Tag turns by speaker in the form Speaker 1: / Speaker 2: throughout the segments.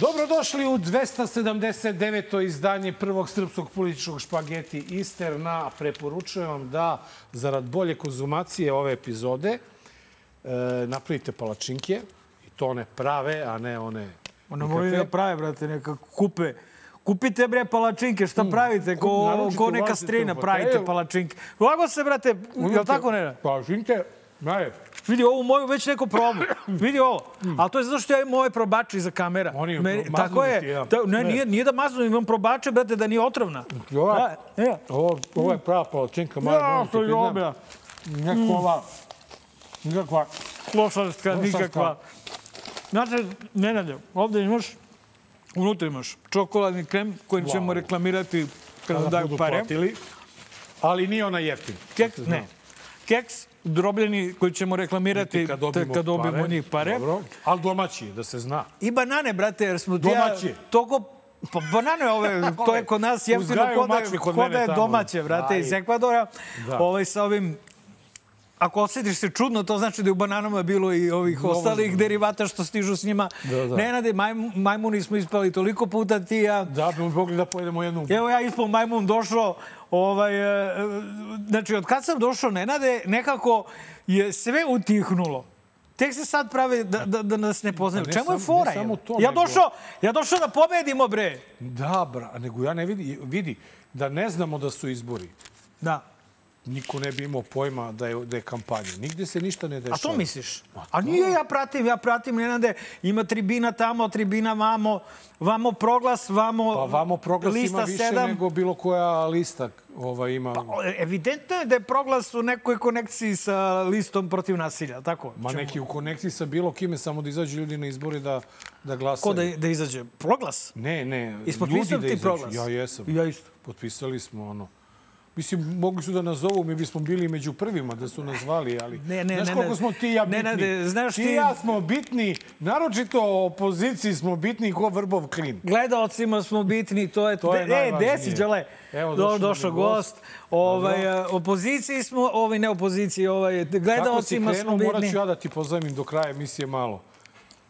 Speaker 1: Dobrodošli u 279. izdanje prvog srpskog političkog špageti Isterna. Preporučujem vam da, zarad bolje konzumacije ove epizode, e, napravite palačinke. I to one prave, a ne one...
Speaker 2: Ono
Speaker 1: nikakve.
Speaker 2: moraju da prave, brate, neka kupe. Kupite, bre, palačinke, šta pravite?
Speaker 1: Kup-
Speaker 2: Ko,
Speaker 1: Hmm. naručite, pa
Speaker 2: ko neka
Speaker 1: ulazite
Speaker 2: strina
Speaker 1: u
Speaker 2: pravite
Speaker 1: hotel.
Speaker 2: palačinke. Lago se, brate, je li tako, ne?
Speaker 1: Palačinke, ne.
Speaker 2: Vidi, ovu moju već neko probu. Vidi ovo. Ali to je zato što ja imam ove probače iza kamera.
Speaker 1: Oni maznu
Speaker 2: tako
Speaker 1: ti,
Speaker 2: je.
Speaker 1: ja.
Speaker 2: Ta, ne,
Speaker 1: Ne.
Speaker 2: nije, nije da maznu, imam probače, brate, da nije otrovna.
Speaker 1: Ova,
Speaker 2: Da, e.
Speaker 1: ovo, ovo je prava palačinka, malo moram ti priznam.
Speaker 2: Mm.
Speaker 1: Nekako ova, nekakva...
Speaker 2: klošarska, nikakva. Znate, Nenade, ovde imaš, unutra imaš čokoladni krem kojim ćemo reklamirati kada nam
Speaker 1: Da
Speaker 2: daju
Speaker 1: budu
Speaker 2: pare.
Speaker 1: platili, ali nije ona jeftina.
Speaker 2: Keks, ne. Keks drobljeni koji ćemo reklamirati
Speaker 1: Kad dobijemo,
Speaker 2: kad dobijemo od njih pare.
Speaker 1: Dobro. Ali domaći, je, da se zna.
Speaker 2: I banane, brate, jer smo ti ja
Speaker 1: Domaći.
Speaker 2: toliko... Pa banane ove, to je kod nas jeftino,
Speaker 1: Uzgajaju
Speaker 2: ko da,
Speaker 1: mačke
Speaker 2: je-
Speaker 1: kod
Speaker 2: ko
Speaker 1: mene
Speaker 2: da je
Speaker 1: tamo.
Speaker 2: domaće, brate,
Speaker 1: Aj.
Speaker 2: iz Ekvadora.
Speaker 1: Da.
Speaker 2: Ovaj, sa ovim Ako osjetiš se čudno, to znači da je u bananama bilo i ovih ostalih derivata što stižu s njima.
Speaker 1: Da, da.
Speaker 2: Nenade, majm, majmuni smo ispali toliko puta ti i ja.
Speaker 1: Da bi mogli da pojedemo jednu...
Speaker 2: Evo ja ispod majmun došao, ovaj, e, e, znači od kad sam došao Nenade, nekako je sve utihnulo. Tek se sad prave da, da, da nas ne poznaju.
Speaker 1: Pa ne
Speaker 2: Čemu je
Speaker 1: sam-
Speaker 2: fora?
Speaker 1: ne samo
Speaker 2: jebote?
Speaker 1: to,
Speaker 2: ja,
Speaker 1: nego-
Speaker 2: došao, ja došao da pobedimo, bre.
Speaker 1: Da, bra, nego ja ne vidi, vidi da ne znamo da su izbori.
Speaker 2: Da.
Speaker 1: Niko ne bi imao pojma da je, da je kampanja. Nigde se ništa ne dešava.
Speaker 2: A to misliš? A nije ja pratim, ja pratim Nenade. Ima tribina tamo, tribina vamo, vamo proglas, vamo,
Speaker 1: Pa vamo proglas
Speaker 2: lista
Speaker 1: ima više
Speaker 2: sedam.
Speaker 1: nego bilo koja lista ova ima... Pa,
Speaker 2: O, Evidentno je da je proglas u nekoj konekciji sa listom protiv nasilja, tako?
Speaker 1: Ma
Speaker 2: Čemu-
Speaker 1: neki u konekciji sa bilo kime, samo da izađu ljudi na izbore da, da glasaju.
Speaker 2: Ko da, da izađe? Proglas?
Speaker 1: Ne, ne, ljudi da
Speaker 2: Ispotpisao ti
Speaker 1: izađu.
Speaker 2: proglas?
Speaker 1: Ja jesam.
Speaker 2: Ja isto.
Speaker 1: Potpisali smo ono. Mislim, mogli su da nas zovu, mi bismo bili među prvima da su nas zvali, ali
Speaker 2: Ne, ne,
Speaker 1: znaš
Speaker 2: ne,
Speaker 1: koliko
Speaker 2: ne.
Speaker 1: smo ti i ja
Speaker 2: Ne,
Speaker 1: bitni?
Speaker 2: ne, ne, znaš
Speaker 1: i
Speaker 2: ti-
Speaker 1: ja smo bitni, naročito opoziciji smo bitni ko Vrbov klin.
Speaker 2: Gledaocima smo bitni, to je...
Speaker 1: To je
Speaker 2: De- e,
Speaker 1: najvažnije.
Speaker 2: desi, Đale.
Speaker 1: Evo,
Speaker 2: Evo,
Speaker 1: došao
Speaker 2: Do,
Speaker 1: nam je
Speaker 2: došao
Speaker 1: gost.
Speaker 2: gost. Ovaj, e, opoziciji smo, ovaj, ne opoziciji, ovaj,
Speaker 1: Kako si
Speaker 2: gledaocima smo
Speaker 1: krenuo, morat
Speaker 2: bitni.
Speaker 1: ću ja da ti pozajmim do kraja emisije malo.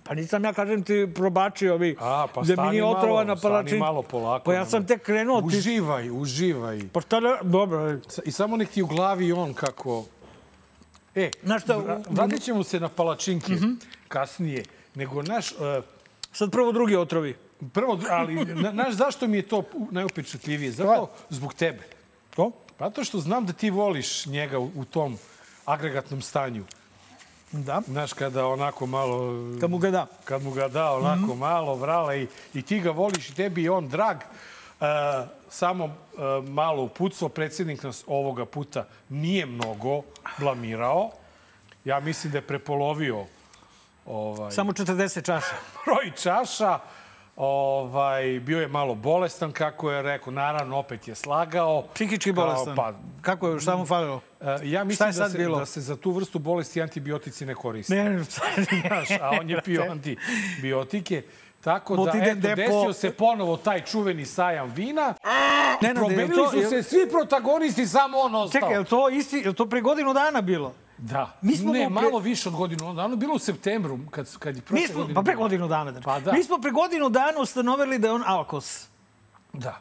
Speaker 2: Pa nisam ja, kažem ti, probači ovi.
Speaker 1: A, pa
Speaker 2: da mi
Speaker 1: stani
Speaker 2: nije otrova
Speaker 1: malo,
Speaker 2: na
Speaker 1: stani
Speaker 2: palačin.
Speaker 1: malo polako.
Speaker 2: Pa ja sam
Speaker 1: nemoj.
Speaker 2: tek krenuo. Ti,
Speaker 1: Uživaj, uživaj.
Speaker 2: pa šta ne, dobro.
Speaker 1: I samo nek ti u glavi on kako... E,
Speaker 2: Znaš šta,
Speaker 1: vra-
Speaker 2: u- Mhm.
Speaker 1: vratit ćemo se na palačinke kasnije. Nego naš... e,
Speaker 2: Sad prvo drugi otrovi.
Speaker 1: Prvo, ali na- znaš zašto mi je to najupečatljivije? Zato zbog tebe.
Speaker 2: To?
Speaker 1: Zato što znam da ti voliš njega u, u tom agregatnom stanju.
Speaker 2: Da.
Speaker 1: Znaš, kada onako malo...
Speaker 2: Kad mu ga Mhm. da.
Speaker 1: Kad mu ga da onako malo, vrala i, i ti ga voliš i tebi je on drag. E, samo e, malo upucao, predsjednik nas ovoga puta nije mnogo blamirao. Ja mislim da je prepolovio ovaj,
Speaker 2: Samo 40 čaša.
Speaker 1: broj čaša. Ovaj, bio je malo bolestan, kako je rekao. Naravno, opet je slagao.
Speaker 2: Psihički
Speaker 1: Kao,
Speaker 2: bolestan.
Speaker 1: Pa,
Speaker 2: Kako je, šta mu falilo?
Speaker 1: e, ja
Speaker 2: Šta
Speaker 1: mislim
Speaker 2: je
Speaker 1: da
Speaker 2: sad
Speaker 1: se,
Speaker 2: bilo?
Speaker 1: da se za tu vrstu bolesti antibiotici ne koriste.
Speaker 2: Ne, ne,
Speaker 1: Znaš, a on je pio antibiotike. Tako da,
Speaker 2: Multidem
Speaker 1: eto,
Speaker 2: depo.
Speaker 1: desio se ponovo taj čuveni sajam vina.
Speaker 2: ne,
Speaker 1: Promenili su se svi protagonisti, samo on ostao.
Speaker 2: Čekaj, je li to, isti, je li to pre godinu dana bilo?
Speaker 1: Da.
Speaker 2: Mi smo
Speaker 1: ne,
Speaker 2: mu pre-
Speaker 1: malo više od godinu. Ono je bilo u septembru, kad, kad je prošle
Speaker 2: Mi smo,
Speaker 1: godine
Speaker 2: pa pre
Speaker 1: bilo.
Speaker 2: godinu dana. znači.
Speaker 1: Pa da.
Speaker 2: Mi smo pre godinu dana ustanovili da je on alkos.
Speaker 1: Da.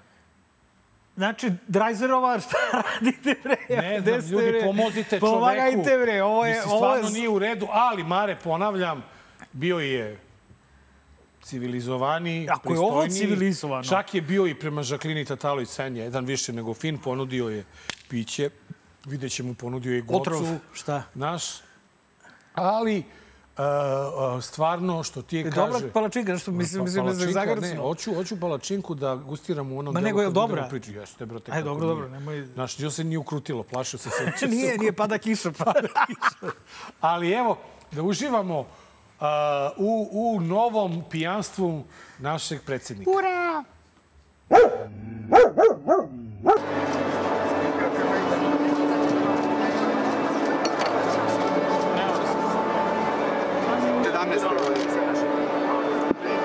Speaker 2: Znači, Drajzerova, šta radite bre?
Speaker 1: Ne
Speaker 2: Gde
Speaker 1: znam,
Speaker 2: ste,
Speaker 1: ljudi,
Speaker 2: bre?
Speaker 1: pomozite čoveku.
Speaker 2: Pomagajte bre, ovo je...
Speaker 1: Mislim,
Speaker 2: Ovo je
Speaker 1: stvarno nije u redu, ali Mare, ponavljam, bio je civilizovani,
Speaker 2: Ako je ovo
Speaker 1: pristojniji.
Speaker 2: civilizovano.
Speaker 1: Čak je bio i prema Žaklini Tatalović Senja, jedan više nego fin, ponudio je piće, vidjet ćemo, ponudio je i gocu.
Speaker 2: otrov. Šta?
Speaker 1: Naš. Ali, e, e, stvarno, što ti je
Speaker 2: Je
Speaker 1: kaže...
Speaker 2: dobra palačinka, što mislim, mislim da je
Speaker 1: Pa Palačinka, Ne,
Speaker 2: zagrcno.
Speaker 1: hoću, hoću palačinku da gustiram u onom
Speaker 2: Ma
Speaker 1: delu
Speaker 2: nego je
Speaker 1: kad budemo
Speaker 2: dobra?
Speaker 1: pričali. Jeste, brate.
Speaker 2: Aj,
Speaker 1: kako
Speaker 2: dobro, dobro,
Speaker 1: nije.
Speaker 2: nemoj-
Speaker 1: Znaš, još se nije ukrutilo, plašio se se. će se
Speaker 2: Znači, Nije, nije pada kiša. Pa.
Speaker 1: Ali evo, da uživamo uh, u, u novom pijanstvu našeg predsjednika.
Speaker 2: Ura!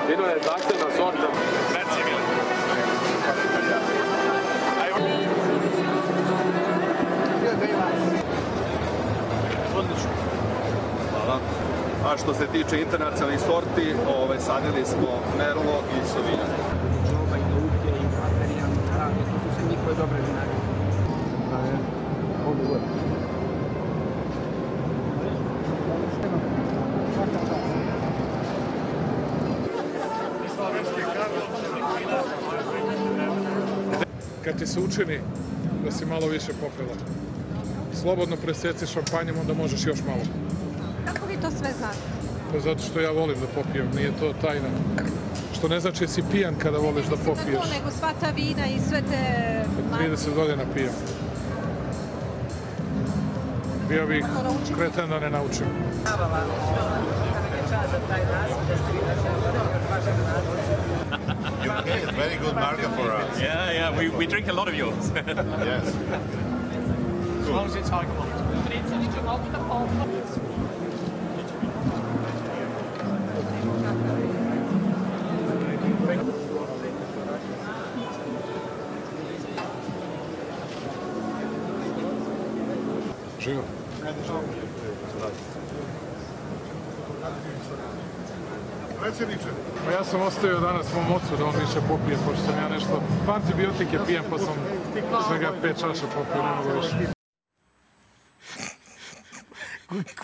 Speaker 3: Vino je zahtevna sorta. Merci, Mile. Odlično. Hvala.
Speaker 4: A što se tiče internacionalnih sorti, ovaj, sadili smo Merlo i Sauvignon.
Speaker 5: Čobanj, Luke i Materijan, Arabija, to su sve njihove dobre vinarije.
Speaker 6: kad ti se učini da si malo više popila. Slobodno preseci šampanjem, onda možeš još malo.
Speaker 7: Kako vi to sve znate?
Speaker 6: Pa zato što ja volim da popijem, nije to tajna. Što ne znači si pijan kada voliš da
Speaker 7: Mislim na
Speaker 6: popiješ.
Speaker 7: to, nego sva ta vina i sve te...
Speaker 6: 30 godina pijem. Bio bih kretan da ne naučim.
Speaker 8: UK is a very good market for us.
Speaker 9: Yeah, yeah, we, we drink a lot of yours.
Speaker 8: Yes.
Speaker 6: Živo.
Speaker 8: Predsjedniče,
Speaker 6: Pa ja sam ostavio danas mom ocu da on više popije, pošto sam ja nešto... Pa antibiotike pijem, pa sam svega pet čaša popio, ne mogu više.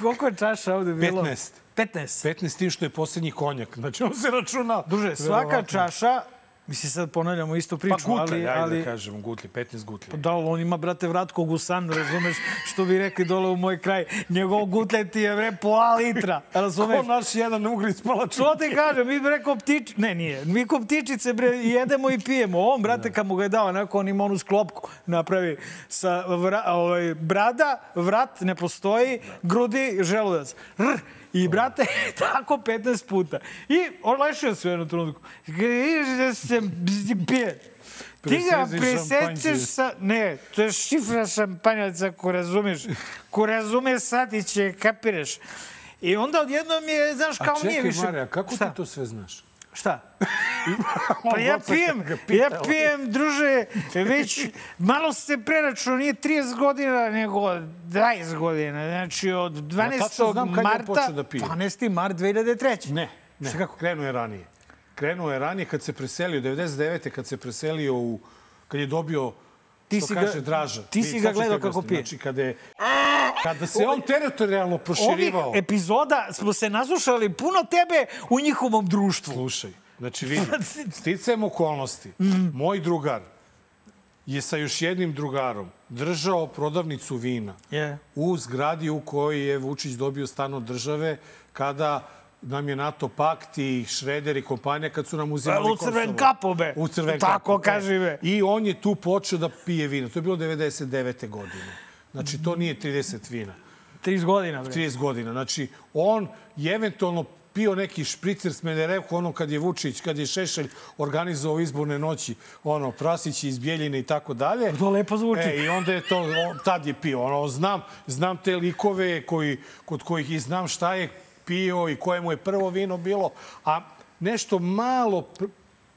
Speaker 2: Koliko je čaša ovde bilo?
Speaker 1: 15.
Speaker 2: 15.
Speaker 1: 15 tim što je posljednji konjak. Znači, on se računa...
Speaker 2: Druže, svaka
Speaker 1: verovatno.
Speaker 2: čaša, mislim sad ponavljamo istu
Speaker 1: Pa
Speaker 2: priču,
Speaker 1: gutlje,
Speaker 2: ali,
Speaker 1: ajde da
Speaker 2: ali
Speaker 1: kažemo, gutlje, 15 gutlje.
Speaker 2: Pa Da, ali on ima, brate, vratko gusan, razumeš, što bi rekli dole u moj kraj. Njegov gutlje ti je, bre, pola litra, razumeš?
Speaker 1: Ko naš jedan ugric palaču?
Speaker 2: Što ti kažem, mi bre ko ptič... Ne, nije. Mi ko ptičice bre jedemo i pijemo. On, brate, kad mu ga je dao, onako on ima onu sklopku. Napravi sa vra, ovaj, brada, vrat ne postoji, grudi, želudac. Rr, I, brate, tako 15 puta. I on lešio se u jednu trenutku. Kaže, da se pije. Ti ga
Speaker 1: Preseci
Speaker 2: preseceš
Speaker 1: šampanjce.
Speaker 2: sa... Ne, to je šifra šampanjaca, ko razumeš. Ko razume satiće, kapiraš. I onda odjednom je, znaš,
Speaker 1: A
Speaker 2: Pa kao
Speaker 1: čekaj,
Speaker 2: nije više...
Speaker 1: Marija, kako
Speaker 2: Šta?
Speaker 1: ti to sve znaš?
Speaker 2: Šta? Pa ja pijem, ja pijem, druže, već malo se preračunao, nije 30 godina, nego 20 godina. Znači, od 12.
Speaker 1: tačno znam kad je on
Speaker 2: marta,
Speaker 1: počeo da pije.
Speaker 2: 12. mart 2003.
Speaker 1: Ne, ne.
Speaker 2: Šta kako?
Speaker 1: Krenuo je ranije. Krenuo je ranije kad se preselio, 99. kad se preselio u... Kad je dobio
Speaker 2: Ti
Speaker 1: što
Speaker 2: si ga-
Speaker 1: kaže Draža.
Speaker 2: ti si
Speaker 1: Vi
Speaker 2: ga
Speaker 1: sad ćete
Speaker 2: gledao
Speaker 1: ga
Speaker 2: kako
Speaker 1: ste.
Speaker 2: pije.
Speaker 1: Znači, kada, je, kada se on teritorijalno
Speaker 2: Ovih
Speaker 1: proširivao...
Speaker 2: epizoda smo se naslušali puno tebe u njihovom društvu.
Speaker 1: Slušaj, znači vidi, sticajem okolnosti,
Speaker 2: Mm.
Speaker 1: moj drugar je sa još jednim drugarom držao prodavnicu vina
Speaker 2: Je.
Speaker 1: u zgradi u kojoj je Vučić dobio stan od države kada nam je NATO pakt i Šreder i kompanija kad su nam uzimali
Speaker 2: U crven
Speaker 1: Kosovo.
Speaker 2: kapo, be.
Speaker 1: U crven
Speaker 2: Tako
Speaker 1: kapu, e.
Speaker 2: kaži, be.
Speaker 1: I on je tu počeo da pije vino. To je bilo 99. godine. Znači, to nije 30 vina.
Speaker 2: 30 godina, bre.
Speaker 1: 30 godina. Znači, on je eventualno pio neki špricer s Menerevku, ono kad je Vučić, kad je Šešelj organizovao izborne noći, ono, prasići iz Bijeljine i tako dalje.
Speaker 2: To lepo zvuči.
Speaker 1: E, I onda je to, on, tad je pio. Ono, znam, znam te likove koji, kod kojih i znam šta je pio i koje mu je prvo vino bilo. A nešto malo pr-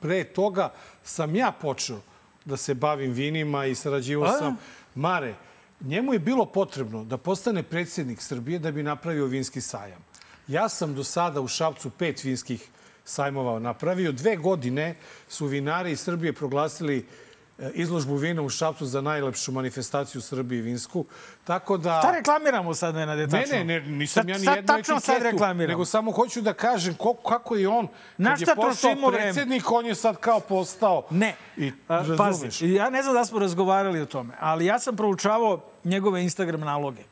Speaker 1: pre toga sam ja počeo da se bavim vinima i sarađivao sam. Mare, njemu je bilo potrebno da postane predsjednik Srbije da bi napravio vinski sajam. Ja sam do sada u Šapcu pet vinskih sajmova napravio. Dve godine su vinari iz Srbije proglasili e, izložbu vina u Šapcu za najlepšu manifestaciju u Srbiji vinsku. Tako da...
Speaker 2: Šta reklamiramo sad, Nenade,
Speaker 1: Ne,
Speaker 2: tačno?
Speaker 1: ne, ne, nisam
Speaker 2: Sad-
Speaker 1: ja ni
Speaker 2: sad
Speaker 1: jednu
Speaker 2: tačno sad
Speaker 1: etiketu,
Speaker 2: reklamiramo.
Speaker 1: Nego samo hoću da kažem ko, kako je on,
Speaker 2: Na
Speaker 1: kad je
Speaker 2: šta
Speaker 1: postao
Speaker 2: trošimo vreme?
Speaker 1: predsjednik, on je sad kao postao.
Speaker 2: Ne.
Speaker 1: I,
Speaker 2: A,
Speaker 1: razumeš?
Speaker 2: Pazi, ja ne znam da smo razgovarali o tome, ali ja sam proučavao njegove Instagram naloge.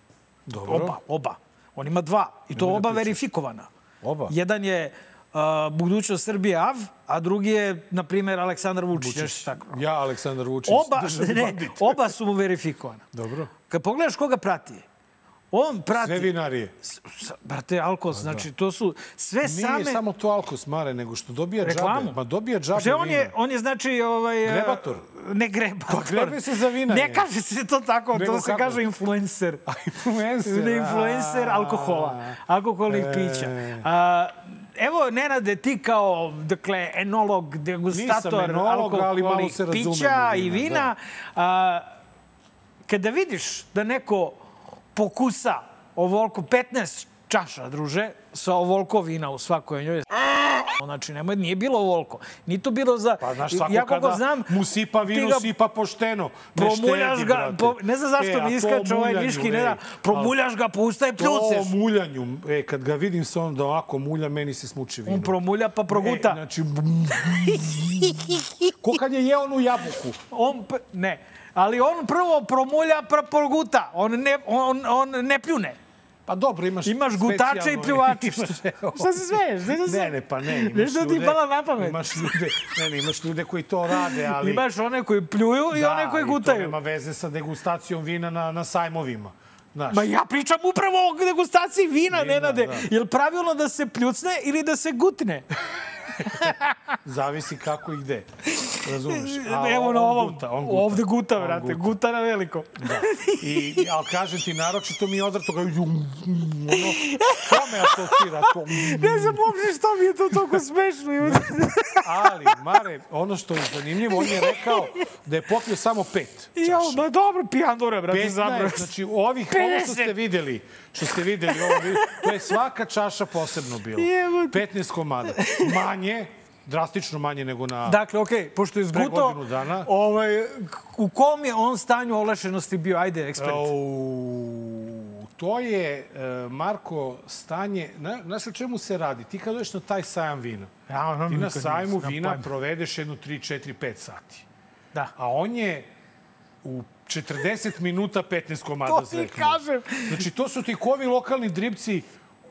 Speaker 1: Dobro.
Speaker 2: Oba, oba. On ima dva. I to oba verifikovana.
Speaker 1: Oba?
Speaker 2: Jedan je uh, Budućnost Srbije AV, a drugi je, na primjer, Aleksandar Vučić. Vučić. Tako.
Speaker 1: Ja, Aleksandar Vučić,
Speaker 2: Oba,
Speaker 1: državni
Speaker 2: ne,
Speaker 1: bandit.
Speaker 2: oba su mu verifikovana.
Speaker 1: Dobro.
Speaker 2: Kad pogledaš koga prati, on prati...
Speaker 1: Sve vinarije.
Speaker 2: S- s- Brate, Alkos, znači to su sve
Speaker 1: Nije
Speaker 2: same...
Speaker 1: samo to alkos, Mare, nego što dobija
Speaker 2: Reklamu.
Speaker 1: džabe. Ma dobija džabe
Speaker 2: Že on
Speaker 1: vina.
Speaker 2: je, on je znači... Ovaj, e,
Speaker 1: Grebator.
Speaker 2: Ne grebator.
Speaker 1: Pa grebe se za vinare.
Speaker 2: Ne kaže se to tako,
Speaker 1: Nego
Speaker 2: to se
Speaker 1: kako?
Speaker 2: kaže influencer.
Speaker 1: A influencer.
Speaker 2: Ne influencer
Speaker 1: a.
Speaker 2: alkohola, alkoholnih
Speaker 1: E.
Speaker 2: pića. A, evo, Nenade, ti kao dakle, enolog,
Speaker 1: Nisam
Speaker 2: degustator
Speaker 1: enolog, ali malo
Speaker 2: alkoholnih
Speaker 1: se razumem u
Speaker 2: pića i
Speaker 1: vina,
Speaker 2: vina, a, kada vidiš da neko pokusa ovoliko 15 čaša, druže, sa ovoliko vina u svakoj njoj. Znači, nemoj, nije bilo ovoliko. Nije to bilo za...
Speaker 1: Pa znaš, svako
Speaker 2: ja koliko
Speaker 1: kada
Speaker 2: znam,
Speaker 1: mu sipa
Speaker 2: ti
Speaker 1: vino,
Speaker 2: ga
Speaker 1: sipa pošteno. Ne
Speaker 2: Promuljaš
Speaker 1: štedi,
Speaker 2: ga,
Speaker 1: brate.
Speaker 2: po, ne znam
Speaker 1: E,
Speaker 2: zašto
Speaker 1: a
Speaker 2: mi
Speaker 1: to
Speaker 2: iskače ovaj
Speaker 1: muljanju,
Speaker 2: Niški, ne
Speaker 1: ej,
Speaker 2: da, promuljaš ga, pa pusta i pljuceš.
Speaker 1: To muljanju, e, kad ga vidim se onda ovako mulja, meni se smuči vino.
Speaker 2: On promulja pa proguta.
Speaker 1: E, znači, ko kad je jeo onu jabuku.
Speaker 2: On, p- ne, ali on prvo promulja pa proguta. On ne, on, on ne pljune.
Speaker 1: Pa dobro, imaš
Speaker 2: Imaš gutače i
Speaker 1: specijalno-
Speaker 2: pljuvače.
Speaker 1: Evo.
Speaker 2: Šta se smeješ? Znaš da se-
Speaker 1: Ne, ne, pa ne. imaš
Speaker 2: Znaš da ti
Speaker 1: ljude-
Speaker 2: pala na pamet?
Speaker 1: Imaš ljude, ne, ne, imaš ljude koji to rade, ali...
Speaker 2: Imaš one koji pljuju i one koji
Speaker 1: ali
Speaker 2: gutaju.
Speaker 1: To nema veze sa degustacijom vina na, na sajmovima. Znaš,
Speaker 2: Ma ja pričam upravo o degustaciji vina,
Speaker 1: Vina,
Speaker 2: Nenade.
Speaker 1: da.
Speaker 2: Je li pravilno da se pljucne ili da se gutne?
Speaker 1: zavisi kako i gde. Razumeš?
Speaker 2: E, Evo
Speaker 1: on
Speaker 2: na ovom.
Speaker 1: guta, on guta.
Speaker 2: Ovde guta,
Speaker 1: On Mm.
Speaker 2: vrate. Guta na veliko.
Speaker 1: Da. I, i- ali kažem ti, naročito mi je odrato kao... jum, jum, Ono, kome asocira to?
Speaker 2: Ne znam uopšte što mi je to toliko smešno.
Speaker 1: Ali, Mare, ono što je zanimljivo, on je rekao da je popio samo pet.
Speaker 2: Jo, ma dobro, pijandore, brate, zabro.
Speaker 1: 15, znači ovih, ovo što
Speaker 2: 50.
Speaker 1: ste videli, što ste videli, ovo, vi- to je svaka čaša posebno bilo.
Speaker 2: Jebote.
Speaker 1: 15 komada. Manje, drastično manje nego na...
Speaker 2: Dakle, okej, pošto je izgutao,
Speaker 1: godinu dana.
Speaker 2: ovaj, k- u kom je on stanju olešenosti bio? Ajde, ekspert.
Speaker 1: Au, to je, e, Marko, stanje... na- Znaš o čemu se radi? Ti kad dođeš na taj sajam vina,
Speaker 2: Ja, ono
Speaker 1: ti na
Speaker 2: nikad
Speaker 1: sajmu
Speaker 2: nisam,
Speaker 1: vina
Speaker 2: nemam pojma.
Speaker 1: provedeš jednu 3, 4, 5 sati.
Speaker 2: Da.
Speaker 1: A on je u 40 minuta 15 komada
Speaker 2: To ti
Speaker 1: zreknuo.
Speaker 2: kažem.
Speaker 1: Znači, to su ti kovi lokalni dripci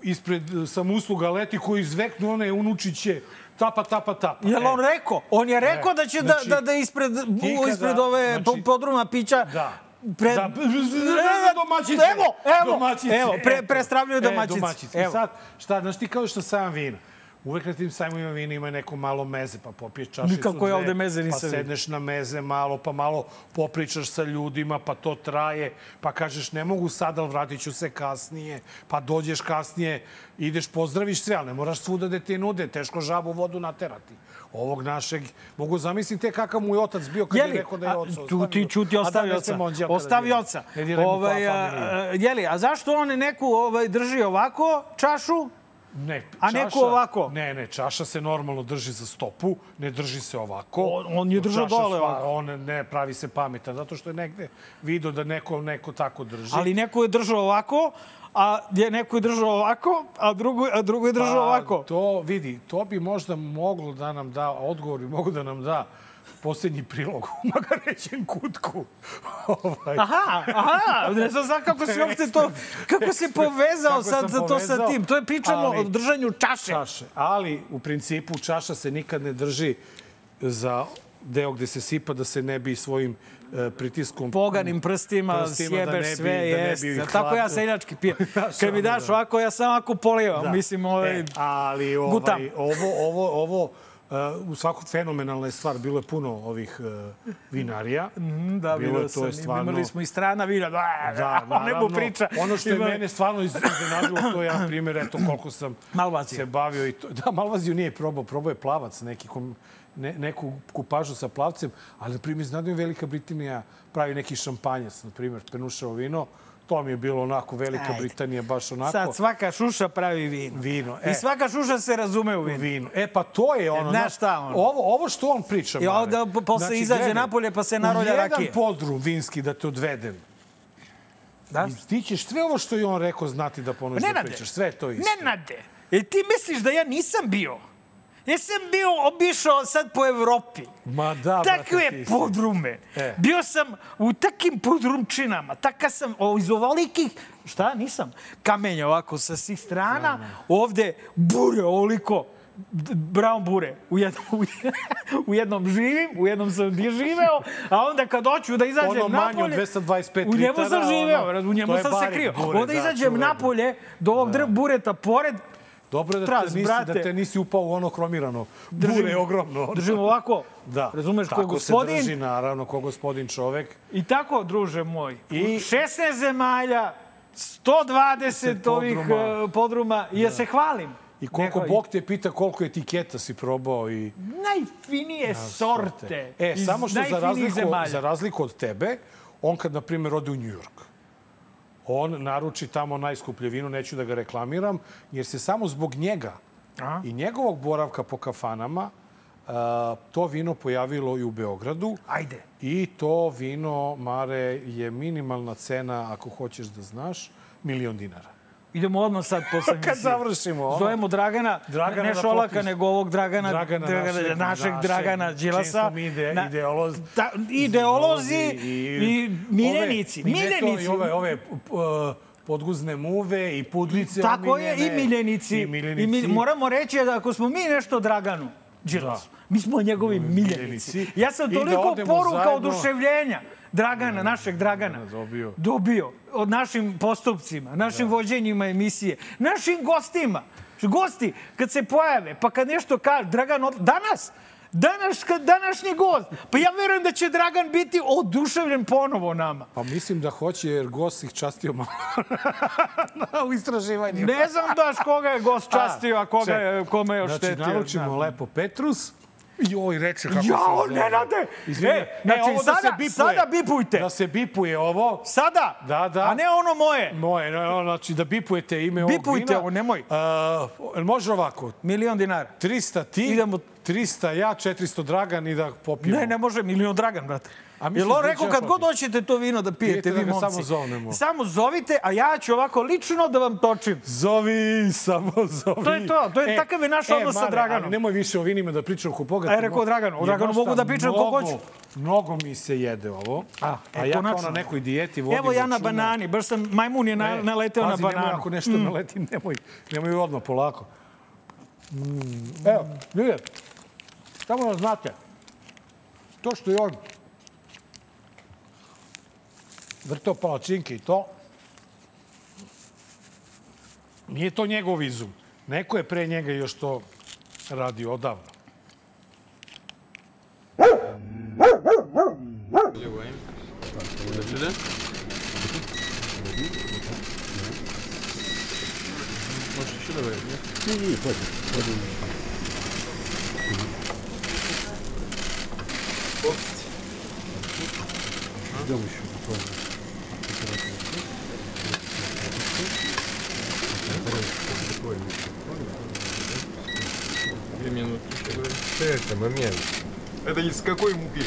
Speaker 1: ispred eh, samusluga leti koji izveknu one unučiće tapa, tapa, tapa.
Speaker 2: Jel
Speaker 1: E,
Speaker 2: on rekao? On je rekao
Speaker 1: Ne,
Speaker 2: da će
Speaker 1: znači,
Speaker 2: da, da, da ispred,
Speaker 1: ti kada-
Speaker 2: ispred ove
Speaker 1: znači-
Speaker 2: po- podruma pića
Speaker 1: Da.
Speaker 2: Pre...
Speaker 1: Da, b- b- b-
Speaker 2: E,
Speaker 1: domaćice.
Speaker 2: Evo, evo,
Speaker 1: domaćice.
Speaker 2: evo, pre-
Speaker 1: eto.
Speaker 2: prestravljaju domaćice.
Speaker 1: E, domaćice.
Speaker 2: Evo.
Speaker 1: Evo. Sad, šta, znaš ti kao što sajam vina. Uvek na tim sajmovima vina ima neko malo meze, pa popiješ čašicu.
Speaker 2: Nikako ja
Speaker 1: dve,
Speaker 2: ovde meze nisam
Speaker 1: Pa
Speaker 2: vidio.
Speaker 1: sedneš na meze malo, pa malo popričaš sa ljudima, pa to traje, pa kažeš ne mogu sad, ali vratit ću se kasnije, pa dođeš kasnije, ideš, pozdraviš sve, ali ne moraš svuda da ti nude, teško žabu u vodu naterati. Ovog našeg, mogu zamisliti kakav mu je otac bio kad je,
Speaker 2: Jeli,
Speaker 1: rekao da je
Speaker 2: a,
Speaker 1: oca.
Speaker 2: tu ti čuti ostavi oca. Ostavi oca. Ovaj, a, a, jeli, a zašto on neku ovaj, drži ovako čašu?
Speaker 1: Ne,
Speaker 2: A neko ovako?
Speaker 1: Ne, ne, čaša se normalno drži za stopu, ne drži se ovako.
Speaker 2: On- on je držao
Speaker 1: Čaša
Speaker 2: dole
Speaker 1: sva-
Speaker 2: ovako.
Speaker 1: On ne pravi se pametan, zato što je negde vidio da neko, neko tako drži.
Speaker 2: Ali neko je držao ovako, a je neko je držao ovako, a drugo, a drugo je držao
Speaker 1: Pa,
Speaker 2: ovako.
Speaker 1: To vidi, to bi možda moglo da nam da, odgovor bi moglo da nam da posljednji prilog u Magarećem kutku. ovaj,
Speaker 2: Aha, aha, ne znam sad kako si uopšte to, kako si povezao
Speaker 1: Kako sam
Speaker 2: sad to sa
Speaker 1: povezao,
Speaker 2: tim. To je pričamo
Speaker 1: ali-
Speaker 2: o držanju čaše.
Speaker 1: čaše. Ali, u principu, čaša se nikad ne drži za deo gde se sipa da se ne bi svojim e, pritiskom
Speaker 2: Poganim prstima,
Speaker 1: Prstima da ne
Speaker 2: sjebeš
Speaker 1: bi-
Speaker 2: sve,
Speaker 1: da ne bi
Speaker 2: jest.
Speaker 1: ih
Speaker 2: Tako ja
Speaker 1: hvatao.
Speaker 2: seljački pijem.
Speaker 1: Znaš,
Speaker 2: Kad mi
Speaker 1: ono,
Speaker 2: daš
Speaker 1: da.
Speaker 2: ovako, ja sam ovako polijevam. Mislim, ovaj...
Speaker 1: E, ali ovaj,
Speaker 2: gutam.
Speaker 1: ovo, ovo, ovo uh, u svakog fenomenalna je stvar. Bilo je puno ovih uh, vinarija.
Speaker 2: Mm, Da,
Speaker 1: bilo
Speaker 2: bilo,
Speaker 1: je, to
Speaker 2: sam.
Speaker 1: je stvarno-
Speaker 2: Imali smo i strana vina. Da,
Speaker 1: Da,
Speaker 2: da,
Speaker 1: naravno.
Speaker 2: nebo priča.
Speaker 1: Ono što je
Speaker 2: Ima-
Speaker 1: mene stvarno iz- iznenadilo, to je jedan primjer, eto koliko sam
Speaker 2: Malvazija.
Speaker 1: se bavio. I to, da, Malvaziju nije probao, probao je plavac, neki kom, ne, neku kupažu sa plavcem, ali na primjer, iznenadilo me Velika Britanija pravi neki šampanjac, na primjer, penušao vino. To mi je bilo onako, Velika
Speaker 2: Ajde.
Speaker 1: Britanija baš onako.
Speaker 2: Sad svaka šuša pravi vino.
Speaker 1: Vino,
Speaker 2: I
Speaker 1: e.
Speaker 2: svaka šuša se razume u vino.
Speaker 1: vino. E pa to je ono,
Speaker 2: znaš šta ono?
Speaker 1: Ovo, ovo što on priča,
Speaker 2: I
Speaker 1: Mare. Znači,
Speaker 2: onda po- posle izađe
Speaker 1: gledaj,
Speaker 2: napolje pa se narolja
Speaker 1: U
Speaker 2: rakije.
Speaker 1: jedan podrum vinski da te odvedem.
Speaker 2: Da?
Speaker 1: I ti ćeš sve ovo što je on rekao znati da ponoviš da
Speaker 2: Pa Nenade.
Speaker 1: pričaš. Sve je to isto.
Speaker 2: Nenade, e ti misliš da ja nisam bio? Ja sam bio obišao sad po Evropi.
Speaker 1: Ma da, brate, ti
Speaker 2: Takve
Speaker 1: si.
Speaker 2: podrume.
Speaker 1: E.
Speaker 2: Bio sam u takim podrumčinama. Taka sam o, iz ovolikih, šta nisam, kamenja ovako sa svih strana. Ovde bure ovoliko, d- brown bure. U jednom, u jednom- u jednom živim, u jednom sam di živeo, a onda kad hoću da izađem
Speaker 1: Ono manje
Speaker 2: napolje...
Speaker 1: od 225
Speaker 2: U njemu
Speaker 1: litara,
Speaker 2: sam živeo,
Speaker 1: ono,
Speaker 2: u njemu
Speaker 1: to je
Speaker 2: sam se
Speaker 1: barek
Speaker 2: krio.
Speaker 1: bure,
Speaker 2: onda
Speaker 1: da,
Speaker 2: izađem
Speaker 1: čuveno.
Speaker 2: napolje do ovog drv bureta pored,
Speaker 1: Dobro je da,
Speaker 2: Tras,
Speaker 1: te nisi,
Speaker 2: brate.
Speaker 1: da te nisi upao u ono hromirano.
Speaker 2: Držim-
Speaker 1: Bure ogromno. ono.
Speaker 2: držim ovako,
Speaker 1: Da.
Speaker 2: razumeš, ko
Speaker 1: Tako
Speaker 2: gospodin,
Speaker 1: se drži, naravno, ko gospodin čovek.
Speaker 2: I tako, druže moj, I...
Speaker 1: I-
Speaker 2: 16 zemalja, 120 ovih
Speaker 1: podruma.
Speaker 2: podruma, podruma i ja se hvalim.
Speaker 1: I koliko
Speaker 2: Neko-
Speaker 1: Bog te pita koliko etiketa si probao i...
Speaker 2: Najfinije sorte.
Speaker 1: E,
Speaker 2: iz
Speaker 1: samo što za
Speaker 2: najfinijih
Speaker 1: razliku,
Speaker 2: zemalja.
Speaker 1: za razliku od tebe, on kad, na primjer, ode u Njujork, on naruči tamo najskuplje vino, neću da ga reklamiram, jer se samo zbog njega
Speaker 2: Aha.
Speaker 1: i njegovog boravka po kafanama uh, to vino pojavilo i u Beogradu.
Speaker 2: Ajde.
Speaker 1: I to vino, Mare, je minimalna cena, ako hoćeš da znaš, milion dinara.
Speaker 2: Idemo odmah sad posle
Speaker 1: Kad završimo ono.
Speaker 2: Zovemo Dragana,
Speaker 1: Dragana
Speaker 2: ne
Speaker 1: da
Speaker 2: Šolaka,
Speaker 1: popis-
Speaker 2: nego ovog Dragana,
Speaker 1: Dragana našeg-
Speaker 2: našeg
Speaker 1: našeg,
Speaker 2: Dragana
Speaker 1: čim
Speaker 2: Đilasa.
Speaker 1: smo mi ide- ideolozi-
Speaker 2: ta, ideolozi i, miljenici.
Speaker 1: Ove, i ovaj ne to,
Speaker 2: miljenici.
Speaker 1: I ove, ove uh, podguzne muve i pudlice
Speaker 2: Tako je, i
Speaker 1: omiljene.
Speaker 2: miljenici.
Speaker 1: I miljenici.
Speaker 2: I mi, moramo reći da ako smo mi nešto Draganu Đilasu, mi smo njegovi miljenici.
Speaker 1: miljenici.
Speaker 2: Ja sam
Speaker 1: I da
Speaker 2: toliko
Speaker 1: odemo
Speaker 2: poruka
Speaker 1: zajedno-
Speaker 2: oduševljenja Dragana, našeg Dragana,
Speaker 1: dobio.
Speaker 2: dobio od našim postupcima, našim vođenjima emisije, našim gostima. Gosti, kad se pojave, pa kad nešto kaže, Dragan, od- danas, danas, kad današnji gost, pa ja verujem da će Dragan biti oduševljen ponovo nama.
Speaker 1: Pa mislim da hoće, jer gost ih častio malo u istraživanju.
Speaker 2: Ne znam baš koga je gost častio, a koga je, kome je oštetio.
Speaker 1: Znači, naručimo
Speaker 2: znam.
Speaker 1: lepo Petrus. Joj, reče kako se
Speaker 2: Jao,
Speaker 1: zove.
Speaker 2: Nenade!
Speaker 1: Izvini.
Speaker 2: E, znači,
Speaker 1: ovo da se
Speaker 2: sada,
Speaker 1: bipuje.
Speaker 2: sada bipujte.
Speaker 1: Da se bipuje ovo.
Speaker 2: Sada!
Speaker 1: Da, da.
Speaker 2: A ne ono moje.
Speaker 1: Moje, no, no, znači da bipujete ime ovog
Speaker 2: Bipujte
Speaker 1: vina.
Speaker 2: ovo, nemoj.
Speaker 1: A, može ovako,
Speaker 2: Milion dinara.
Speaker 1: 300 ti,
Speaker 2: Idemo.
Speaker 1: 300 ja, 400 Dragan i da popijemo.
Speaker 2: Ne, ne može, milion dragan, brate.
Speaker 1: A mi
Speaker 2: Jel
Speaker 1: smo
Speaker 2: on rekao,
Speaker 1: zvučali
Speaker 2: kad god hoćete to vino da pijete,
Speaker 1: Pijete da
Speaker 2: vi
Speaker 1: ga
Speaker 2: momci.
Speaker 1: samo zovnemo.
Speaker 2: Samo zovite, a ja ću ovako lično da vam točim.
Speaker 1: Zovi, samo zovi.
Speaker 2: To je to, to je- takav je naš odnos sa Draganom.
Speaker 1: Ali nemoj više o vinima da pričam ko boga.
Speaker 2: A je rekao Draganu, o Draganu mogu da pričam ko hoću.
Speaker 1: Mnogo mi se jede ovo.
Speaker 2: A,
Speaker 1: A,
Speaker 2: e,
Speaker 1: ja kao
Speaker 2: konačno.
Speaker 1: na nekoj dijeti vodim
Speaker 2: Evo ja na
Speaker 1: računa.
Speaker 2: banani, baš sam, majmun je na,
Speaker 1: E,
Speaker 2: naleteo na
Speaker 1: pazi,
Speaker 2: bananu. Mm.
Speaker 1: Nemoj ako nešto naleti, nemoj, nemoj odmah, polako. Mm, evo, ljudi, samo da znate, to što je on vrtao palačinke i to, nije to njegov izum. Neko je pre njega još to radio odavno.
Speaker 4: Это из какой муки?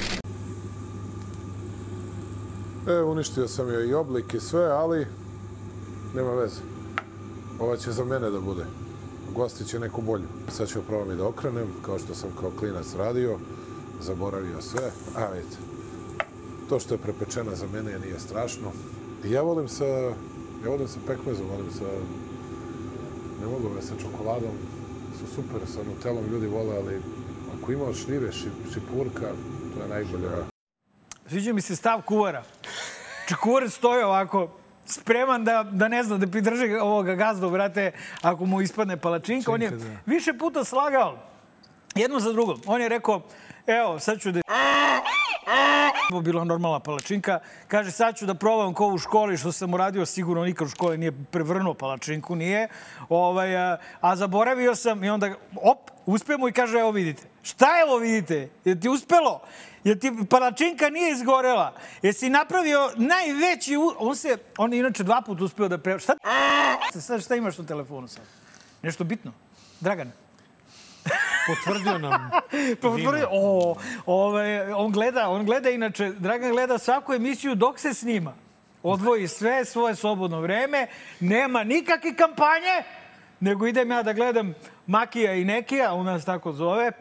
Speaker 10: E, uništio sam joj i oblik i sve, ali nema veze. Ova će za mene da bude. Gosti će neku bolju. Sad ću probam i da okrenem, kao što sam kao klinac radio. Zaboravio sve, a vidite. To što je prepečena za mene nije strašno. I ja volim sa, ja volim sa pekmezom, volim sa, ne mogu me sa čokoladom. Su super, sa nutelom ljudi vole, ali ako ima od šljive, šip- šipurka, to je najbolja
Speaker 2: Sviđa mi se stav kuvara. Čak kuvar stoji ovako, spreman da, da ne zna, da pridrži ovoga gazdu, brate, ako mu ispadne palačinka. On je više puta slagao jedno za drugom. On je rekao, evo, sad ću da... Ovo je bila normalna palačinka. Kaže, sad ću da probam ko u školi, što sam uradio, sigurno nikad u školi nije prevrnuo palačinku, nije. Ovaj, a, a zaboravio sam i onda, op, uspe mu i kaže, evo vidite. Šta je ovo vidite? Je ti uspelo? Je ti palačinka nije izgorela? Jesi napravio najveći... U... On se, on je inače dva puta uspeo da pre... Šta, sad, šta imaš na telefonu sad? Nešto bitno? Dragan?
Speaker 1: Potvrdio nam
Speaker 2: Pa potvrdio- o, ovaj, on gleda, on gleda inače, Dragan gleda svaku emisiju dok se snima. Odvoji sve svoje slobodno vreme, nema nikakve kampanje, nego idem ja da gledam Makija i Nekija, on nas tako zove,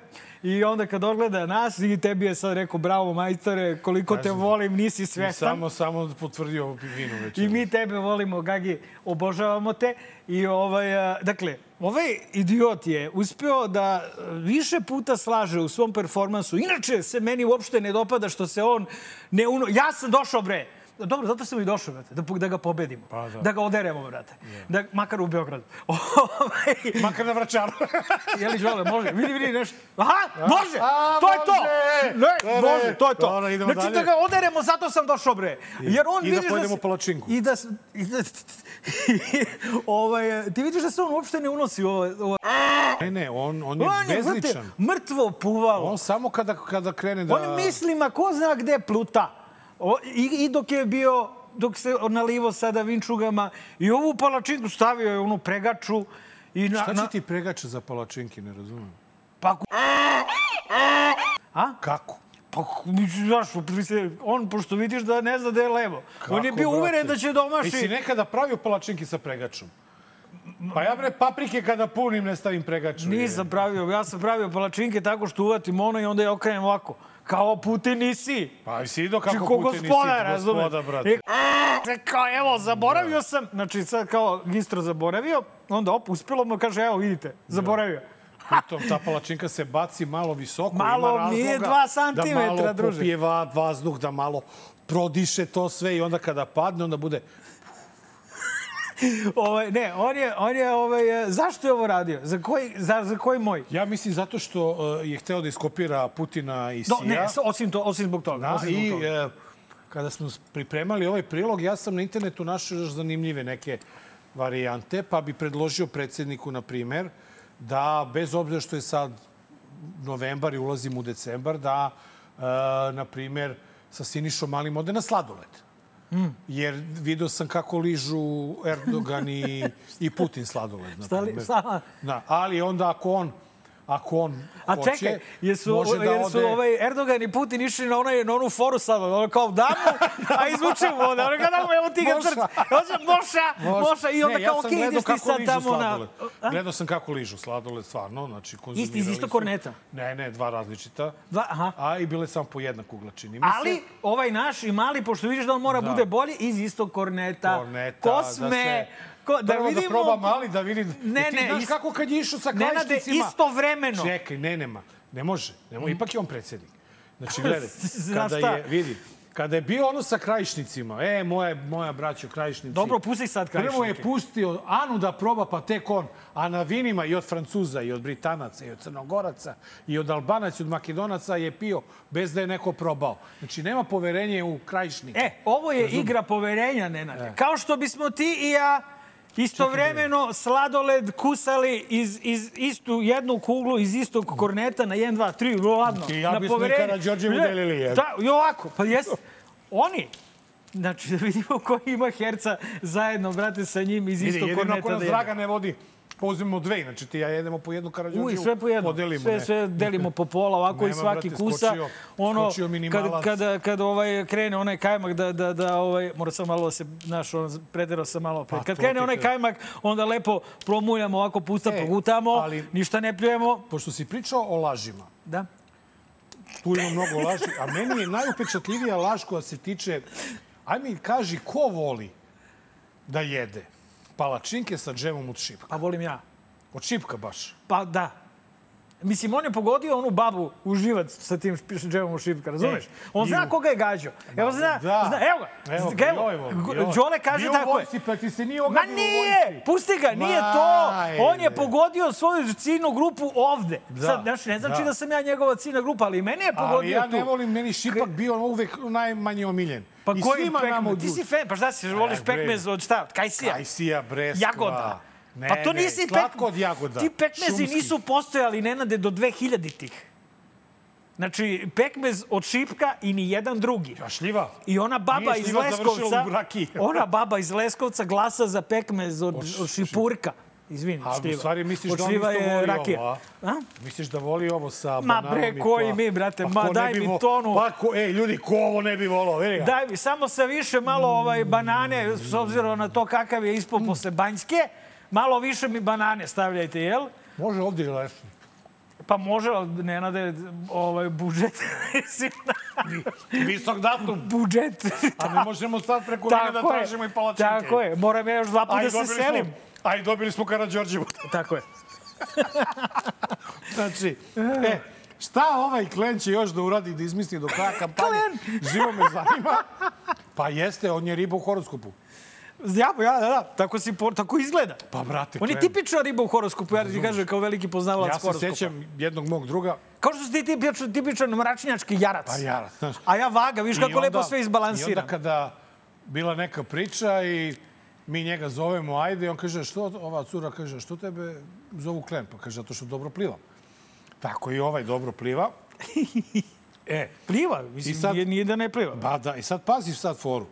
Speaker 2: I onda kad ogleda nas i tebi je sad rekao bravo majstore, koliko te volim, nisi
Speaker 1: i
Speaker 2: svestan.
Speaker 1: samo, samo potvrdio vino večer.
Speaker 2: I mi tebe volimo, Gagi, obožavamo te. I ovaj, a, dakle, ovaj idiot je uspeo da e, više puta slaže u svom performansu. Inače se meni uopšte ne dopada što se on ne uno... Ja sam došao, bre! Dobro, zato sam i došao, brate, da, po- da ga pobedimo.
Speaker 1: Pa da.
Speaker 2: da ga oderemo, brate. Da, makar u Beogradu. Ovaj,
Speaker 1: Makar na vračaru.
Speaker 2: Je li žele, može. Vidi, vidi nešto. Aha, može!
Speaker 1: A,
Speaker 2: to je to!
Speaker 1: može!
Speaker 2: Ne,
Speaker 1: Dobro.
Speaker 2: može, to je to.
Speaker 1: Dobro, idemo
Speaker 2: znači da
Speaker 1: dalje.
Speaker 2: ga oderemo, zato sam došao, bre. Jer on
Speaker 1: I da
Speaker 2: vidiš
Speaker 1: pojedemo
Speaker 2: se-
Speaker 1: palačinku.
Speaker 2: I da... s- I da ovaj, ti vidiš da se on uopšte ne unosi u ovo... ovo-
Speaker 1: Ne, ne, on, on je
Speaker 2: On je brate,
Speaker 1: bezličan.
Speaker 2: mrtvo puvalo.
Speaker 1: On samo kada, kada krene da...
Speaker 2: On mislima ko zna gde pluta. O, i, I dok je bio dok se nalivo sada vinčugama i ovu palačinku stavio je onu pregaču i na,
Speaker 1: Šta
Speaker 2: na,
Speaker 1: će ti pregače za palačinke, ne razumijem.
Speaker 2: Pa, ku- A?
Speaker 1: Kako?
Speaker 2: Pa, ku- mislim, znaš, mislim, on, pošto vidiš da ne zna da je levo. on je
Speaker 1: Kako,
Speaker 2: bio
Speaker 1: brate?
Speaker 2: uveren da će
Speaker 1: Jesi
Speaker 2: domaši.
Speaker 1: nekada pravio palačinke sa pregačom? Pa ja bre paprike kada punim ne stavim pregaču.
Speaker 2: Nisam pravio, ja sam pravio palačinke tako što uvatim ono i onda je okrenem ovako. Kao Putin nisi.
Speaker 1: Pa i si do
Speaker 2: Znači,
Speaker 1: kako
Speaker 2: ko
Speaker 1: putin nisi
Speaker 2: gospoda, razumeš?
Speaker 1: gospoda, brate.
Speaker 2: E, se kao, evo, zaboravio sam. Znači, sad kao Gistro zaboravio, onda op, uspjelo mu kaže, evo, vidite, zaboravio.
Speaker 1: Pritom, ta palačinka se baci malo visoko.
Speaker 2: Malo,
Speaker 1: ima razloga
Speaker 2: nije dva
Speaker 1: Da malo
Speaker 2: santimetra, druže.
Speaker 1: popije va- vazduh, da malo prodiše to sve i onda kada padne, onda bude...
Speaker 2: Ovaj, ne, on je, on je, ovaj, eh, zašto je ovo radio? Za koji, za, za koji moj?
Speaker 1: Ja mislim zato što uh, je hteo da iskopira Putina i
Speaker 2: Do,
Speaker 1: Sija.
Speaker 2: ne, s- osim, to, osim zbog toga.
Speaker 1: Da,
Speaker 2: osim zbog
Speaker 1: i
Speaker 2: toga.
Speaker 1: e, kada smo s- pripremali ovaj prilog, ja sam na internetu našao još zanimljive neke varijante, pa bi predložio predsjedniku, na primer, da bez obzira što je sad novembar i ulazimo u decembar, da, e, na primer, sa Sinišom Malim ode na sladoled.
Speaker 2: Hmm.
Speaker 1: Jer video sam kako ližu Erdogan i, i Putin sladoled. Na
Speaker 2: Šta li-
Speaker 1: primer.
Speaker 2: sama-
Speaker 1: Da, ali onda ako on ako on
Speaker 2: A
Speaker 1: hoće,
Speaker 2: čekaj, jesu,
Speaker 1: može da
Speaker 2: jer su
Speaker 1: ode...
Speaker 2: ovaj Erdogan i Putin išli na, onaj, na onu foru sad, ono kao damo, a izvučemo onda, ono kao damo, evo ti ga
Speaker 1: Moša.
Speaker 2: crč, hoće moša, moša, E, i onda
Speaker 1: ne,
Speaker 2: kao,
Speaker 1: ja sam
Speaker 2: okej,
Speaker 1: gledao
Speaker 2: ideš ti
Speaker 1: kako
Speaker 2: sad
Speaker 1: ližu
Speaker 2: tamo na...
Speaker 1: sladoled. Gledao sam kako ližu sladoled, stvarno. Znači, konzumirali
Speaker 2: iz istog
Speaker 1: su-
Speaker 2: korneta?
Speaker 1: Ne, ne, dva različita.
Speaker 2: Dva, aha.
Speaker 1: A i bile samo po jednak u glačini.
Speaker 2: Ali ovaj naš i mali, pošto vidiš da on mora
Speaker 1: Da.
Speaker 2: bude bolji, iz istog korneta.
Speaker 1: Korneta,
Speaker 2: Kosme,
Speaker 1: da se-
Speaker 2: ko, da
Speaker 1: Prvo
Speaker 2: vidimo...
Speaker 1: da proba mali da vidi.
Speaker 2: Ne,
Speaker 1: Jer ti
Speaker 2: ne,
Speaker 1: znaš
Speaker 2: is-
Speaker 1: kako kad je išao sa
Speaker 2: Nenade,
Speaker 1: krajišnicima.
Speaker 2: istovremeno.
Speaker 1: Čekaj, ne, nema. Ne može. Ne može. Ipak je on predsjednik. Znači, gledaj,
Speaker 2: Znaš
Speaker 1: kada
Speaker 2: šta?
Speaker 1: je, vidi, kada je bio ono sa krajišnicima, e, moja, moja braćo, krajišnici.
Speaker 2: Dobro, pusti sad
Speaker 1: Prvo je
Speaker 2: krajišnike.
Speaker 1: pustio Anu da proba, pa tek on. A na vinima i od Francuza, i od Britanaca, i od Crnogoraca, i od Albanaca, i od Makedonaca je pio bez da je neko probao. Znači, nema poverenje u krajišnike.
Speaker 2: E, ovo je igra poverenja,
Speaker 1: E.
Speaker 2: Nenade. Kao što bismo ti i ja istovremeno sladoled kusali iz, iz istu jednu kuglu iz istog korneta na 1, 2, 3, ladno.
Speaker 1: Ti i ja
Speaker 2: na
Speaker 1: bismo i Karađorđevu
Speaker 2: Ne,
Speaker 1: delili, je.
Speaker 2: Da, i ovako. Pa jes, oni, Znači, da vidimo ko ima herca zajedno, brate, sa njim iz
Speaker 1: Vidi,
Speaker 2: istog
Speaker 1: jedino
Speaker 2: korneta.
Speaker 1: ako nas
Speaker 2: da jede.
Speaker 1: draga ne vodi, pozimo dve, znači ti i ja jedemo po jednu Karadžođevu.
Speaker 2: Uj, sve po jedno.
Speaker 1: Podelimo,
Speaker 2: sve,
Speaker 1: ne.
Speaker 2: sve delimo po pola, ovako i
Speaker 1: Nema,
Speaker 2: svaki
Speaker 1: brate,
Speaker 2: kusa.
Speaker 1: skočio-
Speaker 2: ono,
Speaker 1: skočio minimalac.
Speaker 2: kada, kada, kada ovaj krene onaj kajmak, da, da, da ovaj, mora sam malo da se, znaš, on, preterao sam malo. Pred.
Speaker 1: Pa
Speaker 2: Kad
Speaker 1: to
Speaker 2: krene
Speaker 1: ti
Speaker 2: onaj
Speaker 1: kažem.
Speaker 2: kajmak, onda lepo promuljamo, ovako pusta
Speaker 1: E,
Speaker 2: progutamo,
Speaker 1: ali-
Speaker 2: ništa ne pljujemo.
Speaker 1: Pošto si pričao o lažima,
Speaker 2: Da.
Speaker 1: tu ima mnogo laži, a meni je najupečatljivija laž koja se tiče, aj mi kaži ko voli da jede palačinke sa džemom od šipka.
Speaker 2: Pa volim ja.
Speaker 1: Od šipka baš.
Speaker 2: Pa da. Mislim, on je pogodio onu babu u živac sa tim špi- džemom u šipka, razumeš?
Speaker 1: E,
Speaker 2: on zna
Speaker 1: i-
Speaker 2: koga je gađao. Evo, zna,
Speaker 1: Da.
Speaker 2: zna, evo ga.
Speaker 1: Evo,
Speaker 2: ga,
Speaker 1: joj, voli,
Speaker 2: Go-
Speaker 1: joj.
Speaker 2: Đole kaže
Speaker 1: Bio u
Speaker 2: tako je.
Speaker 1: vojsci, pa ti se nije ogadio
Speaker 2: Ma
Speaker 1: u
Speaker 2: nije!
Speaker 1: vojsci.
Speaker 2: Pusti ga, nije
Speaker 1: Ma,
Speaker 2: to! On je
Speaker 1: ajde.
Speaker 2: pogodio svoju ciljnu grupu ovde.
Speaker 1: Da,
Speaker 2: Sad, znaš, ne znači da.
Speaker 1: da.
Speaker 2: sam ja njegova ciljna grupa, ali mene je pogodio
Speaker 1: Ali ja
Speaker 2: tu.
Speaker 1: ne volim, meni šipak bio ono uvek najmanje omiljen.
Speaker 2: Pa
Speaker 1: I
Speaker 2: koji
Speaker 1: svima nama u E,
Speaker 2: pekmez? Ti si fan, pa šta si, voliš
Speaker 1: bre.
Speaker 2: pekmez od šta? Od kajsija?
Speaker 1: Kajsija, breskva.
Speaker 2: Jagoda.
Speaker 1: Ne,
Speaker 2: pa to
Speaker 1: ne,
Speaker 2: nisi
Speaker 1: slatko od jagoda.
Speaker 2: Ti pekmezi
Speaker 1: Šumski.
Speaker 2: nisu postojali, Nenade, do 2000-ih. Znači, pekmez od šipka i ni jedan drugi.
Speaker 1: A Pa šljiva?
Speaker 2: I ona baba
Speaker 1: Nije
Speaker 2: iz
Speaker 1: šljiva završila
Speaker 2: Leskovca,
Speaker 1: u rakiji.
Speaker 2: ona baba iz Leskovca glasa za pekmez od,
Speaker 1: š-
Speaker 2: od šipurka. Izvini,
Speaker 1: A
Speaker 2: šljiva.
Speaker 1: u stvari misliš
Speaker 2: Od
Speaker 1: da on
Speaker 2: šljiva
Speaker 1: isto
Speaker 2: je
Speaker 1: voli
Speaker 2: rakija.
Speaker 1: ovo, a?
Speaker 2: A?
Speaker 1: Misliš da voli ovo sa
Speaker 2: Ma
Speaker 1: bananom
Speaker 2: bre,
Speaker 1: i
Speaker 2: koji
Speaker 1: to?
Speaker 2: mi, brate,
Speaker 1: Pa
Speaker 2: ma
Speaker 1: ko ne
Speaker 2: daj
Speaker 1: bi
Speaker 2: mi
Speaker 1: vo-
Speaker 2: tonu.
Speaker 1: Pa ko, ej, ljudi, ko ovo ne bi volao, vidi ga.
Speaker 2: Daj mi, samo sa više malo ovaj banane, s obzirom na to kakav je ispod posle Banjske, malo više mi banane stavljajte, jel?
Speaker 1: Može ovdje i lešnik.
Speaker 2: Pa može, ali Nenade, ovaj, budžet, mislim,
Speaker 1: Visok datum.
Speaker 2: budžet.
Speaker 1: A ne možemo sad preko njega da
Speaker 2: Tako je.
Speaker 1: tražimo i palačinke.
Speaker 2: Tako je, moram ja još dva puta
Speaker 1: Aj,
Speaker 2: da se
Speaker 1: dobili
Speaker 2: selim.
Speaker 1: Smo, aj, dobili smo Karadžorđevu.
Speaker 2: Tako je.
Speaker 1: Znači, e, šta ovaj Klen će još da uradi da izmisli do kraja kampanje? Živo me zanima. Pa jeste, on je riba u horoskopu.
Speaker 2: Ja, ja, da, da, tako, si, po- tako izgleda.
Speaker 1: Pa, brate,
Speaker 2: On je
Speaker 1: Klen.
Speaker 2: tipična riba u horoskopu, ja ti kažem, kao veliki poznavalac
Speaker 1: Ja se
Speaker 2: horoskopa.
Speaker 1: sjećam jednog mog druga,
Speaker 2: Kao što si ti tipičan, tipičan mračnjački jarac.
Speaker 1: pa jarac, znaš.
Speaker 2: A ja vaga, viš kako
Speaker 1: I onda-
Speaker 2: lepo sve
Speaker 1: I
Speaker 2: izbalansiram.
Speaker 1: onda kada bila neka priča i mi njega zovemo, ajde, i on kaže, što, ova cura kaže, što tebe zovu Klen? Pa kaže, zato što dobro plivam. Tako i ovaj dobro pliva. E,
Speaker 2: Pliva, mislim,
Speaker 1: I sad-
Speaker 2: nije, nije da ne pliva.
Speaker 1: ba da, i sad pazi sad foru.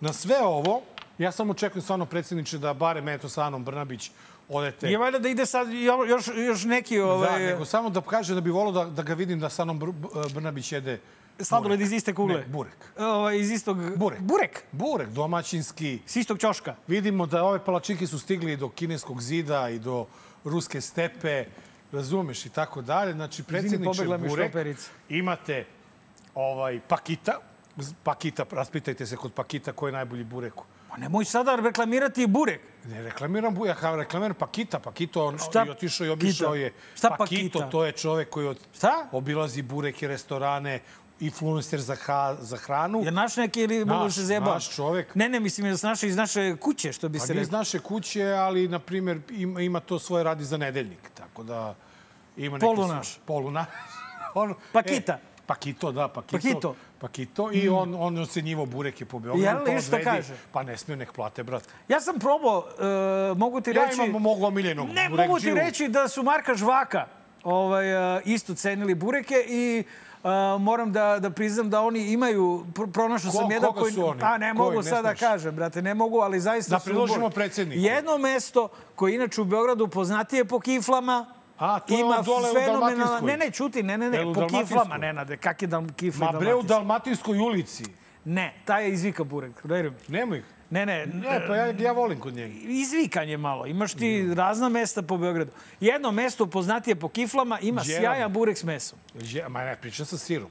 Speaker 1: Na sve ovo, ja samo očekujem stvarno predsjedniče da barem eto sa Anom Brnabić odete.
Speaker 2: Je valjda da ide sad jo- još, još neki
Speaker 1: Da,
Speaker 2: ovaj,
Speaker 1: nego samo da kaže da bi volao da, da ga vidim da sa Anom Br Br- Brnabić jede
Speaker 2: sladoled
Speaker 1: burek.
Speaker 2: iz iste kugle.
Speaker 1: Ne, burek.
Speaker 2: Ovaj, iz istog...
Speaker 1: Burek.
Speaker 2: Burek.
Speaker 1: Burek domaćinski.
Speaker 2: S istog ćoška.
Speaker 1: Vidimo da ove palačinke su stigli do kineskog zida i do ruske stepe, razumeš i tako dalje. Znači, predsjedniče
Speaker 2: pobegla mi
Speaker 1: Burek,
Speaker 2: štoperica.
Speaker 1: imate ovaj, pakita, Z- pakita, raspitajte se kod pakita koji je najbolji burek.
Speaker 2: Pa nemoj sada reklamirati burek.
Speaker 1: Ne reklamiram burek, ja reklamiram pakita. Pakito on
Speaker 2: Šta
Speaker 1: i otišao i obišao
Speaker 2: Kita?
Speaker 1: je.
Speaker 2: Šta
Speaker 1: pakito,
Speaker 2: Pakita?
Speaker 1: to je čovjek koji od,
Speaker 2: Šta?
Speaker 1: obilazi bureke, restorane, influencer za, ha, za hranu.
Speaker 2: Je naš neki ili mogu se zeba?
Speaker 1: naš čovek.
Speaker 2: Ne, ne, mislim je s naše, iz naše kuće, što bi
Speaker 1: Pa
Speaker 2: se
Speaker 1: nije iz
Speaker 2: rekao.
Speaker 1: naše kuće, ali, na primjer, ima, ima to svoje radi za nedeljnik. Tako da ima neki...
Speaker 2: Polu
Speaker 1: svoj-
Speaker 2: naš.
Speaker 1: Polu naš. On, E,
Speaker 2: Pakita.
Speaker 1: Pakito, da, Pakito.
Speaker 2: Pakito. Mm.
Speaker 1: Pakito. I on, on ocenjivo bureke po Beogradu.
Speaker 2: Jel,
Speaker 1: pa
Speaker 2: i šta
Speaker 1: odvedi.
Speaker 2: kaže?
Speaker 1: Pa ne smiju, nek plate, brate.
Speaker 2: Ja sam probao, e, mogu ti
Speaker 1: Ja
Speaker 2: reći...
Speaker 1: imam mog omiljenog
Speaker 2: Ne,
Speaker 1: burekđiju.
Speaker 2: mogu ti reći da su Marka Žvaka ovaj, e, isto cenili bureke i e, moram da, da priznam da oni imaju, pr- pronašao
Speaker 1: Ko-
Speaker 2: sam jedan
Speaker 1: koga
Speaker 2: koji...
Speaker 1: su oni?
Speaker 2: A, ne
Speaker 1: Koji?
Speaker 2: mogu
Speaker 1: Ne
Speaker 2: sad da
Speaker 1: smeš.
Speaker 2: kažem, brate, ne mogu, ali zaista
Speaker 1: Da
Speaker 2: su...
Speaker 1: predložimo
Speaker 2: burek.
Speaker 1: predsjedniku.
Speaker 2: Jedno mesto koje inače u Beogradu poznatije po kiflama,
Speaker 1: A, to je ono dole u
Speaker 2: fenomenalan-
Speaker 1: Dalmatinskoj.
Speaker 2: Ne, ne, čuti, ne, ne, ne,
Speaker 1: Jel u
Speaker 2: po kiflama,
Speaker 1: Dalmatinskoj?
Speaker 2: Nenade, kak je dam kifle
Speaker 1: Ma bre, u
Speaker 2: Dalmatinske?
Speaker 1: Dalmatinskoj ulici.
Speaker 2: Ne, taj je izvika burek, veruj mi.
Speaker 1: Nemoj.
Speaker 2: Ne, ne,
Speaker 1: Ne, pa ja, ja volim kod njega.
Speaker 2: izvikan je malo. Imaš ti razna mesta po Beogradu. Jedno mesto poznatije po kiflama ima
Speaker 1: Đeran.
Speaker 2: sjajan burek s mesom.
Speaker 1: Je, ma ne, pričam sa sirom.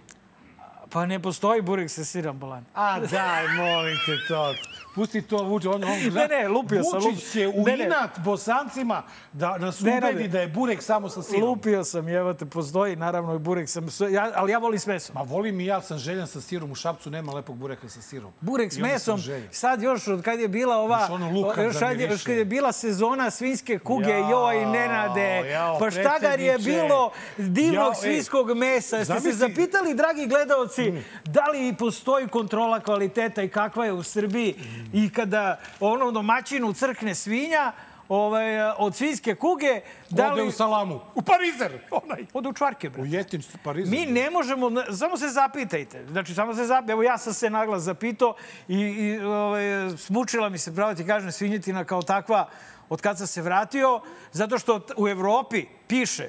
Speaker 2: Pa ne postoji burek sa siram bolan.
Speaker 1: A daj, molim te to. Pusti to, Vučić. On, on,
Speaker 2: Ne, ne, lupio sam,
Speaker 1: Vučić
Speaker 2: lup-
Speaker 1: će u
Speaker 2: ne, ne.
Speaker 1: inat bosancima da nas
Speaker 2: Ne, ne,
Speaker 1: ubedi
Speaker 2: ne.
Speaker 1: da je burek samo sa sirom.
Speaker 2: Lupio sam, evo te, postoji naravno i burek sa mesom, ja, ali ja volim s mesom.
Speaker 1: Ma volim i ja, sam željan sa sirom. U Šapcu nema lepog bureka sa sirom.
Speaker 2: Burek s
Speaker 1: I onda sam
Speaker 2: mesom,
Speaker 1: željan.
Speaker 2: sad još od kad je bila ova,
Speaker 1: Još ono luka
Speaker 2: još,
Speaker 1: da
Speaker 2: kad je-
Speaker 1: miriše.
Speaker 2: još kad je bila sezona svinjske kuge,
Speaker 1: Jao,
Speaker 2: joj, Nenade,
Speaker 1: jao,
Speaker 2: pa šta gar je
Speaker 1: predsjedniče.
Speaker 2: bilo divnog
Speaker 1: Jao, ej,
Speaker 2: svinjskog mesa? Jeste se
Speaker 1: zamisli- Mm.
Speaker 2: zapitali, dragi gledalci, da li postoji kontrola kvaliteta i kakva je u Srbiji? I kada ono domaćinu crkne svinja, ovaj, od svinjske kuge, da
Speaker 1: Ode
Speaker 2: li...
Speaker 1: u salamu. U Parizer! Onaj.
Speaker 2: Ode u čvarke, bre.
Speaker 1: U Jetin s Parizer.
Speaker 2: Mi ne možemo, na- samo se zapitajte. Znači, samo se zapitajte. Evo, ja sam se naglas zapitao i, i ovaj, smučila mi se, pravo ti kažem, svinjetina kao takva od kad sam se vratio, zato što t- u Evropi piše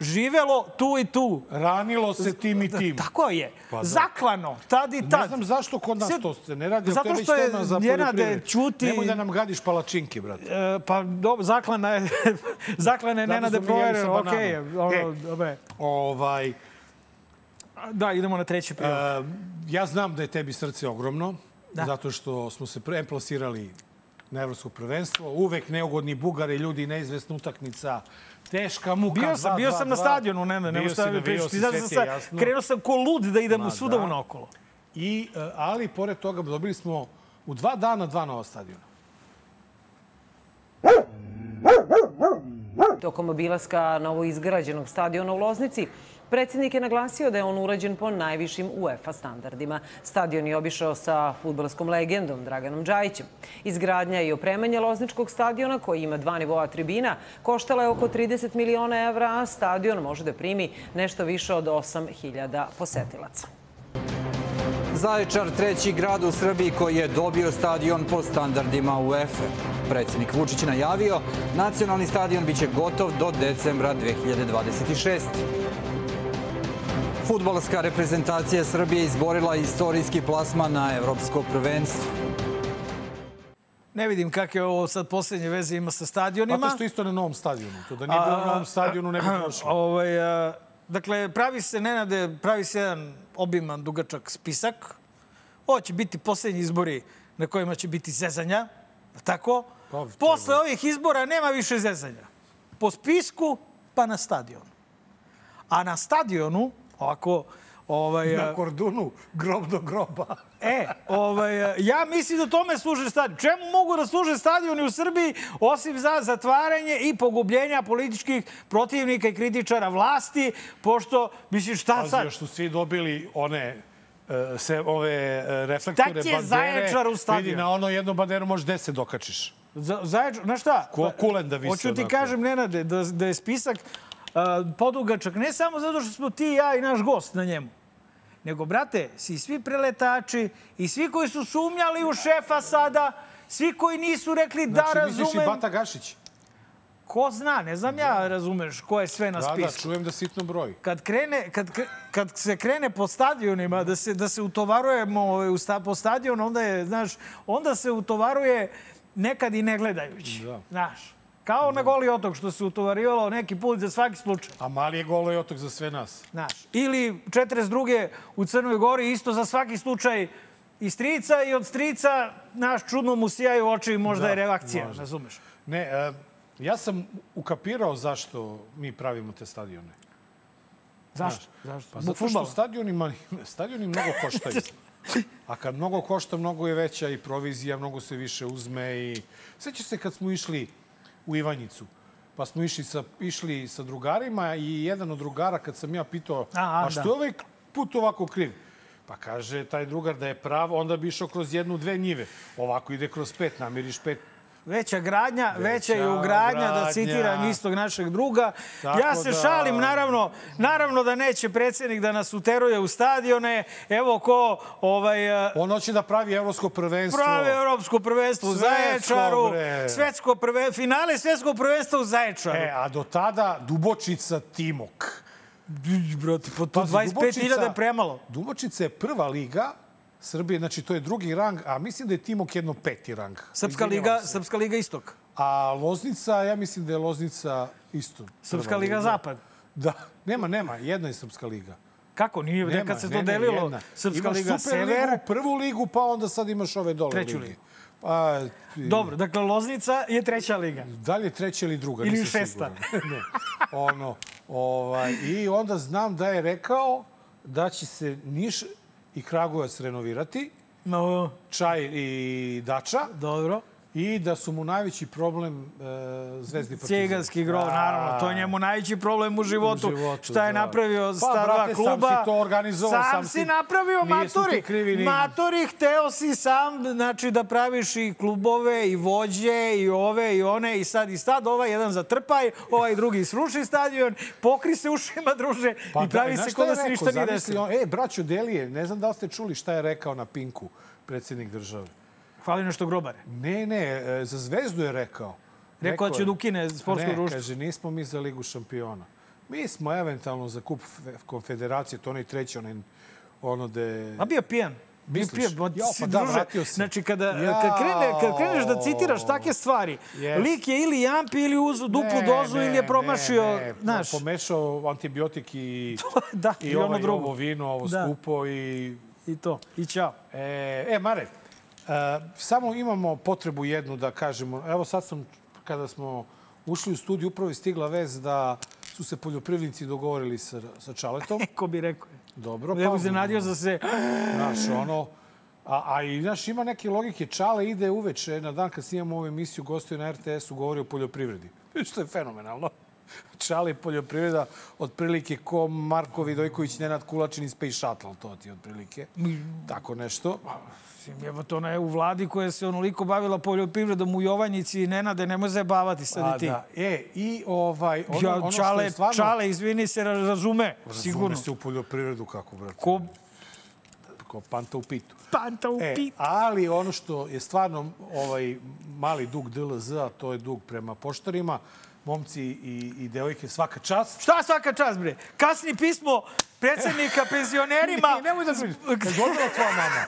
Speaker 2: živelo tu i tu.
Speaker 1: Ranilo se tim i tim.
Speaker 2: Tako je.
Speaker 1: Pa da.
Speaker 2: Zaklano, tad i tad.
Speaker 1: Ne znam zašto kod nas
Speaker 2: Sve-
Speaker 1: to se ne radi. ali
Speaker 2: Zato
Speaker 1: to je već
Speaker 2: što je
Speaker 1: tema za
Speaker 2: Nenade
Speaker 1: poljoprivredu.
Speaker 2: ćuti-
Speaker 1: Nemoj da nam gadiš palačinke, brate.
Speaker 2: E, pa dobro, zaklana je, zaklana je
Speaker 1: Zato
Speaker 2: Nenade
Speaker 1: smo mi jeli sa
Speaker 2: provereno. Ok,
Speaker 1: bananom.
Speaker 2: ono,
Speaker 1: E.
Speaker 2: dobe.
Speaker 1: Ovaj,
Speaker 2: Da, idemo na treći prijevod.
Speaker 1: E, ja znam da je tebi srce ogromno,
Speaker 2: Da.
Speaker 1: zato što smo se pre plasirali na evropsko prvenstvo. Uvek neugodni bugari, ljudi, neizvesna utakmica, teška muka.
Speaker 2: E, Bio sam,
Speaker 1: dva,
Speaker 2: bio
Speaker 1: dva,
Speaker 2: sam na
Speaker 1: dva.
Speaker 2: stadionu, ne, ne,
Speaker 1: Bio
Speaker 2: nema
Speaker 1: si,
Speaker 2: šta mi
Speaker 1: navijao
Speaker 2: pričati.
Speaker 1: si,
Speaker 2: Znaš
Speaker 1: sve
Speaker 2: da Znači,
Speaker 1: ti
Speaker 2: sam,
Speaker 1: je jasno.
Speaker 2: krenuo sam ko lud da idem
Speaker 1: Ma
Speaker 2: u svuda
Speaker 1: da.
Speaker 2: u naokolo.
Speaker 1: I, e, ali, pored toga, dobili smo u dva dana dva nova stadiona.
Speaker 11: Tokom obilaska novoizgrađenog stadiona u Loznici, predsjednik je naglasio da je on urađen po najvišim UEFA standardima. Stadion je obišao sa futbalskom legendom Draganom Đajićem. Izgradnja i opremanje Lozničkog stadiona, koji ima dva nivoa tribina, koštala je oko 30 miliona evra, a stadion može da primi nešto više od 8.000 posetilaca.
Speaker 5: Zaječar, treći grad u Srbiji koji je dobio stadion po standardima UEFA. Predsjednik Vučić je najavio, nacionalni stadion biće gotov do decembra 2026. Futbalska reprezentacija Srbije izborila je istorijski plasman na evropsko prvenstvo.
Speaker 2: Ne vidim kakve ovo sad posljednje veze ima sa stadionima.
Speaker 1: Zato što isto na novom stadionu. To da nije bilo na novom stadionu, ne bi prošlo.
Speaker 2: Ovaj, a, dakle, pravi se, Nenade, pravi se jedan obiman, dugačak spisak. Ovo će biti posljednji izbori na kojima će biti zezanja. je li Tako?
Speaker 1: Pa, to je
Speaker 2: Posle ovih izbora nema više zezanja. Po spisku, pa na stadion. A na stadionu, ovako, ovaj, a,
Speaker 1: Na Kordunu, grob do groba.
Speaker 2: E, ovaj, ja mislim da tome služe stadion. Čemu mogu da služe stadioni u Srbiji osim za zatvaranje i pogubljenja političkih protivnika i kritičara vlasti, pošto, mislim, šta
Speaker 1: Pazi,
Speaker 2: sad?
Speaker 1: još su svi dobili one e, se ove e, reflektore
Speaker 2: Šta ti
Speaker 1: bandere.
Speaker 2: je Zaječar u stadion?
Speaker 1: Vidi, na ono jednu banderu možeš deset dokačiš.
Speaker 2: Za, zajedno, znaš šta?
Speaker 1: Ko- kulen da dakle. visi
Speaker 2: Hoću ti
Speaker 1: onako.
Speaker 2: kažem, Nenade, da, da je spisak a, podugačak ne samo zato što smo ti, ja i naš gost na njemu, Nego, brate, si svi preletači i svi koji su sumnjali u šefa sada, svi koji nisu rekli da
Speaker 1: znači, vidiš i
Speaker 2: razumem...
Speaker 1: Bata Gašić.
Speaker 2: Ko zna, ne znam ja, razumeš, ko je sve na
Speaker 1: Da, da,
Speaker 2: spisku
Speaker 1: čujem da sitno broji.
Speaker 2: kad, krene, kad, kre- kad se krene po stadionima, da se, da se utovarujemo ovaj, u sta, po stadion, onda, je, znaš, onda se utovaruje nekad i ne gledajući.
Speaker 1: Da.
Speaker 2: Znaš, kao na goli otok što se utovarivalo neki put za svaki slučaj.
Speaker 1: A mali je golo i otok za sve nas.
Speaker 2: Znaš. Ili 42. u Crnoj Gori, isto za svaki slučaj i strica i od strica, naš čudno mu sijaju oči i možda
Speaker 1: Da,
Speaker 2: je reakcija,
Speaker 1: možda.
Speaker 2: razumeš?
Speaker 1: Ne, e, ja sam ukapirao zašto mi pravimo te stadione.
Speaker 2: Zašto? Zašto?
Speaker 1: Pa
Speaker 2: Zbog
Speaker 1: zato što
Speaker 2: fudbala?
Speaker 1: stadioni, ima- stadioni mnogo koštaju. A kad mnogo košta, mnogo je veća i provizija, mnogo se više uzme. I... Sećaš se kad smo išli u Ivanjicu? Pa smo išli sa, išli sa drugarima i jedan od drugara, kad sam ja pitao,
Speaker 2: A, a,
Speaker 1: a, što
Speaker 2: da.
Speaker 1: je ovaj put ovako kriv? Pa kaže taj drugar da je prav, onda bi išao kroz jednu, dve njive. Ovako ide kroz pet, namiriš pet.
Speaker 2: Veća gradnja, veća, je
Speaker 1: Veća
Speaker 2: ugradnja, da
Speaker 1: ugradnja.
Speaker 2: citiram istog našeg druga.
Speaker 1: Tako
Speaker 2: ja se
Speaker 1: da-
Speaker 2: šalim, naravno, naravno da neće predsjednik da nas uteruje u stadione. Evo ko ovaj, eh,
Speaker 1: On hoće da pravi evropsko prvenstvo.
Speaker 2: prave evropsko prvenstvo u
Speaker 1: Svetsko,
Speaker 2: Zaječaru,
Speaker 1: bre.
Speaker 2: svetsko prve, finale svetskog prvenstva u Zaječaru.
Speaker 1: E, a do tada Dubočica Timok.
Speaker 2: Brate, po to
Speaker 1: Pazi,
Speaker 2: 25.000 je
Speaker 1: Dubočica-
Speaker 2: premalo.
Speaker 1: Dubočica je prva liga Srbije, znači to je drugi rang, a mislim da je Timok jedno peti rang.
Speaker 2: Srpska
Speaker 1: Izvinjavam
Speaker 2: liga,
Speaker 1: se.
Speaker 2: Srpska liga Istok.
Speaker 1: A Loznica, ja mislim da je Loznica isto. prva
Speaker 2: Srpska liga Zapad.
Speaker 1: Da, nema, nema, jedna je Srpska liga.
Speaker 2: Kako nije?
Speaker 1: Nema,
Speaker 2: Nekad se
Speaker 1: ne,
Speaker 2: to
Speaker 1: ne,
Speaker 2: delilo.
Speaker 1: jedna.
Speaker 2: Srpska
Speaker 1: Imaš
Speaker 2: liga
Speaker 1: Superligu,
Speaker 2: Sever,
Speaker 1: prvu ligu, pa onda sad imaš ove dole
Speaker 2: Treću
Speaker 1: lige.
Speaker 2: ligu.
Speaker 1: Pa, i-
Speaker 2: Dobro, dakle, Loznica je treća liga.
Speaker 1: Da li je treća ili druga?
Speaker 2: Ili
Speaker 1: nisam
Speaker 2: šesta.
Speaker 1: siguran. ne. Ono, ovaj, I onda znam da je rekao da će se Niš i Kragujevac renovirati,
Speaker 2: No,
Speaker 1: Čaj i Dača,
Speaker 2: dobro.
Speaker 1: i da su mu najveći problem e, Zvezdi Partizan.
Speaker 2: Ciganski grov,
Speaker 1: Da.
Speaker 2: naravno. To je njemu najveći problem u životu.
Speaker 1: U životu,
Speaker 2: šta je
Speaker 1: da.
Speaker 2: napravio
Speaker 1: Pa,
Speaker 2: sta dva
Speaker 1: brate, sam
Speaker 2: kluba.
Speaker 1: si to organizovao, sam
Speaker 2: si
Speaker 1: si-
Speaker 2: napravio
Speaker 1: Nisu ti
Speaker 2: matori.
Speaker 1: krivi ni-
Speaker 2: Matori, hteo si sam znači, da praviš i klubove, i vođe, i ove, i one, i sad, i sad. Ovaj jedan zatrpaj, ovaj drugi sruši stadion, pokri se ušima, druže, i pravi
Speaker 1: Pa znaš
Speaker 2: se
Speaker 1: šta
Speaker 2: kod
Speaker 1: je
Speaker 2: da se
Speaker 1: rekao?
Speaker 2: ništa nije
Speaker 1: Zamisli
Speaker 2: desilo.
Speaker 1: on- E, braćo Delije, ne znam da li ste čuli šta je rekao na Pinku predsjednik države.
Speaker 2: Hvali nešto grobare.
Speaker 1: Ne, ne, e, za Zvezdu je rekao.
Speaker 2: Rekao da će
Speaker 1: je-
Speaker 2: da ukine sportsko
Speaker 1: ne,
Speaker 2: društvo.
Speaker 1: kaže, nismo mi za Ligu šampiona. Mi smo eventualno za kup F- konfederacije, to onaj treći, onaj ono da je...
Speaker 2: A bio pijan. Bio
Speaker 1: Misliš?
Speaker 2: pijan, ma,
Speaker 1: Jao,
Speaker 2: si,
Speaker 1: pa da,
Speaker 2: druže,
Speaker 1: vratio si.
Speaker 2: Znači, kada, kad, krene, kad kreneš da citiraš takve stvari,
Speaker 1: Yes.
Speaker 2: lik je ili jampi, ili uzu duplu
Speaker 1: Ne,
Speaker 2: dozu,
Speaker 1: ne,
Speaker 2: ili je promašio,
Speaker 1: ne, ne,
Speaker 2: znaš,
Speaker 1: Pomešao antibiotik i,
Speaker 2: da,
Speaker 1: i,
Speaker 2: i
Speaker 1: ovaj,
Speaker 2: ono drugo.
Speaker 1: ovo vino, ovo
Speaker 2: Da.
Speaker 1: skupo i
Speaker 2: i to, i ćao.
Speaker 1: E, e Mare, e, samo imamo potrebu jednu da kažemo. Evo sad sam, kada smo ušli u studiju, upravo je stigla vez da su se poljoprivrednici dogovorili sa, sa Čaletom.
Speaker 2: Ko bi rekao je.
Speaker 1: Dobro, pa
Speaker 2: Evo iznenadio za se,
Speaker 1: Znaš, ono... A, a i, znaš, ima neke logike. Čale ide uveče na dan kad snimamo ovu emisiju, gostuje na RTS-u, govori o poljoprivredi. Što je fenomenalno. Čale i poljoprivreda, otprilike ko Marko Vidojković, Nenad Kulačin i Space Shuttle, to ti je otprilike. Tako nešto.
Speaker 2: mislim, evo to ona je u vladi koja se onoliko bavila poljoprivredom u Jovanjici i Nenade, nemoj zajebavati sad
Speaker 1: A,
Speaker 2: i ti.
Speaker 1: da. E, i ovaj, ono,
Speaker 2: ja,
Speaker 1: ono što
Speaker 2: čale,
Speaker 1: je stvarno...
Speaker 2: čale, izvini se, ra- razume, sigurno.
Speaker 1: Razume se u poljoprivredu kako, brate.
Speaker 2: Ko
Speaker 1: Ko panta u pitu.
Speaker 2: panta u
Speaker 1: E,
Speaker 2: pit.
Speaker 1: ali ono što je stvarno ovaj mali dug DLZ-a, to je dug prema poštarima. Momci i, i devojke svaka čast.
Speaker 2: Šta svaka čast, bre? Kasni pismo predsjednika penzionerima.
Speaker 1: I nemoj da brini. Zgodila tvoja mama.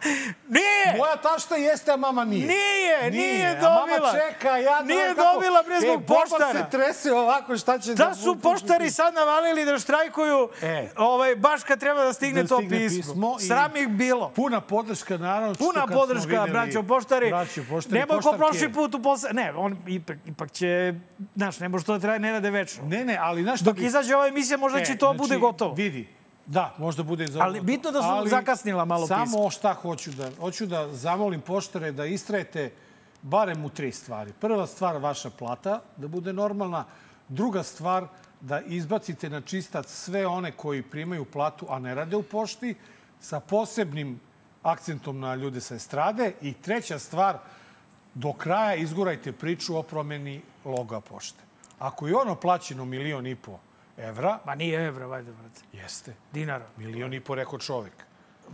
Speaker 2: Nije!
Speaker 1: Moja tašta jeste, a mama nije.
Speaker 2: E. Nije, nije
Speaker 1: A
Speaker 2: dobila.
Speaker 1: mama čeka, ja
Speaker 2: Nije
Speaker 1: kako-
Speaker 2: dobila, bre, zbog
Speaker 1: e, baba
Speaker 2: poštara.
Speaker 1: se trese ovako, šta će
Speaker 2: Da su poštari sad navalili da štrajkuju,
Speaker 1: E.
Speaker 2: ovaj, baš kad treba da stigne
Speaker 1: Da
Speaker 2: to
Speaker 1: stigne
Speaker 2: pismo.
Speaker 1: pismo i-
Speaker 2: Sram ih bilo.
Speaker 1: Puna podrška, naravno. što
Speaker 2: Puna
Speaker 1: kad smo
Speaker 2: podrška,
Speaker 1: videli-
Speaker 2: braćo poštari.
Speaker 1: Braćo poštari,
Speaker 2: Nemoj ko
Speaker 1: poštarke.
Speaker 2: prošli put u posle... Ne, on ipak, ipak će... Znaš, ne može to da traje, ne rade večno.
Speaker 1: Ne, ne, ali znaš šta
Speaker 2: Dok
Speaker 1: bi-
Speaker 2: izađe ova emisija, možda
Speaker 1: E,
Speaker 2: će to bude gotovo.
Speaker 1: Vidi, da, možda bude i za
Speaker 2: Ali bitno da su zakasnila malo
Speaker 1: samo
Speaker 2: pismo.
Speaker 1: Samo šta hoću da... Hoću da zamolim poštare da istrajete barem u tri stvari. Prva stvar, vaša plata, da bude normalna. Druga stvar, da izbacite na čistac sve one koji primaju platu, a ne rade u pošti, sa posebnim akcentom na ljude sa estrade. I treća stvar, do kraja izgurajte priču o promjeni loga pošte. Ako je ono plaćeno milion i po evra,
Speaker 2: Ma nije evra, vajde, brate.
Speaker 1: jeste,
Speaker 2: Dinara.
Speaker 1: Milion i po rekao čovjek.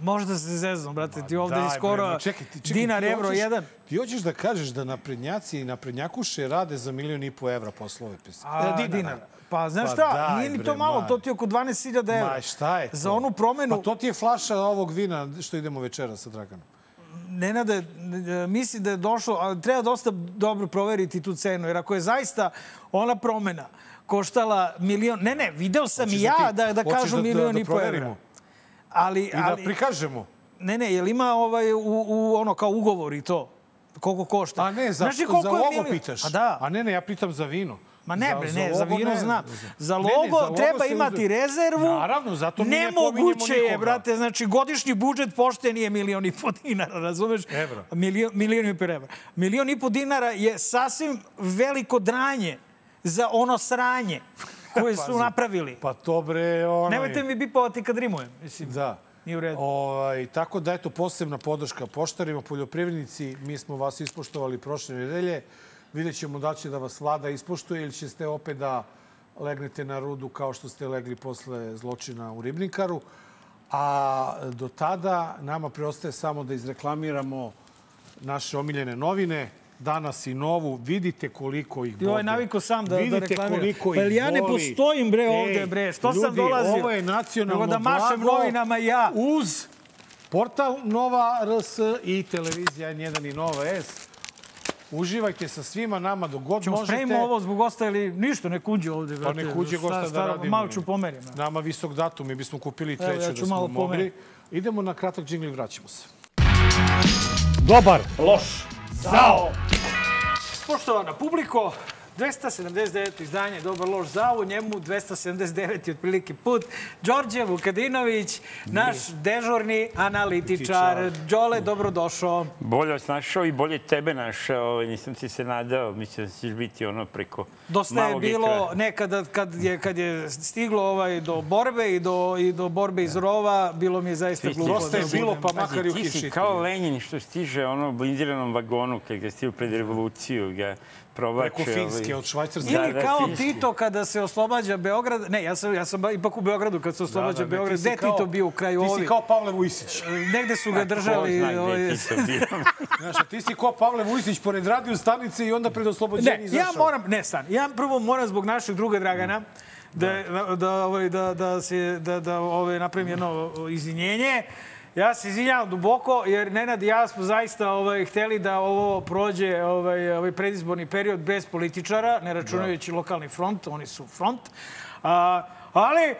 Speaker 2: Možda se zeznom, brate, ti ovde
Speaker 1: Daj,
Speaker 2: je
Speaker 1: bre,
Speaker 2: skoro
Speaker 1: ma čekaj, ti- čekaj,
Speaker 2: dinar,
Speaker 1: ti
Speaker 2: evro,
Speaker 1: hoćeš-
Speaker 2: jedan.
Speaker 1: Ti hoćeš da kažeš da naprednjaci i naprednjakuše rade za milion i po evra poslove pisa.
Speaker 2: A,
Speaker 1: E,
Speaker 2: dinara. Pa znaš
Speaker 1: Pa
Speaker 2: šta,
Speaker 1: daj,
Speaker 2: nije ni
Speaker 1: bre,
Speaker 2: to malo,
Speaker 1: ma.
Speaker 2: to ti je oko 12.000 evra.
Speaker 1: Ma šta je to?
Speaker 2: Za onu promenu,
Speaker 1: Pa to ti je flaša ovog vina što idemo večera sa Draganom.
Speaker 2: Nenade, e, mislim da je došlo, ali treba dosta dobro proveriti tu cenu, jer ako je zaista ona promena koštala milion... Ne, ne, video sam i
Speaker 1: Hoćeš
Speaker 2: ja
Speaker 1: ti-
Speaker 2: da, da
Speaker 1: hoćeš
Speaker 2: kažu milion i po evra.
Speaker 1: proverimo
Speaker 2: Ali,
Speaker 1: I da
Speaker 2: ali,
Speaker 1: prikažemo.
Speaker 2: Ne, ne, jel ima ovaj, u, u, ono kao ugovor i to? Koliko košta?
Speaker 1: A ne, za,
Speaker 2: Znaš li
Speaker 1: što,
Speaker 2: koliko
Speaker 1: za
Speaker 2: je
Speaker 1: ovo
Speaker 2: milion?
Speaker 1: pitaš.
Speaker 2: A da.
Speaker 1: A ne, ne, ja pitam za vino.
Speaker 2: Ma ne, bre, ne, za,
Speaker 1: ovo
Speaker 2: vino
Speaker 1: ne.
Speaker 2: znam. Za
Speaker 1: Ne,
Speaker 2: logo
Speaker 1: ne, za ovo
Speaker 2: treba
Speaker 1: se
Speaker 2: imati
Speaker 1: uzme-
Speaker 2: rezervu.
Speaker 1: Naravno, zato mi ne pominjemo
Speaker 2: Nemoguće je,
Speaker 1: nikoga.
Speaker 2: brate, znači godišnji budžet pošte nije milion i po dinara, razumeš?
Speaker 1: Evra.
Speaker 2: Milion, milion i po evra. Milion i po dinara je sasvim veliko dranje za ono sranje koje su
Speaker 1: Pazi.
Speaker 2: napravili.
Speaker 1: Pa to bre, onaj...
Speaker 2: Nemojte mi bipovati kad rimujem, mislim.
Speaker 1: Da.
Speaker 2: Nije u redu.
Speaker 1: Ovaj, tako da, eto, posebna podrška poštarima, poljoprivrednici. Mi smo vas ispoštovali prošle nedelje. Vidjet ćemo da li će da vas vlada ispoštuje ili ćete opet da legnete na rudu kao što ste legli posle zločina u Ribnikaru. A do tada nama preostaje samo da izreklamiramo naše omiljene novine, danas i novu. Vidite koliko ih
Speaker 2: Ti
Speaker 1: bode.
Speaker 2: ovaj naviko sam da, da
Speaker 1: Vidite
Speaker 2: reklamira.
Speaker 1: koliko
Speaker 2: Pa
Speaker 1: ih
Speaker 2: jel ja ne
Speaker 1: boli.
Speaker 2: postojim bre
Speaker 1: Ej,
Speaker 2: ovde bre, što sam
Speaker 1: ljudi,
Speaker 2: dolazio?
Speaker 1: Ovo je nacionalno
Speaker 2: Nego da mašem
Speaker 1: blago.
Speaker 2: novinama ja.
Speaker 1: Uz portal Nova RS i televizija N1 i Nova S. Uživajte sa svima nama dok god
Speaker 2: Ćemo
Speaker 1: možete.
Speaker 2: spremimo ovo zbog gosta ili ništa, ne kuđe ovde.
Speaker 1: Pa
Speaker 2: brate.
Speaker 1: nek uđe
Speaker 2: Šta-
Speaker 1: gosta
Speaker 2: šta-
Speaker 1: da radimo.
Speaker 2: Malo ću pomerim. ja.
Speaker 1: Nama visok datum, mi bismo kupili
Speaker 2: Evo, ja
Speaker 1: treću
Speaker 2: ću
Speaker 1: da
Speaker 2: malo
Speaker 1: smo mogli.
Speaker 2: pomerim.
Speaker 1: Idemo na kratak džingl i vraćamo se.
Speaker 2: Dobar, loš, zao. Poštovana publiko, 279. izdanje Dobar loš zao, njemu 279. otprilike put. Đorđe Vukadinović, naš dežurni analitičar. Đole, dobrodošao.
Speaker 12: Bolje vas našao i bolje tebe našao. Ovaj, Nisam ti se nadao. Mislim da ćeš biti ono preko
Speaker 2: Dosta je
Speaker 12: malog ekrana.
Speaker 2: bilo nekada kad je, kad je stiglo ovaj do borbe i do, i do borbe iz rova, bilo mi je zaista
Speaker 12: Ti si-
Speaker 2: glupo.
Speaker 12: Dosta
Speaker 1: je
Speaker 2: da
Speaker 1: bilo,
Speaker 2: budem-
Speaker 1: pa
Speaker 12: Pazi,
Speaker 1: makar i u
Speaker 12: Ti si
Speaker 1: kiši.
Speaker 12: kao Lenin što stiže ono u blindiranom vagonu kad ga stiže pred revoluciju. Ga provlače.
Speaker 1: Preko Finske,
Speaker 12: ovaj.
Speaker 1: od Švajcarske.
Speaker 2: Ili
Speaker 12: Da, da,
Speaker 2: kao
Speaker 12: finski.
Speaker 2: Tito kada se oslobađa Beograd... Ne, ja sam, ja sam ba- ipak u Beogradu kad se oslobađa
Speaker 1: ne, ti
Speaker 2: Beograd.
Speaker 1: si
Speaker 2: Gde je
Speaker 1: kao-
Speaker 2: Tito bio u kraju
Speaker 1: Ti si
Speaker 2: ovi?
Speaker 1: kao Pa, Pavle Vujsić.
Speaker 2: Negde su ga
Speaker 12: Ko
Speaker 2: držali...
Speaker 12: zna gde
Speaker 2: ovaj,
Speaker 12: je Tito bio.
Speaker 1: Znaš, a ti si kao Pavle Vujsić pored radio stanice i onda pred oslobođenje
Speaker 2: Ne, ja
Speaker 1: izašao.
Speaker 2: moram, ne stan, ja prvo moram zbog našeg druga Dragana da, da, da, ovaj, da, da, se, da, da ovaj, napravim jedno izvinjenje. Ja se izvinjavam duboko, jer Nenad i ja smo zaista ovaj, hteli da ovo prođe ovaj, ovaj predizborni period bez političara, ne računajući lokalni front, oni su front. A, ali,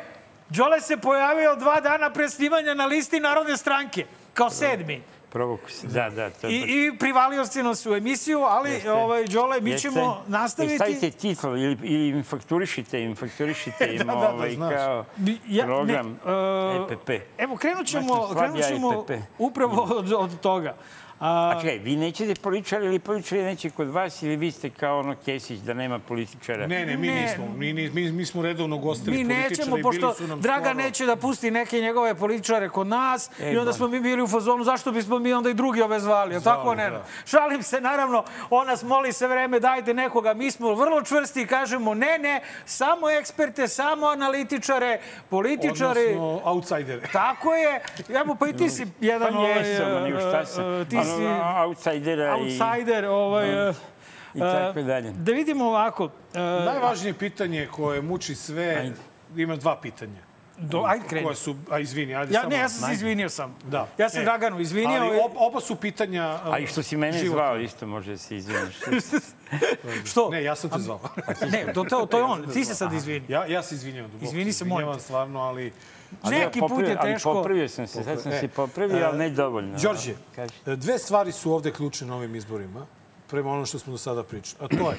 Speaker 2: Đole se pojavio dva dana pre snimanja na listi Narodne stranke, kao sedmi.
Speaker 12: Provoku se. Da, da. To je
Speaker 2: I,
Speaker 12: baš-
Speaker 2: i privalio se nas u emisiju, ali
Speaker 12: Jeste.
Speaker 2: ovaj, Đole, mi
Speaker 12: Jeste. E,
Speaker 2: ćemo nastaviti...
Speaker 12: I stavite titl ili, ili im fakturišite im, fakturišite im
Speaker 1: Da, da, da,
Speaker 12: ovaj,
Speaker 1: znaš.
Speaker 12: kao
Speaker 2: Bi- ja- ne,
Speaker 12: program
Speaker 2: e,
Speaker 12: EPP.
Speaker 2: Evo, krenut ćemo,
Speaker 12: Baš sam slab
Speaker 2: krenut
Speaker 12: ja
Speaker 2: ćemo
Speaker 12: EPP.
Speaker 2: upravo od, od toga. A,
Speaker 12: A
Speaker 1: Znači,
Speaker 12: čekaj, vi nećete političari ili političari neće kod vas ili vi ste kao ono Kesić da nema političara?
Speaker 1: Ne, ne, mi
Speaker 2: Ne.
Speaker 1: nismo. Mi, ni- mi, mi smo redovno gostili
Speaker 2: mi
Speaker 1: političare
Speaker 2: nećemo,
Speaker 1: i bili
Speaker 2: pošto
Speaker 1: su nam
Speaker 2: Draga
Speaker 1: skoro-
Speaker 2: neće da pusti neke njegove političare kod nas
Speaker 12: Ej,
Speaker 2: i onda
Speaker 12: Bože.
Speaker 2: smo mi bili u fazonu zašto bismo mi onda i drugi ove zvali, jel tako ne? Šalim se, naravno, on nas moli sve vreme dajte nekoga, mi smo vrlo čvrsti i kažemo ne, ne, samo eksperte, samo analitičare, političari...
Speaker 1: Odnosno, outsidere.
Speaker 2: Tako je. Evo, pa i ti si
Speaker 12: Pa
Speaker 2: jedan... ovaj,
Speaker 12: jesam,
Speaker 2: e,
Speaker 12: ali šta sam.
Speaker 2: e, Ti
Speaker 12: Ono,
Speaker 2: si
Speaker 12: outsidera i,
Speaker 2: outsider. Ovaj, e,
Speaker 12: i tako dalje.
Speaker 2: Da vidimo ovako. e,
Speaker 1: Najvažnije pitanje koje muči sve, ima dva pitanja.
Speaker 2: Do, ajde, kreni.
Speaker 1: Koja su, a izvini, ajde
Speaker 2: Ja,
Speaker 1: samo.
Speaker 2: ne, ja sam se izvinio sam.
Speaker 1: Da.
Speaker 2: Ja sam
Speaker 1: E,
Speaker 2: Draganu izvinio.
Speaker 1: Ali
Speaker 2: i-
Speaker 1: ob- oba su pitanja... um,
Speaker 12: A i što si mene
Speaker 1: životno.
Speaker 12: zvao, isto može da se izviniš.
Speaker 2: Što?
Speaker 1: Ne, ja sam te zvao.
Speaker 2: Ne, to, to, to je on. Ti se sad izvini.
Speaker 1: Ja, ja se izvinjam duboko.
Speaker 2: Izvini se, molim
Speaker 1: Izvinjavam
Speaker 2: te.
Speaker 1: stvarno, ali...
Speaker 2: Neki put je
Speaker 12: Ali
Speaker 2: teško. E.
Speaker 12: popravio sam se, sad sam se popravio, ali ne dovoljno.
Speaker 1: Đorđe, e,
Speaker 12: Kaži.
Speaker 1: dve stvari su ovde ključne na ovim izborima, prema ono što smo do sada pričali. A to je,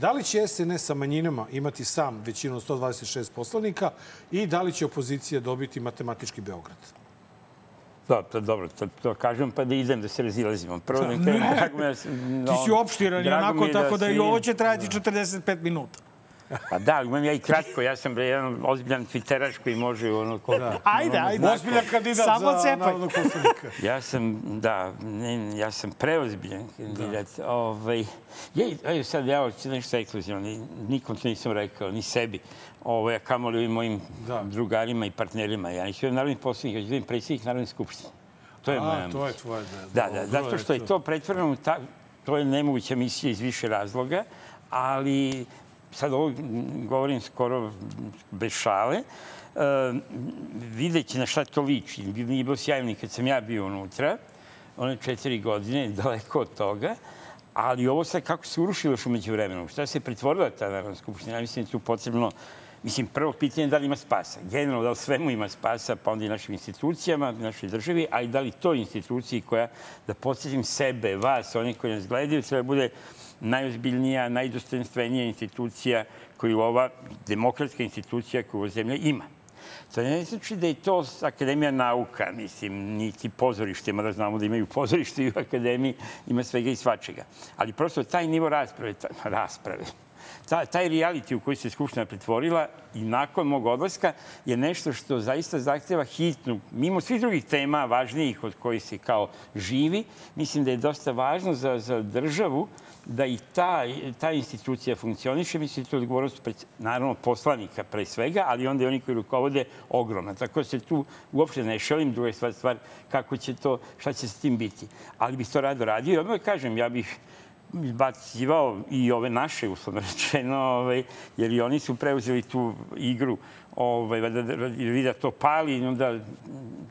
Speaker 1: da li će SNS sa manjinama imati sam većinu od 126 poslanika i da li će opozicija dobiti matematički Beograd?
Speaker 12: Da, to je dobro, to, to kažem pa da idem da se razilazimo. Prvo da kažem, drago mi je da... se-
Speaker 2: Ti si opštiran i
Speaker 12: drago mi
Speaker 2: onako,
Speaker 12: je
Speaker 2: tako da i
Speaker 12: se-
Speaker 2: ovo će trajati 45 minuta.
Speaker 12: Pa da, ali imam ja i kratko, ja sam bre jedan ozbiljan twitteraš koji može ono... Ko,
Speaker 2: Ajde,
Speaker 12: ono-
Speaker 2: ajde. Ozbiljan kandidat Samo za cepaj. narodnog
Speaker 1: poslanika.
Speaker 12: ja sam, da, ne, ja sam preozbiljan kandidat. Ovaj, je, evo sad ja hoću nešto ekskluzivno, ni- nikom to nisam rekao, ni sebi. Ovo, ja kamoli ovim mojim drugarima i partnerima. Ja neću budem narodni poslanik, ja ću budem predsjednik Narodne skupštine. To je
Speaker 1: A,
Speaker 12: moja
Speaker 1: to je
Speaker 12: ambicija.
Speaker 1: tvoje, da,
Speaker 12: Da,
Speaker 1: dobro
Speaker 12: da, zato
Speaker 1: je
Speaker 12: što je
Speaker 1: to.
Speaker 12: to pretvoreno u ta, to je nemoguća misija iz više razloga, ali sad ovo govorim skoro bez šale, e, videći na šta to liči. Nije bilo sjajno ni kad sam ja bio unutra, one četiri godine, daleko od toga, ali ovo sad kako se urušilo još umeđu vremenu, šta se pretvorila ta Narodna skupština, ja mislim da je tu potrebno Mislim, prvo pitanje je da li ima spasa. Generalno, da li svemu ima spasa, pa onda i našim institucijama, našoj državi, a i da li toj instituciji koja, da podsjetim sebe, vas, oni koji nas gledaju, treba da bude najozbiljnija, najdostojanstvenija institucija koju ova demokratska institucija koju ova zemlja ima. To ne znači da je to Akademija nauka, mislim, niti pozorište, mada znamo da imaju pozorište i u Akademiji, ima svega i svačega. Ali prosto taj nivo rasprave, ta, rasprave, Ta, taj reality u koji se Skupština pretvorila i nakon mog odlaska je nešto što zaista zahteva hitnu, mimo svih drugih tema važnijih od kojih se kao živi, mislim da je dosta važno za, za državu da i ta, ta institucija funkcioniše. Mislim da je to odgovornost, pred, naravno, poslanika pre svega, ali onda i oni koji rukovode ogromna. Tako da se tu uopšte ne šalim, druga je stvar, stvar kako će to, šta će s tim biti. Ali bih to rado radio i odmah kažem, ja bih izbacivao i ove naše, uslovno rečeno, ovaj, jer i oni su preuzeli tu igru ovaj, valjda da, da, vidi da to pali i onda mm,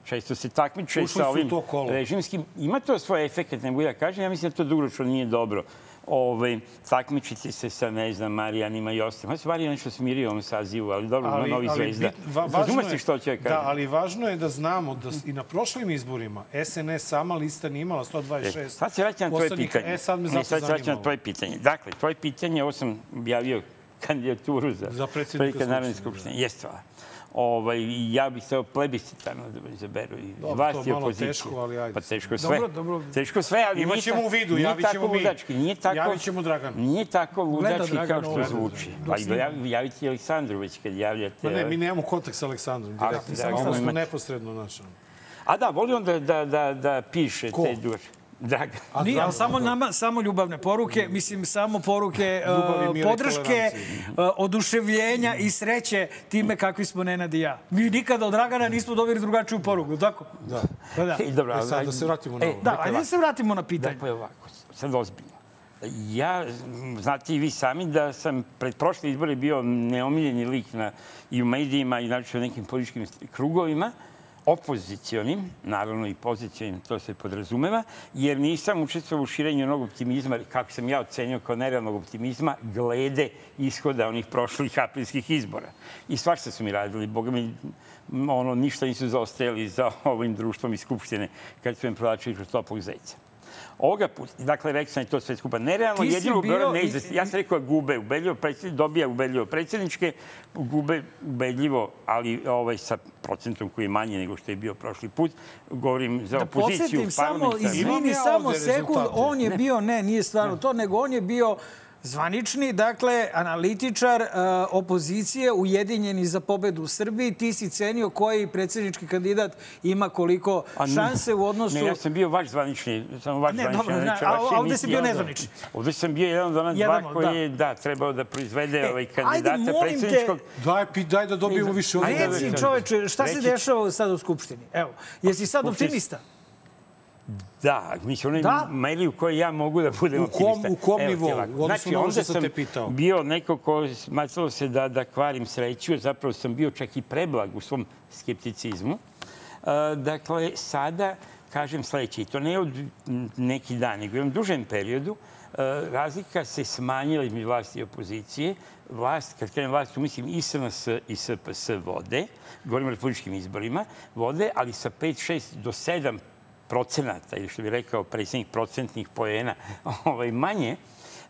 Speaker 12: često se takmiče
Speaker 1: Ušli
Speaker 12: sa
Speaker 1: su u
Speaker 12: ovim
Speaker 1: to kolo.
Speaker 12: režimskim. Ima to svoje efekte, ne mogu da kažem. Ja mislim da to dugoročno nije dobro. Ovaj, takmičiti se sa, ne znam, Marijanima i ostalim. Ja se Marijan nešto smirio u ovom sazivu, ali dobro, ali, novi zvezda.
Speaker 1: bit- va- važno
Speaker 12: Razume
Speaker 1: je-
Speaker 12: se što ću ja kažem.
Speaker 1: Da, ali važno je da znamo da s- i na prošlim izborima SNS sama lista nije imala 126
Speaker 12: E, Sad se vraćam na tvoje
Speaker 1: poslanika.
Speaker 12: pitanje.
Speaker 1: E, sad me
Speaker 12: Ne,
Speaker 1: zato
Speaker 12: sad se vraćam na
Speaker 1: zanimalo.
Speaker 12: tvoje pitanje. Dakle, tvoje pitanje, ovo sam objavio kandidaturu za,
Speaker 1: Za predsjednika
Speaker 12: Narodne
Speaker 1: Skupštine,
Speaker 12: skupštine. Jeste stvar. Ovaj, i ja bih hteo plebiscitarno da me izaberu i
Speaker 1: Dobro, to
Speaker 12: vas i
Speaker 1: je malo
Speaker 12: opoziciju.
Speaker 1: teško, ali ajde.
Speaker 12: Pa teško sve.
Speaker 1: Dobro, dobro.
Speaker 12: Teško sve, ali
Speaker 1: Imat
Speaker 12: nije
Speaker 1: ćemo
Speaker 12: ta-
Speaker 1: u vidu,
Speaker 12: nije
Speaker 1: javit ćemo
Speaker 12: tako
Speaker 1: mi.
Speaker 12: ludački, Nije tako,
Speaker 1: Javit ćemo Draganu.
Speaker 12: Nije tako
Speaker 1: Gleda
Speaker 12: ludački
Speaker 1: Dragan
Speaker 12: kao što
Speaker 1: ovo.
Speaker 12: zvuči.
Speaker 1: Dok
Speaker 12: Pa i
Speaker 1: snima.
Speaker 12: jav- javiti Aleksandru već kad javljate.
Speaker 1: Ma Pa ne,
Speaker 12: ovaj.
Speaker 1: mi nemamo kontakt sa Aleksandrom.
Speaker 12: Ali,
Speaker 1: Direktno,
Speaker 12: da,
Speaker 1: sa Aleksandrom
Speaker 12: imamo-
Speaker 1: smo neposredno naša.
Speaker 12: A da, voli on da, da, da, da piše
Speaker 1: Ko?
Speaker 12: te duže. Dragan.
Speaker 1: A
Speaker 2: Nije,
Speaker 1: Dragan,
Speaker 2: ali samo, nama, samo ljubavne poruke, mislim, samo poruke uh,
Speaker 1: Ljubavi, mira i
Speaker 2: podrške, uh, oduševljenja i sreće time kakvi smo Nenad i ja. Mi nikada od Dragana nismo dobili drugačiju poruku, tako?
Speaker 1: Da.
Speaker 2: Pa da.
Speaker 12: E, dobro,
Speaker 1: E, sad
Speaker 12: ajde.
Speaker 1: da se vratimo na
Speaker 12: E,
Speaker 1: ovo.
Speaker 2: Da,
Speaker 12: dakle,
Speaker 2: ajde da se vratimo na pitanje.
Speaker 12: Dakle, ovako, sad ozbiljno. Ja, znate i vi sami da sam pred prošle izbore bio neomiljeni lik na, i u medijima i znači u nekim političkim krugovima, opozicionim, naravno i pozicionim, to se podrazumeva, jer nisam učestvovao u širenju onog optimizma, kako sam ja ocenio kao nerealnog optimizma, glede ishoda onih prošlih aprilskih izbora. I svašta su mi radili, boga mi, m, ono, ništa nisu zaostajali za ovim društvom iz Skupštine kad su im prodlačili kroz toplog zajca. Ovoga puta, dakle, rekao sam i to sve skupa, nerealno,
Speaker 2: Ti si
Speaker 12: jedino u
Speaker 2: bio
Speaker 12: Beogradu ne
Speaker 2: i-
Speaker 12: izlazi. Ja sam rekao gube ubedljivo, predsjednik, dobija ubedljivo predsjedničke, gube ubedljivo, ali ovaj, sa procentom koji je manji nego što je bio prošli put. Govorim za
Speaker 2: Da
Speaker 12: opoziciju.
Speaker 2: podsjetim samo,
Speaker 12: Pa parlamentarnu.
Speaker 1: Imam
Speaker 2: izvini,
Speaker 1: ja
Speaker 2: samo
Speaker 1: ovde
Speaker 2: sekund,
Speaker 1: rezultate.
Speaker 2: on je bio, ne, nije stvar u to, nego on je bio zvanični, dakle, analitičar e, opozicije ujedinjeni za pobedu u Srbiji. Ti si cenio koji predsjednički kandidat ima koliko
Speaker 12: A n-
Speaker 2: šanse u odnosu...
Speaker 12: Pa Ne, ja sam bio vaš zvanični, samo vaš
Speaker 2: Ne,
Speaker 12: zvanični.
Speaker 2: dobro,
Speaker 12: znači,
Speaker 2: zna- a-
Speaker 12: vaš
Speaker 2: a ovde
Speaker 12: niti
Speaker 2: si bio
Speaker 12: jedan.
Speaker 2: nezvanični.
Speaker 12: Ovde sam bio jedan od ona
Speaker 2: Jedan
Speaker 12: dva
Speaker 2: od,
Speaker 12: koji
Speaker 2: da. E,
Speaker 12: je, da, trebao da proizvede ovaj
Speaker 2: ajde,
Speaker 12: kandidata
Speaker 2: molim te,
Speaker 12: predsjedničkog.
Speaker 1: Daj, pi- daj da dobijemo
Speaker 12: Ne,
Speaker 1: više
Speaker 12: ajde,
Speaker 1: odgovora.
Speaker 12: ajde,
Speaker 2: Reci, čoveče, šta se
Speaker 12: Reći ću.
Speaker 2: dešava sad u Skupštini? Evo, jesi sad
Speaker 12: Skupštinski-
Speaker 2: optimista?
Speaker 12: Da, mislim, onaj
Speaker 2: Da?
Speaker 12: da? meri u kojoj ja mogu da budem
Speaker 1: U kom-
Speaker 12: optimista.
Speaker 1: u kom
Speaker 12: Evo ti
Speaker 1: nivou?
Speaker 12: ovako.
Speaker 1: U odnosu
Speaker 12: Znači,
Speaker 1: na ono
Speaker 12: onda
Speaker 1: što sam
Speaker 12: sam
Speaker 1: te pitao.
Speaker 12: bio neko ko smatralo se da, da kvarim sreću, zapravo sam bio čak i preblag u svom skepticizmu. E, dakle, sada kažem sledeće, i to ne od m, neki dan, nego u jednom dužem periodu, e, razlika se smanjila između vlasti i opozicije. Vlast, kad krenem vlast, tu mislim i SNS i SPS vode, govorimo o republičkim izborima, vode, ali sa 5, 6 do 7 procenata, ili što bi rekao predsjednik procentnih poena, ovaj, manje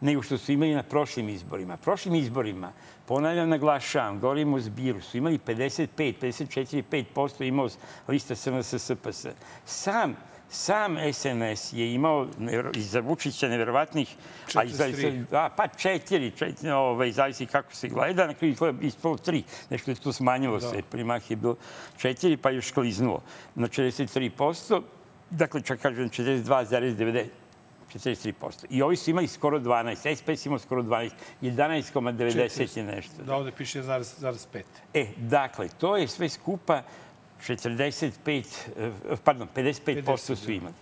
Speaker 12: nego što su imali na prošlim izborima. Prošlim izborima, ponavljam, naglašavam, govorim o zbiru, su imali 55, 54, 5% imao lista SNS, SPS. Sam Sam SNS je imao nevjero- i za Vučića neverovatnih... a i za-
Speaker 6: 43.
Speaker 12: a, pa četiri, četiri ovaj, zavisi kako se gleda. Na kraju izgleda ispalo tri. Nešto je tu smanjilo
Speaker 6: Da.
Speaker 12: se. Primah je bilo četiri, pa još kliznuo na 43%. Dakle, čak kažem 42,90. 43%. I ovi su imali skoro 12. SPS imao skoro 12. 11,90 je nešto.
Speaker 1: Da ovde piše 1,5.
Speaker 12: E, dakle, to je sve skupa 45, eh, pardon, 55% su imali.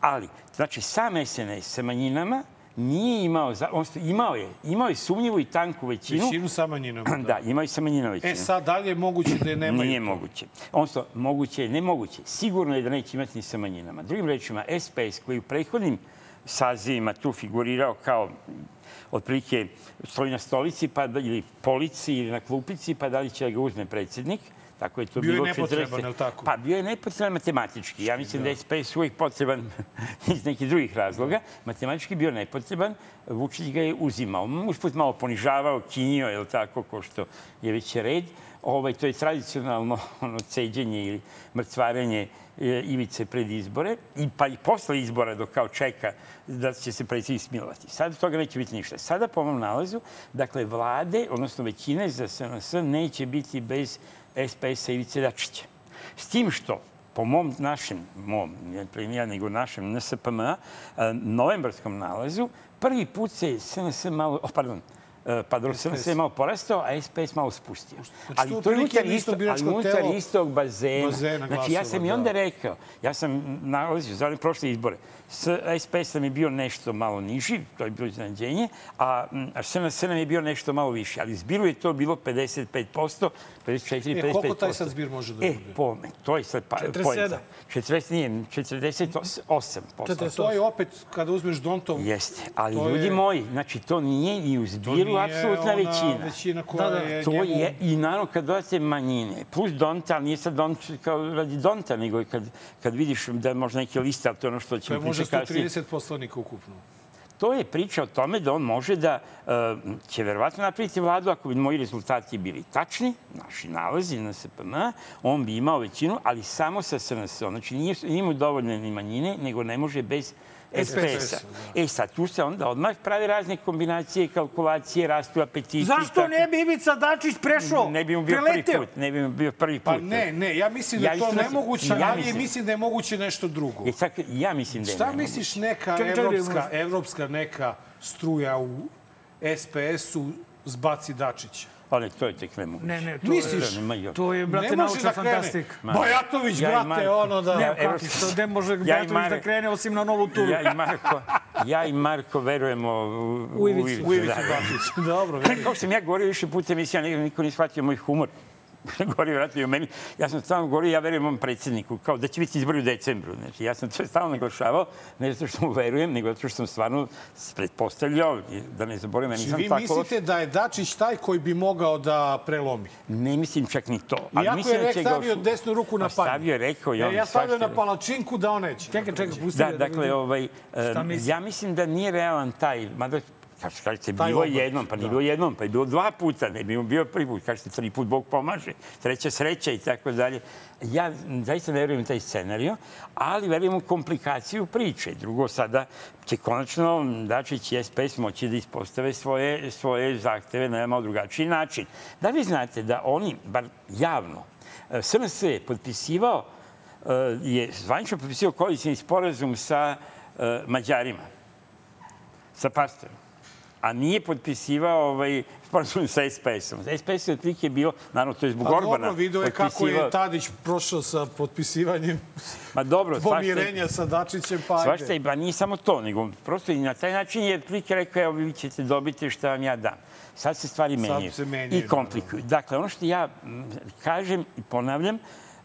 Speaker 12: Ali, znači, sam SNS sa manjinama nije imao, za- odnosno imao je, imao je sumnjivu i tanku većinu.
Speaker 1: Većinu sa manjinama, da.
Speaker 12: Da, imao je sa manjinama većinu.
Speaker 1: E sad, dalje je moguće da je nemaju.
Speaker 12: Nije moguće. Odnosno, moguće je, nemoguće. Sigurno je da neće imati ni sa manjinama. Drugim rečima, SPS koji u prethodnim sazivima tu figurirao kao mm, otprilike stoji na stolici pa, da- ili polici ili na klupici, pa da li će da ga uzme predsednik. Tako je to
Speaker 1: Bio je
Speaker 12: bilo
Speaker 1: nepotreban,
Speaker 12: 40.
Speaker 1: je li tako?
Speaker 12: Pa bio je nepotreban matematički. Ja mislim da je SPS uvijek potreban iz nekih drugih razloga. Matematički je bio nepotreban, Vučić ga je uzimao. Usput malo ponižavao, kinio, je li tako, ko što je već red. Ovaj, to je tradicionalno ono, ceđenje ili mrcvarenje e, Ivice pred izbore, i pa i posle izbora dok kao čeka da će se predsjednik smilovati. Sad od toga neće biti ništa. Sada po mom nalazu, dakle, vlade, odnosno većine za SNS neće biti bez SPS-a Ivice Dačića. S tim što, po mom našem, mom, ne premija, nego našem NSPM, novembarskom nalazu, prvi put se SNS malo, o, pardon, e, pa dobro, SNS je malo porastao, a SPS malo spustio.
Speaker 1: Znači, to
Speaker 12: Ali to je
Speaker 1: otprilike
Speaker 12: unutar,
Speaker 1: isto
Speaker 12: isto, ali
Speaker 1: biračko
Speaker 12: unutar
Speaker 1: telo-
Speaker 12: istog bazena.
Speaker 1: bazena
Speaker 12: znači, ja sam
Speaker 1: glasova,
Speaker 12: i onda
Speaker 1: da.
Speaker 12: rekao, ja sam nalazio za one prošle izbore, s SPS nam je bio nešto malo niži, to je bilo iznenađenje, a mm, a SNS nam je bio nešto malo više, ali zbiru je to bilo 55%, 54,
Speaker 1: E,
Speaker 12: 55%.
Speaker 1: koliko taj sad zbir može da
Speaker 12: E,
Speaker 1: bude?
Speaker 12: po, to je sad pa,
Speaker 1: 47.
Speaker 12: 47. 40, nije, 48
Speaker 1: A To je opet, kada uzmeš Dontov...
Speaker 12: Jeste, ali
Speaker 1: To
Speaker 12: ljudi
Speaker 1: je-
Speaker 12: moji, znači to nije i u
Speaker 1: To nije
Speaker 12: zbiru apsolutna
Speaker 1: ona
Speaker 12: većina.
Speaker 1: većina koja je
Speaker 12: To
Speaker 1: njemu-
Speaker 12: je, i naravno kad dodate manjine, plus Donta, ali nije sad Donta kao radi Donta, nego i kad, kad vidiš da je možda neke liste, ali to je ono što
Speaker 1: To je
Speaker 12: ćemo
Speaker 1: možda
Speaker 12: pričati kasnije.
Speaker 1: 130 poslanika ukupno.
Speaker 12: To je priča o tome da on može da e, će verovatno napraviti vladu ako bi moji rezultati bili tačni, naši nalazi na SPM, on bi imao većinu, ali samo sa SNS. Znači nije, nije mu dovoljno ni manjine, nego ne može bez SPS-a. E sad, tu se onda odmah prave razne kombinacije, kalkulacije, rastu apetiti.
Speaker 2: Zašto
Speaker 12: tako-
Speaker 2: ne bi Ivica Dačić prešao?
Speaker 12: Ne bi mu bio
Speaker 2: Preleteo?
Speaker 12: prvi put. Ne bi mu bio prvi put.
Speaker 1: Pa ne, ne, ja mislim da
Speaker 12: Ja
Speaker 1: je to
Speaker 12: isto mislim-
Speaker 1: nemoguće,
Speaker 12: ja
Speaker 1: ali
Speaker 12: mislim.
Speaker 1: mislim da je moguće nešto drugo.
Speaker 12: E sad, ja mislim da je
Speaker 1: Šta
Speaker 12: nemoguće.
Speaker 1: misliš neka
Speaker 2: Čekaj, čekaj,
Speaker 1: evropska,
Speaker 2: možda-
Speaker 1: evropska neka struja u SPS-u zbaci Dačića?
Speaker 12: Ali to je tek nemoguće.
Speaker 2: Ne, ne, to
Speaker 1: Misliš?
Speaker 12: To nema još.
Speaker 2: To je, brate,
Speaker 1: Ne može
Speaker 2: naučna
Speaker 1: da krene.
Speaker 2: fantastika.
Speaker 12: Ma,
Speaker 1: Bajatović,
Speaker 12: ja i
Speaker 1: brate,
Speaker 12: Marko.
Speaker 1: ono da...
Speaker 2: Ne, kako,
Speaker 12: Evropski-
Speaker 2: što, ne može
Speaker 12: i
Speaker 2: Bajatović da
Speaker 12: Mare-
Speaker 2: krene osim na novu turu.
Speaker 12: Ja i Marko, ja i Marko verujemo u,
Speaker 2: U Ivicu.
Speaker 12: U
Speaker 2: U
Speaker 12: Ivicu da.
Speaker 1: Dobro,
Speaker 12: Kao što sam ja govorio više puta emisija, nekako niko nije shvatio moj humor. govorio vratno i o meni. Ja sam stalno govorio, ja verujem mom predsjedniku, kao da će biti izbori u decembru. Znači, ja sam to stalno naglašavao, ne zato što mu verujem, nego zato što sam stvarno pretpostavljao, da ne zaboravim, ja nisam
Speaker 1: Znači, Vi
Speaker 12: tako loš.
Speaker 1: mislite da je Dačić taj koji bi mogao da prelomi?
Speaker 12: Ne mislim čak ni to. Ali
Speaker 1: Iako
Speaker 12: mislim
Speaker 1: je
Speaker 12: da
Speaker 1: rek
Speaker 12: će
Speaker 1: stavio
Speaker 12: ga-
Speaker 1: desnu ruku na
Speaker 12: A Stavio
Speaker 1: panj.
Speaker 12: je rekao i on
Speaker 1: Ne, ja stavio
Speaker 12: svašta
Speaker 1: na palačinku da on neće.
Speaker 2: Čekaj, čekaj, pusti
Speaker 12: Da,
Speaker 2: ga
Speaker 12: dakle,
Speaker 2: ga-
Speaker 12: ovaj,
Speaker 2: Šta
Speaker 12: em,
Speaker 2: misliš?
Speaker 12: ja mislim da nije realan taj, mada Kažete, kažete,
Speaker 1: Taj
Speaker 12: bilo je
Speaker 1: obrt,
Speaker 12: jednom, pa nije
Speaker 1: da.
Speaker 12: bilo jednom, pa je bilo dva puta, ne bi mu bio prvi put, kažete, tri put Bog pomaže, treća sreća i tako dalje. Ja zaista ne verujem u taj scenario, ali verujem u komplikaciju priče. Drugo, sada će konačno Dačić i SPS moći da ispostave svoje, svoje zahteve na jedan malo drugačiji način. Da vi znate da oni, bar javno, e, SNS je potpisivao e, je zvanično potpisao koalicijni sporazum sa e, Mađarima, sa Pastorom, a nije potpisivao ovaj sporazum sa SPS-om. SPS je otprilike bio, naravno to je zbog
Speaker 1: Pa
Speaker 12: Orbana.
Speaker 1: dobro, video je kako je
Speaker 12: potpisivao-
Speaker 1: Tadić prošao sa potpisivanjem
Speaker 12: Ma dobro, svašta je-
Speaker 1: pomirenja sa Dačićem, pa ajde.
Speaker 12: Svašta, i- pa nije samo to, nego prosto i na taj način je prilike rekao, evo vi ćete dobiti šta vam ja dam. Sad se stvari menjaju
Speaker 1: se menjaju,
Speaker 12: i komplikuju. Dakle, ono što ja mm, kažem i ponavljam,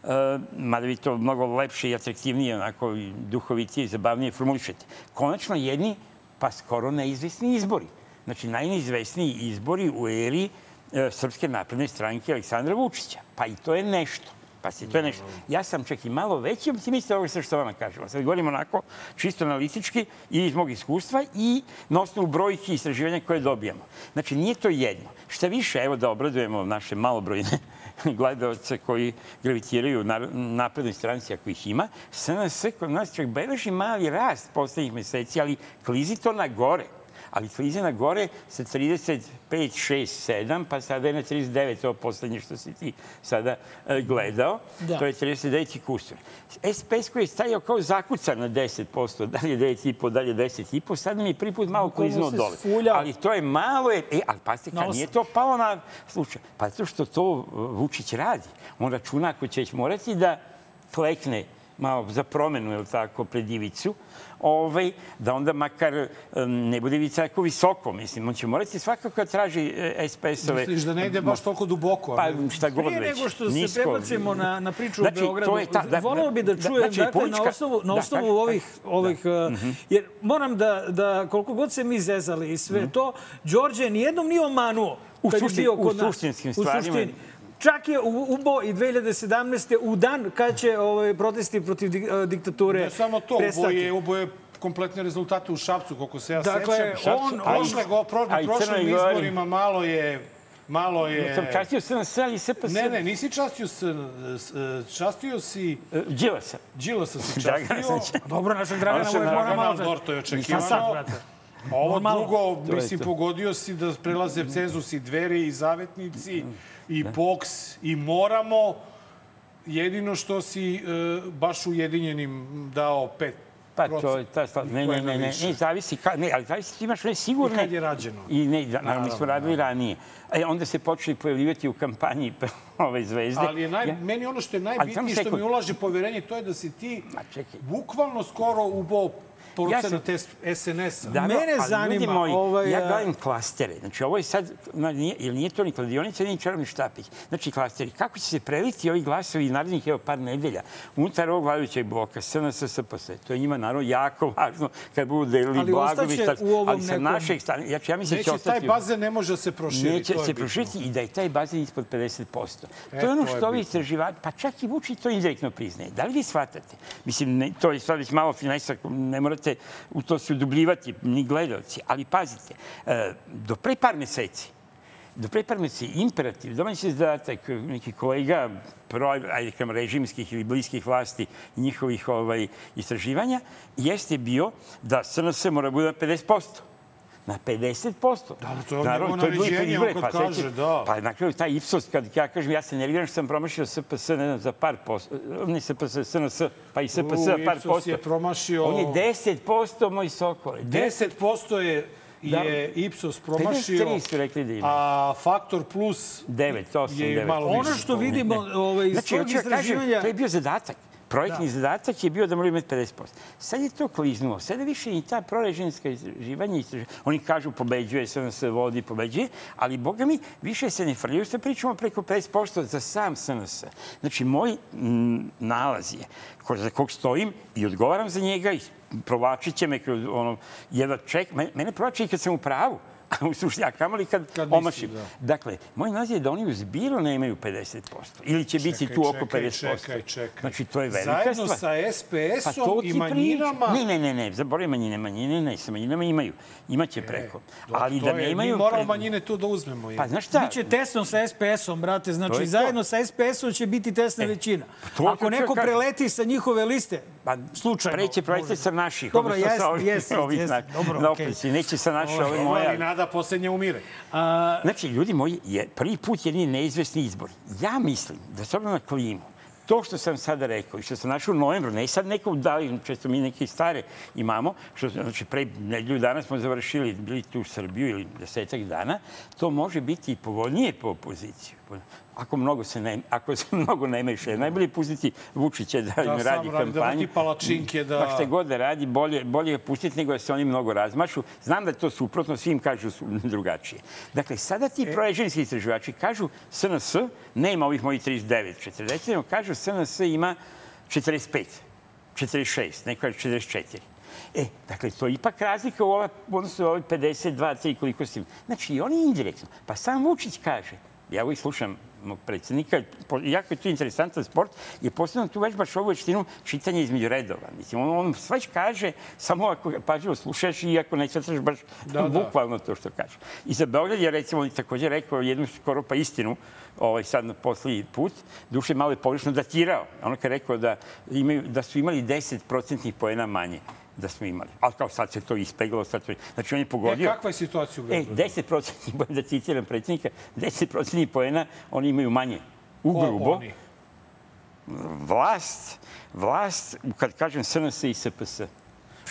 Speaker 12: Uh, mada vi to mnogo lepše i atraktivnije, onako i duhovitije i zabavnije formulišete. Konačno jedni, pa skoro neizvesni izbori. Znači, najneizvesniji izbori u eri e, Srpske napredne stranke Aleksandra Vučića. Pa i to je nešto. Pasi, to je nešto. Ja sam čak i malo veći optimista ovo sve što vama kažemo. Sad govorim onako, čisto analitički i iz mog iskustva i na osnovu brojki i istraživanja koje dobijamo. Znači, nije to jedno. Šta više, evo da obradujemo ono, naše malobrojne gledalce koji gravitiraju na naprednoj stranci ako ih ima, SNS kod nas čak beleži mali rast poslednjih meseci, ali klizi to na gore ali klize na gore sa 35, 6, 7, pa sada je na 39, ovo poslednje što si ti sada e, gledao,
Speaker 2: Da.
Speaker 12: to je 39. kusur. SPS koji je stajao kao zakucan na 10%, dalje 9,5, dalje 10,5, sad nam je prvi put malo
Speaker 2: Bukvalno
Speaker 12: kliznuo
Speaker 2: se
Speaker 12: dole.
Speaker 2: sfuljao.
Speaker 12: Ali to je malo, je, e, ali pazite,
Speaker 2: Na
Speaker 12: kad
Speaker 2: osam.
Speaker 12: nije to palo na slučaj, pa zato što to e, Vučić radi. On računa ako će morati da klekne malo za promenu, je li tako, pred Ivicu, ovaj, da onda makar em, ne bude Ivica tako visoko, mislim. On će morati svakako da traži e, SPS-ove...
Speaker 1: Misliš da ne ide baš toliko duboko? a
Speaker 12: Pa
Speaker 1: ne?
Speaker 12: šta god već.
Speaker 2: Prije nego što se
Speaker 12: nisko.
Speaker 2: prebacimo na, na priču
Speaker 12: Znači,
Speaker 2: o
Speaker 12: to
Speaker 2: Beogradu,
Speaker 12: je ta- da-
Speaker 2: voleo bi da
Speaker 12: da-
Speaker 2: čujem
Speaker 12: znači,
Speaker 2: dakle, na
Speaker 12: politička-
Speaker 2: osnovu, na
Speaker 12: da, Mhm.
Speaker 2: osnovu
Speaker 12: kaži,
Speaker 2: ovih, ovih eh, jer moram da, da koliko god se mi zezali i sve to, Đorđe nijednom nije omanuo
Speaker 12: Mhm. U
Speaker 2: kad je
Speaker 12: suštin-
Speaker 2: bio
Speaker 12: u
Speaker 2: kod nas.
Speaker 12: suštinskim
Speaker 2: U
Speaker 12: stvarima.
Speaker 2: suštini. Čak je u- ubo i 2017. u dan kad će ovaj, protesti protiv di- eh, diktature
Speaker 1: Ne samo to,
Speaker 2: prestati.
Speaker 1: oboje, oboje kompletne rezultate u Šapcu, koliko se ja
Speaker 2: Dakle,
Speaker 1: sećam.
Speaker 2: on-
Speaker 1: A
Speaker 2: on-
Speaker 1: prošle go, pro,
Speaker 12: a i
Speaker 1: na prošlim
Speaker 12: Crnoj Gori.
Speaker 1: izborima malo je... Malo je...
Speaker 12: Ja sam častio SNS, ali SPS...
Speaker 1: Ne, ne, nisi častio s... s- Častio si...
Speaker 12: Đilasa.
Speaker 1: Đilasa si
Speaker 12: Dragana
Speaker 1: častio.
Speaker 12: sam
Speaker 2: Dobro, našeg Dragana
Speaker 1: Našeg
Speaker 2: uvek mora
Speaker 1: Dragana
Speaker 2: malo...
Speaker 1: Aldorta je
Speaker 2: Pa sad,
Speaker 1: očekivano.
Speaker 2: brate.
Speaker 1: A Ovo
Speaker 2: Normalno.
Speaker 1: drugo,
Speaker 12: je
Speaker 1: mislim,
Speaker 12: to.
Speaker 1: pogodio si da prelaze cenzus i dveri i zavetnici i boks i moramo. Jedino što si e, baš ujedinjenim dao pet
Speaker 12: Pa to je
Speaker 1: procent.
Speaker 12: ta stvar. Ne, ne, ne, ne,
Speaker 1: Poena
Speaker 12: ne,
Speaker 1: više.
Speaker 12: zavisi ka, ne, ali zavisi ti imaš ne
Speaker 1: I
Speaker 12: sigurne.
Speaker 1: kad je rađeno.
Speaker 12: I ne, da, naravno, mi smo radili ranije. E, onda se počeli pojavljivati u kampanji ove zvezde.
Speaker 1: Ali je naj, meni ono što je
Speaker 12: samo
Speaker 1: najbitnije, što
Speaker 12: sekund.
Speaker 1: mi ulaže poverenje, to je da si ti
Speaker 12: Ma, čekaj.
Speaker 1: bukvalno skoro ubao procenat SNS-a.
Speaker 12: Da,
Speaker 2: Mene
Speaker 12: ali ljudi
Speaker 2: zanima,
Speaker 12: moji,
Speaker 2: ovaj,
Speaker 12: ja
Speaker 2: a-
Speaker 12: gledam klastere. Znači, ovo je sad, ma, nije, ili nije to ni kladionica, ni čarobni štapić. Znači, klasteri. Kako će se preliti ovi glasovi narednih, evo, par nedelja unutar ovog vladajućeg bloka, SNS, SPS? To je njima, naravno, jako važno kad budu delili
Speaker 2: Ali
Speaker 12: blagovi.
Speaker 2: ostaće
Speaker 12: šta-
Speaker 2: u ovom
Speaker 12: Ali sa
Speaker 2: nekom-
Speaker 12: našeg strane, ja, ću- ja mislim da će
Speaker 1: Neće,
Speaker 12: ostati...
Speaker 1: taj bazen ne može se proširiti.
Speaker 12: Neće
Speaker 1: to je
Speaker 12: se
Speaker 1: bitno.
Speaker 12: proširiti i da je taj bazen ispod 50%.
Speaker 1: E,
Speaker 12: to je ono
Speaker 1: to je
Speaker 12: što ovi
Speaker 1: bitno.
Speaker 12: istraživači, pa čak i Vučić to indirektno priznaje. Da li vi shvatate? Mislim, ne, to je sad već malo finesa, ne morate u to se udubljivati, ni gledalci. Ali pazite, e, do pre par meseci, do pre par meseci imperativ, domaći zadatak neki kolega, pro, ajde kam, režimskih ili bliskih vlasti i njihovih ovaj, istraživanja, jeste bio da SNS mora bude na 50%. Na 50%.
Speaker 1: Da, ali to je
Speaker 12: Naravno,
Speaker 1: njegovo
Speaker 12: to je bilo i pred
Speaker 1: naređenje,
Speaker 12: izbore,
Speaker 1: on
Speaker 12: pa
Speaker 1: kad
Speaker 12: sećate-
Speaker 1: kaže, da.
Speaker 12: Pa na kraju taj Ipsos, kad ja kažem, ja se nerviram što sam promašio SPS, ne znam, za par posto, ne SPS, SNS, pa i SPS, za
Speaker 1: U,
Speaker 12: par
Speaker 1: Ipsos
Speaker 12: posto.
Speaker 1: je promašio-
Speaker 12: On je 10% moj sokole.
Speaker 1: 10% je,
Speaker 12: Da.
Speaker 1: je Ipsos promašio,
Speaker 12: 53 su rekli da ima.
Speaker 1: a Faktor Plus
Speaker 12: 9, 8,
Speaker 1: je
Speaker 12: 9.
Speaker 1: malo
Speaker 2: Ono što vidimo ovaj, iz
Speaker 12: Znači,
Speaker 2: tog
Speaker 12: hoću da kažem,
Speaker 2: istraživanja...
Speaker 12: to je bio zadatak. Projektni zadatak je bio da moraju imati 50%. Sad je to kliznulo. Sada više i ta prorežimska istraživanja, istraživanja. Oni kažu pobeđuje, SNS vodi, pobeđuje, ali, boga mi, više se ne frljaju. Sada pričamo preko 50% za sam SNS. Znači, moj mm, nalaz je, ko- za kog stojim i odgovaram za njega i provlačit će me kroz ono, jedva ček. Mene, mene provlači i kad sam u pravu. A u suštini, a kamoli kad,
Speaker 1: Kad nisi,
Speaker 12: omašim.
Speaker 1: da.
Speaker 12: Dakle, moj nalaz je da oni u zbiru nemaju 50%. Ili će biti
Speaker 1: Čekaj,
Speaker 12: tu oko
Speaker 1: čekaj,
Speaker 12: 50%.
Speaker 1: Čekaj, čekaj.
Speaker 12: Znači, to je velika
Speaker 1: Zajedno
Speaker 12: stvar.
Speaker 1: sa
Speaker 12: Pa
Speaker 1: SPS-om
Speaker 12: to ti
Speaker 1: i
Speaker 12: pričam.
Speaker 1: manjinama...
Speaker 12: Ne, ne, ne, ne, zaboravim manjine, manjine ne, sa manjinama imaju. Imaće preko. Ali
Speaker 1: E, to
Speaker 12: da
Speaker 1: je-
Speaker 12: ne imaju...
Speaker 1: Mi moramo
Speaker 12: pre-
Speaker 1: manjine tu da uzmemo. je.
Speaker 12: Pa znaš šta?
Speaker 2: Biće tesno sa SPS-om, brate.
Speaker 12: To
Speaker 2: Znači,
Speaker 12: je to.
Speaker 2: zajedno sa SPS-om će biti tesna većina.
Speaker 12: to
Speaker 2: Ako
Speaker 12: hoću da
Speaker 2: neko
Speaker 12: kažem.
Speaker 2: preleti sa njihove liste,
Speaker 12: Pa,
Speaker 2: slučajno,
Speaker 12: Preće projekte
Speaker 2: možda.
Speaker 12: sa naših.
Speaker 2: Dobro,
Speaker 12: odnosno sa
Speaker 2: jesam,
Speaker 12: ovih-
Speaker 2: jesam,
Speaker 12: ovih
Speaker 2: jesam.
Speaker 12: na-
Speaker 2: Dobro,
Speaker 12: na
Speaker 2: okej.
Speaker 12: opoziciji. Neće sa naše,
Speaker 2: Ovaj,
Speaker 12: ove
Speaker 1: Ovo, ali
Speaker 12: moja.
Speaker 1: nada posljednja umire.
Speaker 12: Znači, ljudi moji, je prvi put jedni neizvesni izbor. Ja mislim da s obzirom na klimu, to što sam sada rekao i što sam našao u novembru, ne sad neko udali, često mi neke stare imamo, što, znači pre nedelju dana smo završili, bili tu u Srbiju ili desetak dana, to može biti i povoljnije po opoziciju. Ako mnogo se ne, ako se mnogo ne meša, najbolje pustiti Vučića da,
Speaker 1: Da,
Speaker 12: im
Speaker 1: sam
Speaker 12: radi
Speaker 1: radi, da vrti
Speaker 12: kampanju.
Speaker 1: palačinke, da-
Speaker 12: Pa šta god da radi, bolje, bolje ga pustiti nego da se oni mnogo razmašu. Znam da je to suprotno, svim kažu su drugačije. Dakle, sada ti e... prorežimski istraživači kažu SNS nema ovih mojih 39, 40, nego kažu SNS ima 45, 46, neko je 44. E, dakle, to je ipak razlika u ova, odnosno u ovih 52, 3, koliko si... Znači, i oni indirektno. Pa sam Vučić kaže, ja uvijek slušam mog predsjednika, po- jako je to interesantan sport i posebno tu baš baš ovu veštinu čitanja između redova. Mislim, on, on svač kaže, samo ako ga pažljivo slušaš i ako ne svetaš baš
Speaker 1: Da, da.
Speaker 12: bukvalno to što kaže. I za Beograd je recimo on također rekao jednu skoro pa istinu, ovaj, sad na posljednji put, duše malo je pogrešno datirao. Ono kad je rekao da, imaju, da su imali 10 procentnih poena manje da smo imali. Ali kao sad se to ispeglalo, sad to... Znači on je pogodio...
Speaker 1: E, kakva je situacija u
Speaker 12: E,
Speaker 1: Beogradu?
Speaker 12: 10 procentnih poena, da citiram predsjednika, 10 procentnih poena oni imaju manje. Ugrubo,
Speaker 1: oni?
Speaker 12: vlast, vlast, kad kažem SNS i SPS,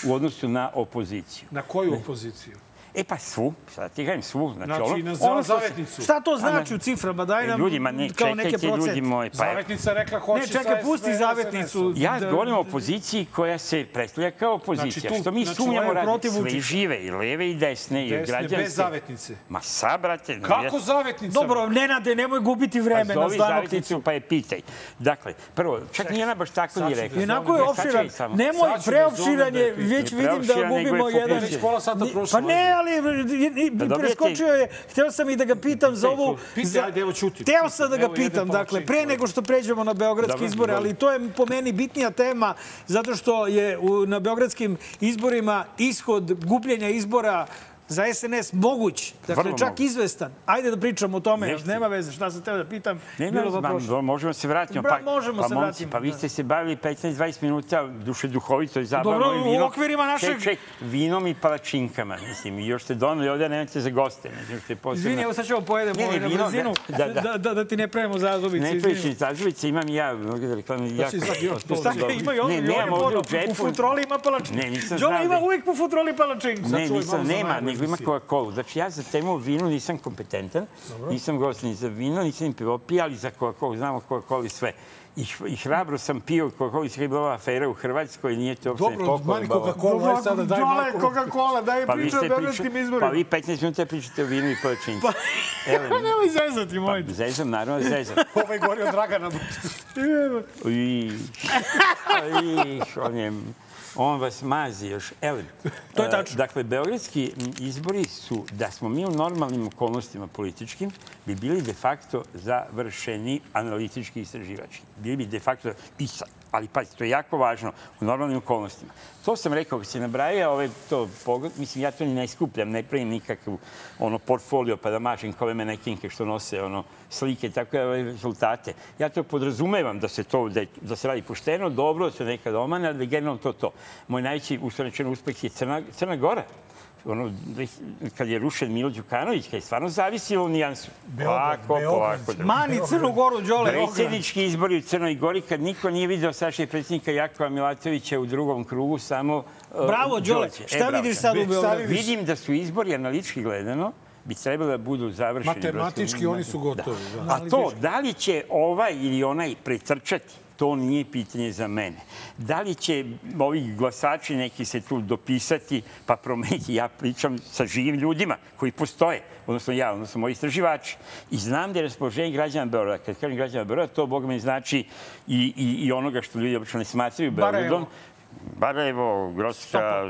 Speaker 12: u odnosu na opoziciju.
Speaker 1: Na koju opoziciju?
Speaker 12: E pa svu, sada ti kažem svu. Znači,
Speaker 1: Znači,
Speaker 12: ono,
Speaker 1: i na
Speaker 12: ono što se-
Speaker 1: zavetnicu.
Speaker 2: Šta to znači
Speaker 12: Ana-
Speaker 2: u ciframa? Daj nam
Speaker 12: Ljudima, E, ne,
Speaker 2: kao neke
Speaker 12: čekajte, ljudi
Speaker 2: procente.
Speaker 12: moji, pa evo.
Speaker 1: Zavetnica rekla hoće
Speaker 2: Ne, čekaj,
Speaker 1: sa
Speaker 2: pusti
Speaker 1: SNS.
Speaker 2: zavetnicu.
Speaker 12: Ja
Speaker 2: Da-
Speaker 12: govorim o opoziciji koja se predstavlja kao opozicija,
Speaker 1: Znači, tu-
Speaker 12: što mi
Speaker 1: znači, ona
Speaker 12: sumnjamo
Speaker 1: je
Speaker 12: radi
Speaker 1: protiv
Speaker 12: sve
Speaker 1: Vučića.
Speaker 12: žive, i leve i desne, i
Speaker 1: Desne,
Speaker 12: građanske.
Speaker 1: bez zavetnice.
Speaker 12: Ma sa, brate. no,
Speaker 1: Kako
Speaker 12: ja-
Speaker 1: zavetnica?
Speaker 2: Dobro, Nenade, nemoj gubiti
Speaker 12: Pa
Speaker 2: vreme na
Speaker 12: zovi
Speaker 2: zdanoklicu.
Speaker 12: zavetnicu pa je pitaj. Dakle, prvo, čak nije ona baš tako
Speaker 1: sad
Speaker 12: ni
Speaker 1: ću
Speaker 12: rekla.
Speaker 1: da
Speaker 2: Inako je
Speaker 12: Ne, sačekaj
Speaker 2: opširan.
Speaker 12: samo.
Speaker 2: Nemoj,
Speaker 1: Sad ću da
Speaker 2: preopširan je,
Speaker 1: zovem da je
Speaker 2: već
Speaker 12: pitanje.
Speaker 2: vidim da
Speaker 12: Preopširan, nego je
Speaker 2: gubimo jedan...
Speaker 12: fokusiran.
Speaker 1: Već pola sata
Speaker 2: Ni-
Speaker 1: prošlo,
Speaker 2: Pa ne, ali i- i- i-
Speaker 12: dobijete-
Speaker 2: preskočio je, hteo sam i da ga pitam za ovu...
Speaker 1: Pitaj,
Speaker 2: za-
Speaker 1: ajde, evo ćuti.
Speaker 2: Hteo sam da ga
Speaker 1: Evo, jedem
Speaker 2: pitam,
Speaker 1: pa
Speaker 2: dakle,
Speaker 1: učini.
Speaker 2: pre nego što pređemo na beogradske
Speaker 12: Dobro,
Speaker 2: izbore,
Speaker 12: dobro.
Speaker 2: ali to je po meni bitnija tema zato što je u- na beogradskim izborima ishod gubljenja izbora za SNS moguć, dakle
Speaker 12: Vrlo
Speaker 2: čak
Speaker 12: moguć.
Speaker 2: izvestan. Ajde da pričamo o tome, još
Speaker 12: Jeste.
Speaker 2: nema veze šta sam teo da pitam.
Speaker 12: Ne, ne,
Speaker 2: bilo
Speaker 12: znam,
Speaker 2: da prošlo.
Speaker 12: do- možemo se vratiti.
Speaker 2: Bra- možemo
Speaker 12: pa,
Speaker 2: se
Speaker 12: momci,
Speaker 2: vratimo,
Speaker 12: Pa vi
Speaker 2: da.
Speaker 12: ste se bavili 15-20 minuta duše duhovito i zabavno.
Speaker 2: Dobro,
Speaker 12: i
Speaker 2: u
Speaker 12: vinom.
Speaker 2: okvirima našeg-
Speaker 12: Ček, ček, vinom i palačinkama, mislim. I još ste donali ovdje, nemate za goste. Mislim, što je posebno...
Speaker 2: Izvini, evo sad ćemo pojedemo
Speaker 12: Ne, ne,
Speaker 2: ovaj na
Speaker 12: vino,
Speaker 2: brzinu, da,
Speaker 12: da,
Speaker 2: da,
Speaker 12: da.
Speaker 2: da, da, ti ne pravimo zazubice.
Speaker 12: Ne
Speaker 2: izvini.
Speaker 12: piši zažuvice, imam ja. Mogu da reklam, jako...
Speaker 1: sad još
Speaker 12: Dobro.
Speaker 2: Šta ga ima i on,
Speaker 12: Ne,
Speaker 2: i on je
Speaker 12: nemam ovdje
Speaker 2: ono,
Speaker 12: u džepu.
Speaker 2: u futroli ima palačinku.
Speaker 12: Ne, nisam
Speaker 2: Đole
Speaker 12: znao
Speaker 2: ima
Speaker 12: da-
Speaker 2: uvijek u futroli palačinku.
Speaker 12: Ne,
Speaker 1: čuj
Speaker 12: nisam,
Speaker 1: malo za
Speaker 12: nema,
Speaker 1: najbolji
Speaker 12: nego ima
Speaker 1: si.
Speaker 12: Coca-Cola. Znači, ja za temu vinu nisam kompetentan, nisam gost ni za vino, nisam ni pivo pija, ali za Coca-Cola, znamo Coca-Cola i sve. I, h- I hrabro sam pio Coca-Cola, i sve je bila ova afera u Hrvatskoj, nije to uopšte
Speaker 1: Dobro, odmani
Speaker 12: pokolebalo.
Speaker 1: Coca-Cola, aj sada daj
Speaker 2: Đole,
Speaker 1: Marku.
Speaker 2: Coca-Cola, daj
Speaker 12: Pa vi,
Speaker 2: priča o
Speaker 12: ste
Speaker 2: beogradskim
Speaker 12: priča, pa
Speaker 2: izborima.
Speaker 12: vi 15 minuta pričate o vinu i palačinku. Pa...
Speaker 2: Nemoj zezati, moj.
Speaker 12: Zezam, naravno zezam.
Speaker 1: Ovo Ovaj je govorio Dragana.
Speaker 12: Ih, ih, on je... On vas mazi još. Elem,
Speaker 2: To je
Speaker 12: e,
Speaker 2: tačno.
Speaker 12: Dakle, beogradski m, izbori su, da smo mi u normalnim okolnostima političkim, bi bili de facto završeni analitički istraživači. Bili bi de facto i sa- Ali pazi, to je jako važno u normalnim okolnostima. To sam rekao, kad se nabraja, ove, to, pogod- mislim, ja to ni ne skupljam, ne pravim nikakav ono, portfolio pa da mažem kao ove manekinke što nose ono, slike, tako da ove rezultate. Ja to podrazumevam da se to da, je- da se radi pošteno, dobro, da se nekad omane, ali da je generalno to to. Moj najveći ustorečen uspeh je Crna, Crna Gora. Ono, kad je rušen Milo Đukanović, kad je stvarno zavisilo u nijansu.
Speaker 1: Beograd, Beograd.
Speaker 12: Pa,
Speaker 2: Mani Crnu Goru, Đole.
Speaker 12: Predsjednički izbori u Crnoj Gori kad niko nije video Saše predsjednika Jakova Milatovića u drugom krugu, samo... uh,
Speaker 2: Bravo, Đole.
Speaker 12: Đorđe. E,
Speaker 2: Šta
Speaker 12: bravo.
Speaker 2: vidiš sad u Beogradu?
Speaker 12: Vidim da su izbori analitički gledano bi trebalo da budu završeni.
Speaker 1: Matematički oni su gotovi. Da.
Speaker 12: A to, da li će ovaj ili onaj pretrčati, to nije pitanje za mene. Da li će ovi glasači neki se tu dopisati pa promeniti? Ja pričam sa živim ljudima koji postoje, odnosno ja, odnosno moji istraživači. I znam da je raspoloženje građana Beograda. Dakle, Kad kažem građana Beograda, to, Bog me znači i, i, i onoga što ljudi obično ne smatraju
Speaker 2: Barajevo.
Speaker 12: Beogradom. Barajevo, Groska,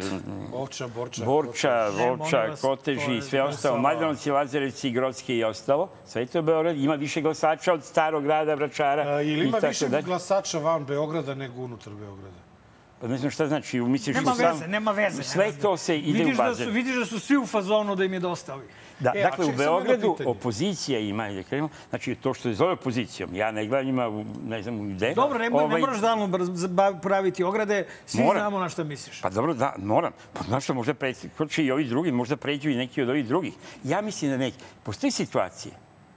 Speaker 1: Borča, borča.
Speaker 12: Borča,
Speaker 2: molim
Speaker 12: Volča,
Speaker 2: vas, to
Speaker 12: Koteži
Speaker 2: je-
Speaker 12: i
Speaker 2: to je
Speaker 12: sve ostalo.
Speaker 2: samo-
Speaker 12: Mladenovci, Lazarevci, Grodski i ostalo. Sve je to Beograd. Ima više glasača od starog grada, Vračara.
Speaker 1: A, Ili
Speaker 12: i
Speaker 1: ima
Speaker 12: tako
Speaker 1: više
Speaker 12: dalje.
Speaker 1: glasača van Beograda nego unutar Beograda?
Speaker 12: Pa Ne znam šta znači. Misliš
Speaker 2: Nema
Speaker 12: u sam-
Speaker 2: veze, nema veze.
Speaker 12: Sve to se ide
Speaker 2: Vidiš
Speaker 12: u
Speaker 2: da, su,
Speaker 12: bazen.
Speaker 2: vidiš da su svi u fazonu da im je dosta ovih.
Speaker 12: Da,
Speaker 1: E, a
Speaker 12: dakle, u
Speaker 1: čekaj, samo jedno
Speaker 12: Beogradu
Speaker 1: pitanje.
Speaker 12: opozicija ima, da krenemo, znači to što se zove opozicijom, ja ne gledam ima, u- ne znam gde.
Speaker 2: Dobro, ne, ne
Speaker 12: Ovaj,
Speaker 2: moraš stalno brz- ba- praviti ograde, svi
Speaker 12: Moram.
Speaker 2: znamo na šta misliš.
Speaker 12: Pa dobro, da, moram. Pa znaš što, možda preskoče i ovi drugi, možda pređu i neki od ovih drugih. Ja mislim da neće. Postoje situacije,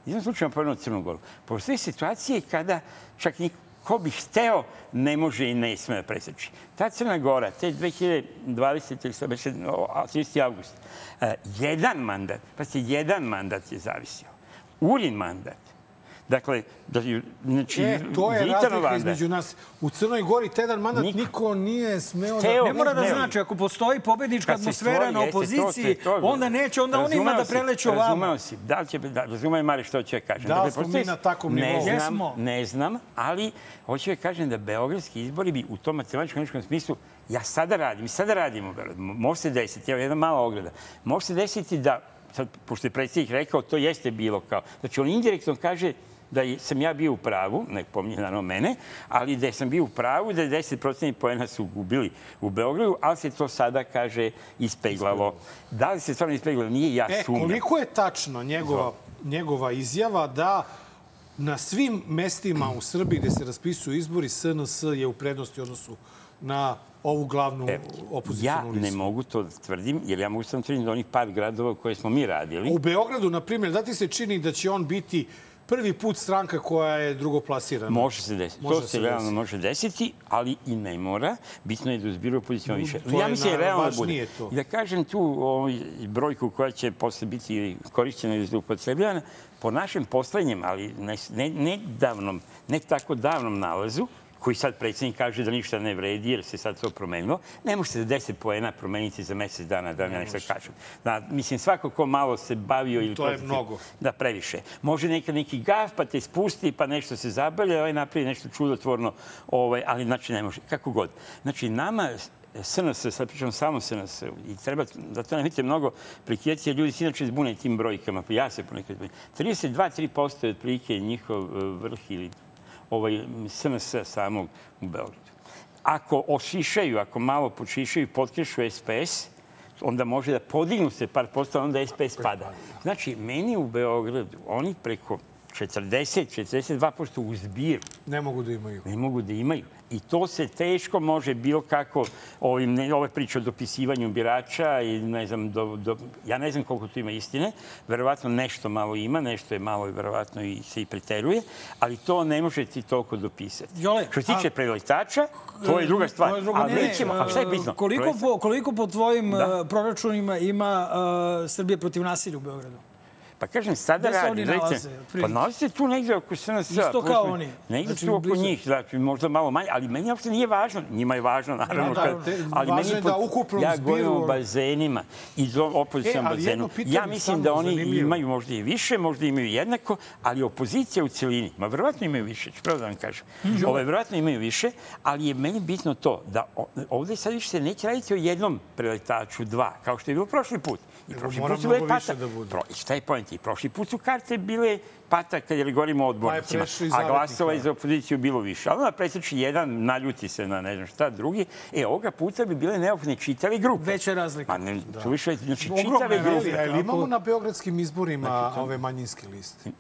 Speaker 12: jedan slučaj vam pomenuo Crnu Goru, postoje situacije kada čak niko ko bi hteo, ne može i ne sme da preseči. Ta Crna Gora, te 2020. ili šta beše, o, a, 30. avgust, e, jedan mandat, pa se jedan mandat je zavisio. Urin mandat. Dakle, da, ju- znači,
Speaker 1: E, to je
Speaker 12: Vitanov
Speaker 1: razlika
Speaker 12: mandat.
Speaker 1: između nas. U Crnoj Gori tedan mandat niko, nije smeo da...
Speaker 12: Hteo.
Speaker 2: Ne mora da
Speaker 12: Ne,
Speaker 2: znači, ako postoji pobednička
Speaker 12: Kad se
Speaker 2: atmosfera
Speaker 12: stvori,
Speaker 2: na
Speaker 12: jeste, to se-
Speaker 2: opoziciji,
Speaker 12: to-
Speaker 2: onda neće, onda on ima
Speaker 12: Razumeo
Speaker 2: da
Speaker 12: si,
Speaker 2: preleću ovamo.
Speaker 12: Razumeo si. Da li će, da, razumeo je Mare što ću ja kažem.
Speaker 1: Da li
Speaker 12: Dakle,
Speaker 1: smo
Speaker 12: postoji-
Speaker 1: mi na takvom
Speaker 12: ne
Speaker 1: nivou?
Speaker 12: Znam,
Speaker 2: Jesmo.
Speaker 12: Ne znam, ali hoću da kažem da beogradski izbori bi u tom matematičkom smislu, ja sada radim, i sada radimo, Beograd, može se desiti, evo jedna mala ograda, može se desiti da sad, pošto je predsjednik rekao, to jeste bilo kao. Znači, on indirektno kaže da je- sam ja bio u pravu, ne pominje naravno mene, ali da sam bio u pravu, da je 10% pojena su gubili u Beogradu, ali se to sada, kaže, ispeglalo. Da li se stvarno ispeglalo? Nije ja
Speaker 1: E,
Speaker 12: sumnjam.
Speaker 1: koliko je tačno njegova, njegova izjava da na svim mestima u Srbiji gde se raspisuju izbori, SNS je u prednosti u odnosu na ovu glavnu
Speaker 12: E, Ja
Speaker 1: opozicionu
Speaker 12: ne
Speaker 1: listu.
Speaker 12: mogu to da tvrdim, jer ja mogu samo tvrditi da onih par gradova koje smo mi radili,
Speaker 1: U Beogradu, na primjer, da ti se čini da će on biti prvi put stranka koja je drugoplasirana?
Speaker 12: Može se desiti.
Speaker 1: Može
Speaker 12: to
Speaker 1: da
Speaker 12: se
Speaker 1: se
Speaker 12: realno
Speaker 1: desi.
Speaker 12: može desiti, ali i ne mora. Bitno je da uzbiru opoziciju
Speaker 1: No,
Speaker 12: više.
Speaker 1: to
Speaker 12: ja
Speaker 1: je
Speaker 12: mislim da je realno bude.
Speaker 1: najvažnije to.
Speaker 12: I Da kažem tu ovaj, brojku koja će posle biti korišćena i zloupotrebljena, po našem poslednjem, ali ne, ne, ne davnom, ne tako davnom nalazu, koji sad predsjednik kaže da ništa ne vredi jer se sad to promenilo, ne možete za 10 poena promeniti za mesec dana, da vam ja nešto kažem. Da, mislim, svako ko malo se bavio ili...
Speaker 1: To je
Speaker 12: protiv-
Speaker 1: mnogo.
Speaker 12: Da, previše. Može nekad neki gaf, pa te spusti, pa nešto se zabavlja, ovaj napravi nešto čudotvorno, ovaj, ali znači ne može, kako god. Znači, nama SNS, sad pričam samo SNS, i treba, da to ne vidite mnogo prekidati, jer ljudi se inače zbune tim brojkama, pa ja se ponekad zbunim. 32-3% je otprilike njihov eh, vrh ili ovaj, SNS samog u Beogradu. Ako ošišaju, ako malo počišaju, potkrešu SPS, onda može da podignu se par posto, a onda SPS pada. Znači, meni u Beogradu, oni preko 40-42% u zbiru
Speaker 1: Ne mogu da imaju.
Speaker 12: ne mogu da imaju. I to se teško može bilo kako, ovim, ne, ove priče o dopisivanju birača, i ne znam, do, do, ja ne znam koliko tu ima istine, verovatno nešto malo ima, nešto je malo i verovatno i se i preteruje, ali to ne može ti toliko dopisati.
Speaker 2: Jole,
Speaker 12: Što se tiče
Speaker 2: a-
Speaker 12: preletača, to je druga stvar.
Speaker 2: To je drugo-
Speaker 12: ali
Speaker 2: Ne, ne,
Speaker 12: mi ćemo, a šta je bitno?
Speaker 2: Koliko
Speaker 12: Preletač.
Speaker 2: po, koliko po tvojim
Speaker 12: Da.
Speaker 2: da. proračunima ima uh, Srbije protiv nasilja u Beogradu?
Speaker 12: Pa kažem, sada
Speaker 2: Gde se
Speaker 12: radi.
Speaker 2: oni
Speaker 12: recimo,
Speaker 2: nalaze,
Speaker 12: Pa
Speaker 2: otprilike?
Speaker 12: nalazi se tu negdje oko SNS.
Speaker 2: Isto
Speaker 12: plus
Speaker 2: kao
Speaker 12: mi-
Speaker 2: oni.
Speaker 12: Negdje
Speaker 2: Znači,
Speaker 12: tu oko
Speaker 2: blizu.
Speaker 12: njih, znači možda malo manje, ali meni uopšte nije važno. Njima je važno, naravno.
Speaker 1: Da,
Speaker 12: kad-
Speaker 1: te-
Speaker 12: ali
Speaker 1: važno
Speaker 12: meni
Speaker 1: je
Speaker 12: pot-
Speaker 1: da ukupno
Speaker 12: Ja
Speaker 1: zbiru-
Speaker 12: govorim o bazenima i do opozicijom
Speaker 1: E, ali jedno
Speaker 12: bazenu.
Speaker 1: pitanje
Speaker 12: Ja mislim
Speaker 1: samo
Speaker 12: da oni
Speaker 1: zanimljivo.
Speaker 12: imaju možda i više, možda imaju jednako, ali opozicija u celini, ma verovatno imaju više, ću pravo da vam kažem.
Speaker 1: Mm,
Speaker 12: Ove, verovatno imaju više, ali je meni bitno to da o- ovdje sad više se neće raditi o jednom preletaču, dva, kao što je bilo prošli put. I prošli
Speaker 1: mora
Speaker 12: put su
Speaker 1: mnogo
Speaker 12: bile pata.
Speaker 1: više da bude.
Speaker 12: Pro- I šta je pojent? I prošli put su karte bile pata kad je govorimo o
Speaker 1: Pa
Speaker 12: odbornicima,
Speaker 1: prešao i
Speaker 12: a
Speaker 1: zavetnik,
Speaker 12: glasova
Speaker 1: da.
Speaker 12: iz opoziciju bilo više. Ali onda preseči jedan, naljuti se na ne znam šta, drugi. E, ovoga puta bi bile neophodne čitave grupe.
Speaker 2: Veća je razlika.
Speaker 12: Ma ne, da. više, znači
Speaker 1: Ogromna
Speaker 12: čitave
Speaker 1: je razlika.
Speaker 12: grupe.
Speaker 1: Jel imamo E, na beogradskim izborima ove manjinske liste?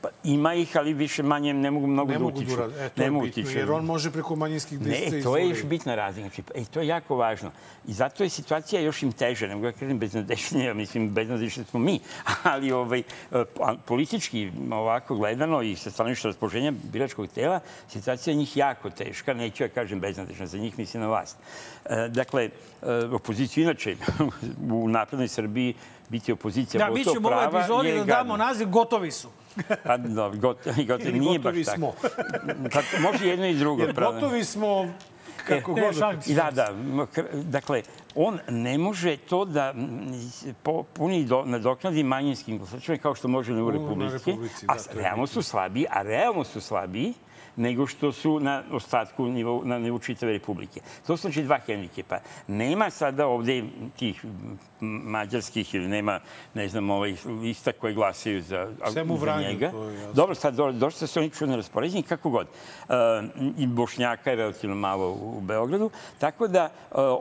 Speaker 12: Pa, ima ih, ali više manje ne mogu mnogo
Speaker 1: Ne
Speaker 12: da
Speaker 1: mogu
Speaker 12: utiču.
Speaker 1: durati. E, to je
Speaker 12: mogu
Speaker 1: bitno,
Speaker 12: utiču.
Speaker 1: jer on može preko manjinskih lista
Speaker 12: Ne, to je još
Speaker 1: izboriti.
Speaker 12: bitna razlika. Znači, E, to je jako važno. I zato je situacija još im teža. Ne mogu da kažem beznadešnija, mislim, beznadešnja smo mi. Ali ovaj, e, a, politički, ovako gledano i sa stanovišta raspoloženja biračkog tela, situacija je njih jako teška. Neću ja kažem beznadežna, za njih mislim na vlast. E, Dakle, e, opoziciju inače u naprednoj Srbiji biti opozicija,
Speaker 2: Da, mi
Speaker 12: pogotovo
Speaker 2: ćemo
Speaker 1: ovaj
Speaker 2: ovoj
Speaker 12: prava,
Speaker 2: epizodi
Speaker 12: je
Speaker 2: da
Speaker 12: gadno.
Speaker 2: damo naziv Gotovi su.
Speaker 12: Pa, da, gotovo, gotovo,
Speaker 1: Ili
Speaker 12: nije baš
Speaker 1: gotovi
Speaker 12: tako.
Speaker 1: smo.
Speaker 12: Pa, može jedno i drugo.
Speaker 1: Jer
Speaker 12: pravo.
Speaker 1: gotovi smo kako
Speaker 12: E,
Speaker 1: god.
Speaker 12: I Da, da. m, kr- Dakle, on ne može to da m, po- puni do, nadoknadi manjinskim glasačima kao što može u Republici.
Speaker 1: Republici,
Speaker 12: a
Speaker 1: da,
Speaker 12: s-
Speaker 1: to je
Speaker 12: realno su slabiji, a realno su slabiji nego što su na ostatku nivou, na nivou čitave Republike. To su znači dva hendikepa. Nema sada ovdje tih m, mađarskih ili nema, ne znam, ovaj, lista koje glasaju za,
Speaker 1: Sem u
Speaker 12: za
Speaker 1: Vranju,
Speaker 12: njega.
Speaker 1: to je jasno.
Speaker 12: Dobro, sad do- dosta su oni čudno raspoređeni, kako god. E, I Bošnjaka je relativno malo u u Beogradu, tako da e,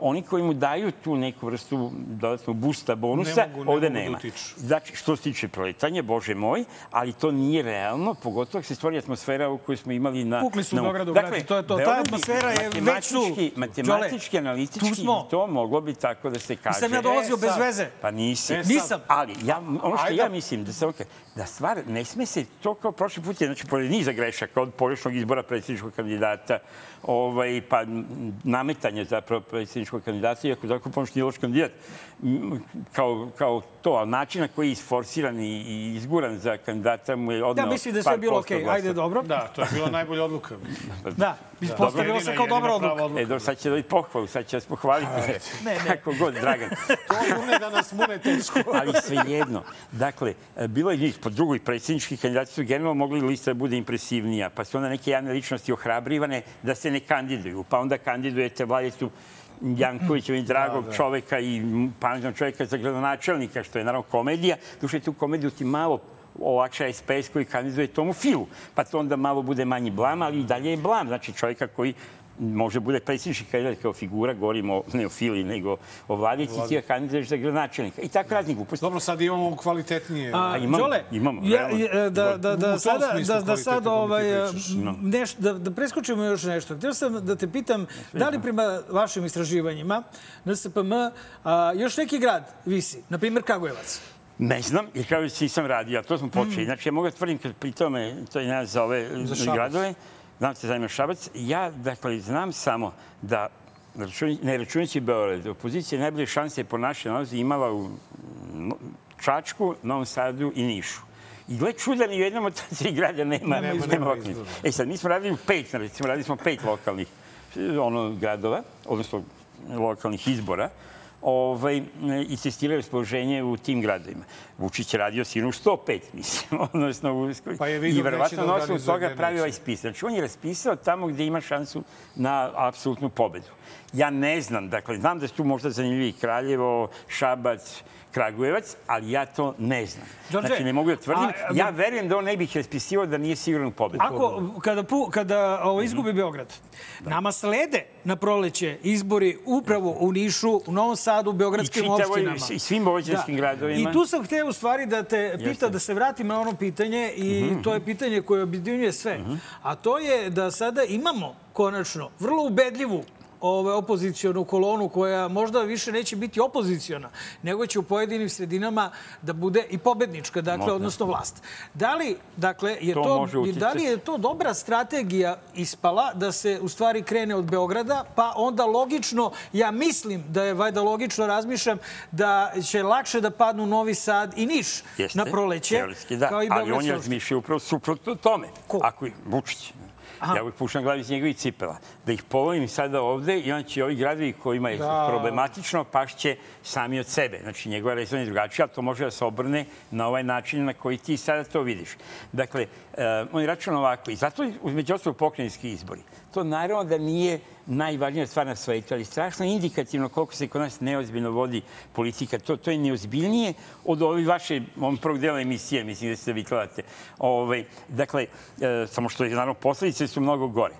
Speaker 12: oni koji mu daju tu neku vrstu dodatnog busta, bonusa,
Speaker 1: Ne mogu, ne
Speaker 12: ovde
Speaker 1: mogu da
Speaker 12: nema.
Speaker 1: utiču.
Speaker 12: Znači, što se tiče proletanja, bože moj, ali to nije realno, pogotovo ako se stvori atmosfera u kojoj smo imali na...
Speaker 2: Pukli su u
Speaker 12: na- Dakle,
Speaker 2: Beogradu, brate, to je to. Ta
Speaker 12: Beograd
Speaker 2: atmosfera je već tu.
Speaker 12: matematički-
Speaker 2: Đole,
Speaker 12: Matematički, analitički,
Speaker 2: tu smo.
Speaker 12: to moglo bi tako da se kaže.
Speaker 2: Nisam ja dolazio
Speaker 1: E,
Speaker 2: bez
Speaker 1: sad.
Speaker 2: veze.
Speaker 12: Pa nisi.
Speaker 2: E, sad. Nisam.
Speaker 12: Ali ja, ono što
Speaker 1: Ajde.
Speaker 12: ja mislim, da, se, oka- da stvar ne sme se to kao prošli put, je, znači pored niza grešaka od pogrešnog izbora predsjedničkog kandidata, ovaj, pa m, nametanje zapravo predsjedničkog kandidata, iako tako pomoći nije loš kandidat, m, kao, kao to, ali način na koji je isforsiran i, i izguran za kandidata mu je odnao
Speaker 2: Ja mislim da je sve
Speaker 12: par
Speaker 2: bilo
Speaker 12: posto
Speaker 2: okej.
Speaker 12: glasa.
Speaker 2: Ajde, dobro.
Speaker 1: Da, to je bila
Speaker 13: najbolja odluka.
Speaker 2: Da, ispostavilo se kao dobra odluka.
Speaker 12: E, do, sad će dobiti pohvalu, sad će vas pohvaliti.
Speaker 2: Ne, ne.
Speaker 12: Kako god, Dragan.
Speaker 13: To urne da nas mune teško.
Speaker 12: Ali svejedno. Dakle, e, bilo je njih po drugoj predsjednički kandidati su generalno mogli lista da bude impresivnija, pa su onda neke javne ličnosti ohrabrivane da se ne kandiduju. Pa onda kandidujete vladetu Jankovića i dragog
Speaker 13: Da, da.
Speaker 12: čoveka i pametnog čoveka za gradonačelnika, što je naravno komedija. Duše tu komediju ti malo olakša SPS koji kandiduje tomu filu. Pa to onda malo bude manji blam, ali i dalje je blam. Znači čovjeka koji može bude predsjednički kandidat kao figura, govorimo ne o fili, nego o vladici, ti ga kandiduješ za gradonačelnika. I tako raznih gluposti.
Speaker 13: Dobro, sad imamo kvalitetnije.
Speaker 12: A, imamo,
Speaker 2: Đole,
Speaker 12: imamo.
Speaker 2: ja,
Speaker 12: realno.
Speaker 2: ja, da, da,
Speaker 13: U tom
Speaker 2: da, sada,
Speaker 13: smislu
Speaker 2: da, da
Speaker 13: kvalitete
Speaker 2: sad
Speaker 13: kako ti
Speaker 2: ovaj,
Speaker 13: pričaš,
Speaker 12: no.
Speaker 2: nešto, da, da preskočimo još nešto. Htio sam da te pitam, da li prema vašim istraživanjima na SPM a, još neki grad visi, na primjer Kragujevac?
Speaker 12: Ne znam, jer kao već nisam radio, a to smo počeli. Znači, ja mogu da tvrdim kad pitao me, to je nas za ove
Speaker 13: Mm. Za Šabac.
Speaker 12: gradove, znam se zajma Šabac, ja, dakle, znam samo da račun- ne računajući Beograd, opozicija najbolje šanse po našoj nalazi imala u mm, Čačku, Novom Sadu i Nišu. I gle čuda, ni u jednom od ta tri grada nema,
Speaker 13: Nema,
Speaker 12: nema,
Speaker 13: nema
Speaker 12: lokalnih.
Speaker 13: izbora.
Speaker 12: E sad, mi smo radili u pet, recimo, radili smo pet lokalnih eh, ono, gradova, odnosno lokalnih izbora, ovaj, eh, i testirali raspoloženje u tim gradovima. Vučić je radio sinu 105, mislim, odnosno u
Speaker 13: Pa je vidio
Speaker 12: I
Speaker 13: gde će da
Speaker 12: verovatno na osnovu
Speaker 13: organizuje,
Speaker 12: toga
Speaker 13: gde
Speaker 12: pravi
Speaker 13: neće.
Speaker 12: ovaj spis. Znači, on je raspisao tamo gde ima šansu na apsolutnu pobedu. Ja ne znam, dakle, znam da su tu možda zanimljivi Kraljevo, Šabac, Kragujevac, ali ja to ne znam.
Speaker 2: Đorđe,
Speaker 12: Znači, ne mogu da tvrdim.
Speaker 2: a-
Speaker 12: ja verujem da on ne bih raspisivao da nije siguran u pobedu.
Speaker 2: Ako, kada, pu, kada ovo,
Speaker 12: Mhm.
Speaker 2: izgubi Beograd, nama slede na proleće izbori upravo u Nišu, u Novom Sadu, u beogradskim
Speaker 12: I čitavoj-
Speaker 2: opštinama.
Speaker 12: i svim vođanskim gradovima.
Speaker 2: I tu sam hteo u stvari da te pita,
Speaker 12: Jeste. Mhm,
Speaker 2: da se vratim na ono pitanje i to je pitanje koje objedinjuje sve. A to je da sada imamo konačno vrlo ubedljivu ove opozicionu kolonu koja možda više neće biti opoziciona, nego će u pojedinim sredinama da bude i pobednička, dakle,
Speaker 12: Možda.
Speaker 2: odnosno vlast. Da li, dakle, je
Speaker 12: To
Speaker 2: to,
Speaker 12: može
Speaker 2: i da li
Speaker 12: uticati.
Speaker 2: je to dobra strategija ispala da se u stvari krene od Beograda, pa onda logično, ja mislim da je valjda logično razmišljam da će lakše da padnu Novi Sad i Niš
Speaker 12: Jeste,
Speaker 2: na proleće,
Speaker 12: teoretski da,
Speaker 2: kao i
Speaker 12: ali
Speaker 2: Beograd.
Speaker 12: on je razmišljao upravo suprotno tome. Ko? Ako je Vučić.
Speaker 2: Aha.
Speaker 12: Ja uvijek pušam glavi iz njegovih cipela. Da ih polovim sada ovde i onda će ovi gradovi kojima je
Speaker 13: Da.
Speaker 12: problematično pašće sami od sebe. Znači, njegova rezona je drugačija, ali to može da se obrne na ovaj način na koji ti sada to vidiš. Dakle, eh, on je račun ovako. I zato, među ostalog, pokrajinski izbori. To naravno da nije najvažnija stvar na svetu, ali strašno je indikativno koliko se kod nas neozbiljno vodi politika. To, to je neozbiljnije od ove vaše, on prvog dela emisije, mislim da se vi gledate. Ovaj, dakle, eh, samo što je, naravno, posledice su mnogo gore.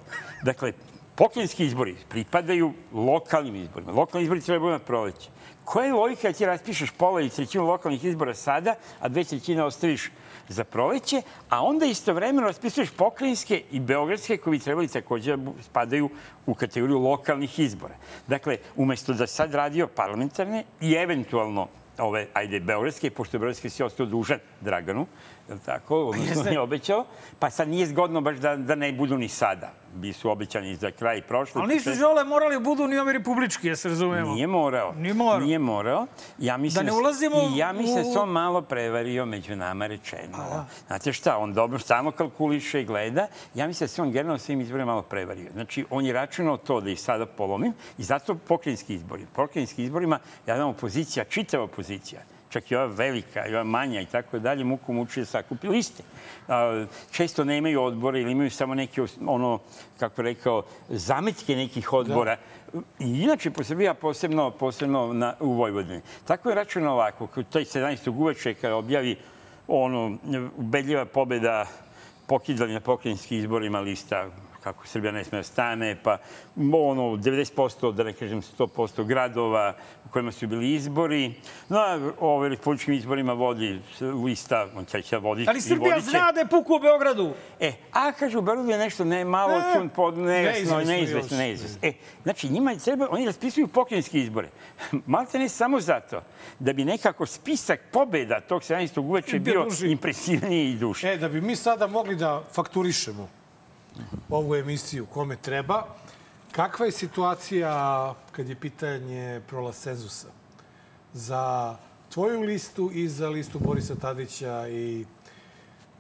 Speaker 12: Dakle, pokrajinski izbori pripadaju lokalnim izborima. Lokalni izbori treba da budu na proleće. Koja je logika da ti raspišeš pola ili trećinu lokalnih izbora sada, a dve trećine ostaviš za proleće, a onda istovremeno raspisuješ pokrajinske i beogradske koji bi trebali takođe da bu- spadaju u kategoriju lokalnih izbora. Dakle, umesto da sad radio parlamentarne i eventualno ove, ajde, beogradske, pošto beogradske si ostao dužan Draganu, je li tako? Odnosno,
Speaker 2: Pa Jeste.
Speaker 12: je obećao, pa sad nije zgodno baš da, da ne budu ni sada. Bi su obećani za kraj prošle.
Speaker 2: Ali nisu žele morali budu ni ovi republički, ja se razumemo.
Speaker 12: Nije morao.
Speaker 2: Nije morao.
Speaker 12: Nije morao. Ja mislim,
Speaker 2: Da ne ulazimo
Speaker 12: I ja mislim da se
Speaker 2: u-
Speaker 12: on malo prevario među nama rečeno. Znate šta, on dobro samo kalkuliše i gleda. Ja mislim da se on generalno svim izborima malo prevario. Znači, on je računao to da ih sada polomim i zato pokrajinski izbori. Pokrajinski izborima, ja znam, opozicija, čitava opozicija, čak i ova velika, i ova manja i tako dalje, muku muči da sakupi liste. A, Često nemaju odbore ili imaju samo neke, os- ono, kako bih rekao, zametke nekih odbora. I inače po Srbiji, a posebno, posebno na, u Vojvodini. Tako je račun ovako, kao taj 17. uveče kada objavi ono, ubedljiva pobeda pokidali na pokrajinskim izborima lista kako Srbija ne sme da stane, pa ono, 90%, da ne kažem 100% gradova u kojima su bili izbori. Na ove republičkim izborima vodi lista, on će će voditi.
Speaker 2: Ali
Speaker 12: i
Speaker 2: Srbija
Speaker 12: vodit će.
Speaker 2: zna da je puku u Beogradu.
Speaker 12: E, a kažu, u Beogradu je nešto ne, malo
Speaker 2: E,
Speaker 12: čun pod nejasno,
Speaker 2: neizvesno
Speaker 12: neizvesno,
Speaker 2: još.
Speaker 12: neizvesno. E, znači, njima je treba, oni raspisuju pokrajinske izbore. Malte ne samo zato da bi nekako spisak pobeda tog 17. uveče
Speaker 13: Bio
Speaker 12: bio
Speaker 13: duži.
Speaker 12: impresivniji i duši.
Speaker 13: E, da bi mi sada mogli da fakturišemo ovu emisiju kome treba, kakva je situacija kad je pitanje prolaz cenzusa za tvoju listu i za listu Borisa Tadića i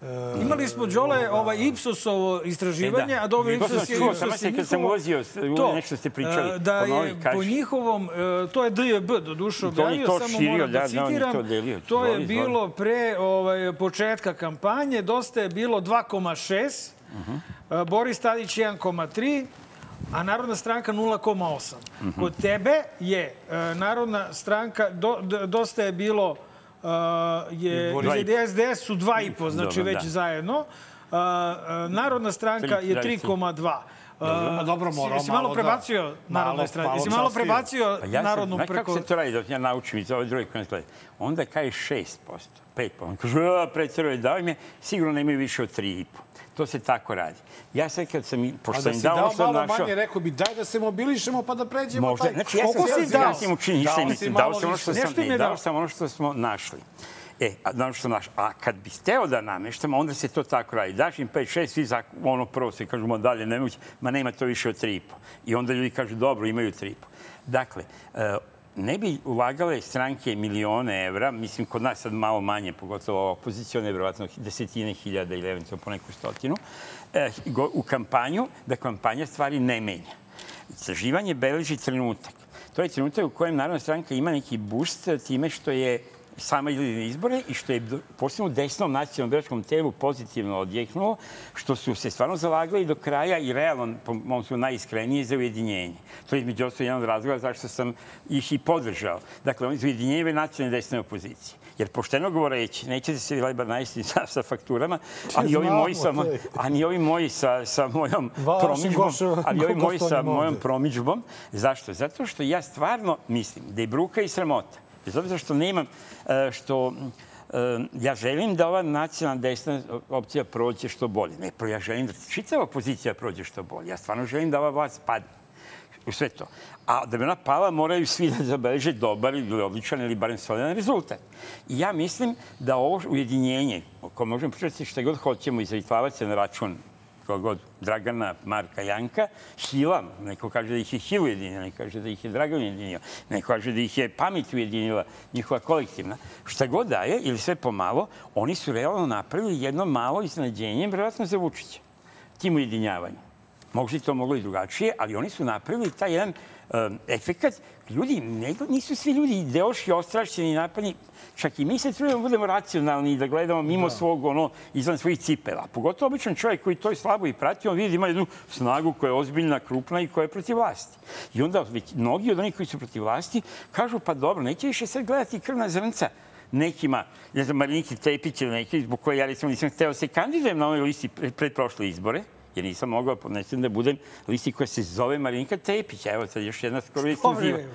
Speaker 13: e,
Speaker 2: Imali smo, Đole, ovaj Ipsosovo istraživanje,
Speaker 12: E, da.
Speaker 2: a dobro
Speaker 12: Nego sam
Speaker 2: Ipsos je
Speaker 12: čuo,
Speaker 2: Ipsos
Speaker 12: samo
Speaker 2: je
Speaker 12: se kad sam
Speaker 2: njihovo-
Speaker 12: ulazio, s- u
Speaker 2: To,
Speaker 12: nešto ste pričali.
Speaker 2: e, Da
Speaker 12: Ponovi,
Speaker 2: je po
Speaker 12: kaži.
Speaker 2: njihovom, e, to je DJB do duše
Speaker 12: To je
Speaker 2: objavio,
Speaker 12: to
Speaker 2: samo
Speaker 12: širio,
Speaker 2: moram
Speaker 12: da,
Speaker 2: da
Speaker 12: da, on je
Speaker 2: citiram.
Speaker 12: to delio.
Speaker 2: To je
Speaker 12: Izvoli, izvoli.
Speaker 2: bilo pre ovaj, početka kampanje, dosta je bilo 2,6, e, Boris Tadić 1,3, a Narodna stranka 0,8.
Speaker 12: Mhm.
Speaker 2: Kod tebe je e, Narodna stranka, do, d- dosta je bilo, e, je,
Speaker 12: Boris-
Speaker 2: je SDS su 2,5, znači
Speaker 12: Dobro,
Speaker 2: već
Speaker 12: da.
Speaker 2: zajedno. E, e, Narodna stranka je 3,2.
Speaker 1: Dobro,
Speaker 2: E,
Speaker 1: pa dobro, morao
Speaker 2: Jesi malo
Speaker 1: malo da-
Speaker 2: prebacio Narodnoj
Speaker 1: malo-
Speaker 2: strani?
Speaker 1: malo
Speaker 2: Jesi malo
Speaker 1: častio.
Speaker 2: prebacio
Speaker 12: Pa ja sam,
Speaker 2: Narodnu
Speaker 12: znaš
Speaker 2: preko...
Speaker 12: kako se to radi dok ja naučim iz ove druge koje gleda? Onda kaže 6%, 5%. On kaže, "A, preteruje, dao im je, sigurno nemaju više od 3,5. To se tako radi. Ja sad kad sam,
Speaker 13: A
Speaker 12: pošto
Speaker 13: da
Speaker 12: sam im
Speaker 13: si
Speaker 12: dao
Speaker 13: dao
Speaker 12: ono što sam
Speaker 13: malo
Speaker 12: našao,
Speaker 13: manje, rekao bi daj da se mobilišemo pa da pređemo
Speaker 12: možda,
Speaker 13: taj...
Speaker 12: znači ja sam
Speaker 13: Koliko si
Speaker 12: ja sam im učinio ništa,
Speaker 13: Dao si
Speaker 12: mislim,
Speaker 13: malo
Speaker 12: dao sam ono što
Speaker 13: više.
Speaker 12: sam,
Speaker 13: Nešto im
Speaker 12: ne,
Speaker 13: je
Speaker 12: dao
Speaker 13: dao.
Speaker 12: sam ono što smo našli. E, a da ono što sam našao. A kad bi steo da nameštam, onda se to tako radi. Daš im 5, 6, svi za ono prvo se kažu, ma dalje nemoguće, ma nema to više od 3,5. I onda ljudi kažu, dobro, imaju 3,5. Dakle, e, ne bi ulagale stranke milione evra, mislim kod nas sad malo manje, pogotovo opozicione, vjerovatno desetine hiljada ili eventualno po neku stotinu, e, go- u kampanju, da kampanja stvari ne menja. Istraživanje beleži trenutak. To je trenutak u kojem Narodna stranka ima neki boost time što je sama ili na izbore i što je do- posebno desnom nacionalnom biračkom telu pozitivno odjeknulo, što su se stvarno zalagali do kraja i realno, po mom su najiskrenije, za ujedinjenje. To je između ostalo jedan od razloga zašto sam ih i podržao. Dakle, oni su ujedinjenjeve nacionalne desne opozicije. Jer pošteno govoreći, nećete se leba najesti sa, sa fakturama, a ni ovi
Speaker 13: Znamo,
Speaker 12: moji sa,
Speaker 13: to je.
Speaker 12: a ni ovi moji sa, sa mojom
Speaker 13: Vaši
Speaker 12: promidžbom,
Speaker 13: Gošo,
Speaker 12: ali ovi
Speaker 13: koliko
Speaker 12: moji
Speaker 13: ste
Speaker 12: sa
Speaker 13: oni
Speaker 12: mojom
Speaker 13: ovde?
Speaker 12: promidžbom. Zašto? Zato što ja stvarno mislim da je bruka i sramota. Bez obzira što nemam, e, što e, ja želim da ova nacionalna desna opcija prođe što bolje. Ne, pro- ja želim da čitava opozicija prođe što bolje. Ja stvarno želim da ova vlast padne u sve to. A da bi ona pala, moraju svi da zabeleže dobar ili odličan ili barem solidan rezultat. I ja mislim da ovo ujedinjenje, o kojem možemo pričati šta god hoćemo i zavitlavati se na račun koga god, Dragana, Marka, Janka, hila, neko kaže da ih je hil ujedinio, neko kaže da ih je Dragan ujedinio, neko kaže da ih je pamet ujedinila, njihova kolektivna. Šta god da je, ili sve pomalo, oni su realno napravili jedno malo iznadženje, vjerojatno za Vučića, tim ujedinjavanjem. Možda je to moglo i drugačije, ali oni su napravili taj jedan um, efekat. Ljudi, ne, nisu svi ljudi ideoški ostrašćeni i napadni. Čak i mi se trudimo da budemo racionalni i da gledamo mimo svog, ono, izvan svojih cipela. Pogotovo običan čovjek koji to i slabo i prati, on vidi da ima jednu snagu koja je ozbiljna, krupna i koja je protiv vlasti. I onda već mnogi od onih koji su protiv vlasti kažu, pa dobro, neće više sad gledati krvna zrnca nekima, ne znam, Mariniki Tepić ili neki, zbog koje ja recimo nisam hteo da se kandidujem na ovoj listi pre, pred prošle izbore, jer nisam mogao podnesem da budem listi koja se zove Marinika Tepić. Evo sad još jedna skoro ekskluziva.
Speaker 2: bre?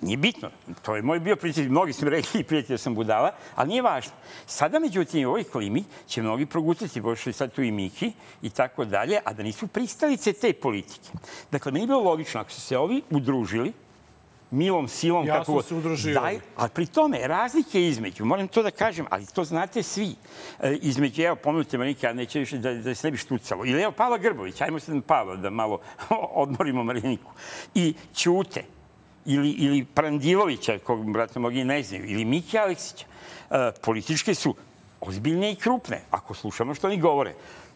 Speaker 12: Nije bitno. To je moj bio princip. Mnogi su mi rekli i prijatelji da sam budala, ali nije važno. Sada, međutim, u ovoj klimi će mnogi progutati, pošto je sad tu i Miki i tako dalje, a da nisu pristalice te politike. Dakle, meni je bilo logično, ako su se ovi udružili, milom, silom,
Speaker 13: Jasno
Speaker 12: kako god.
Speaker 13: se udružio.
Speaker 12: Daj, a pri tome, razlike između, moram to da kažem, ali to znate svi, e, između, evo, pomenute Marinike, a neće više da, da se ne bi štucalo, ili evo, Pavla Grbović, ajmo se na Pavla da malo odmorimo Mariniku, i Ćute, ili, ili Prandilovića, kog, brate, mnogi ne znaju, ili Miki Aleksića, e, političke su ozbiljne i krupne, ako slušamo što oni govore.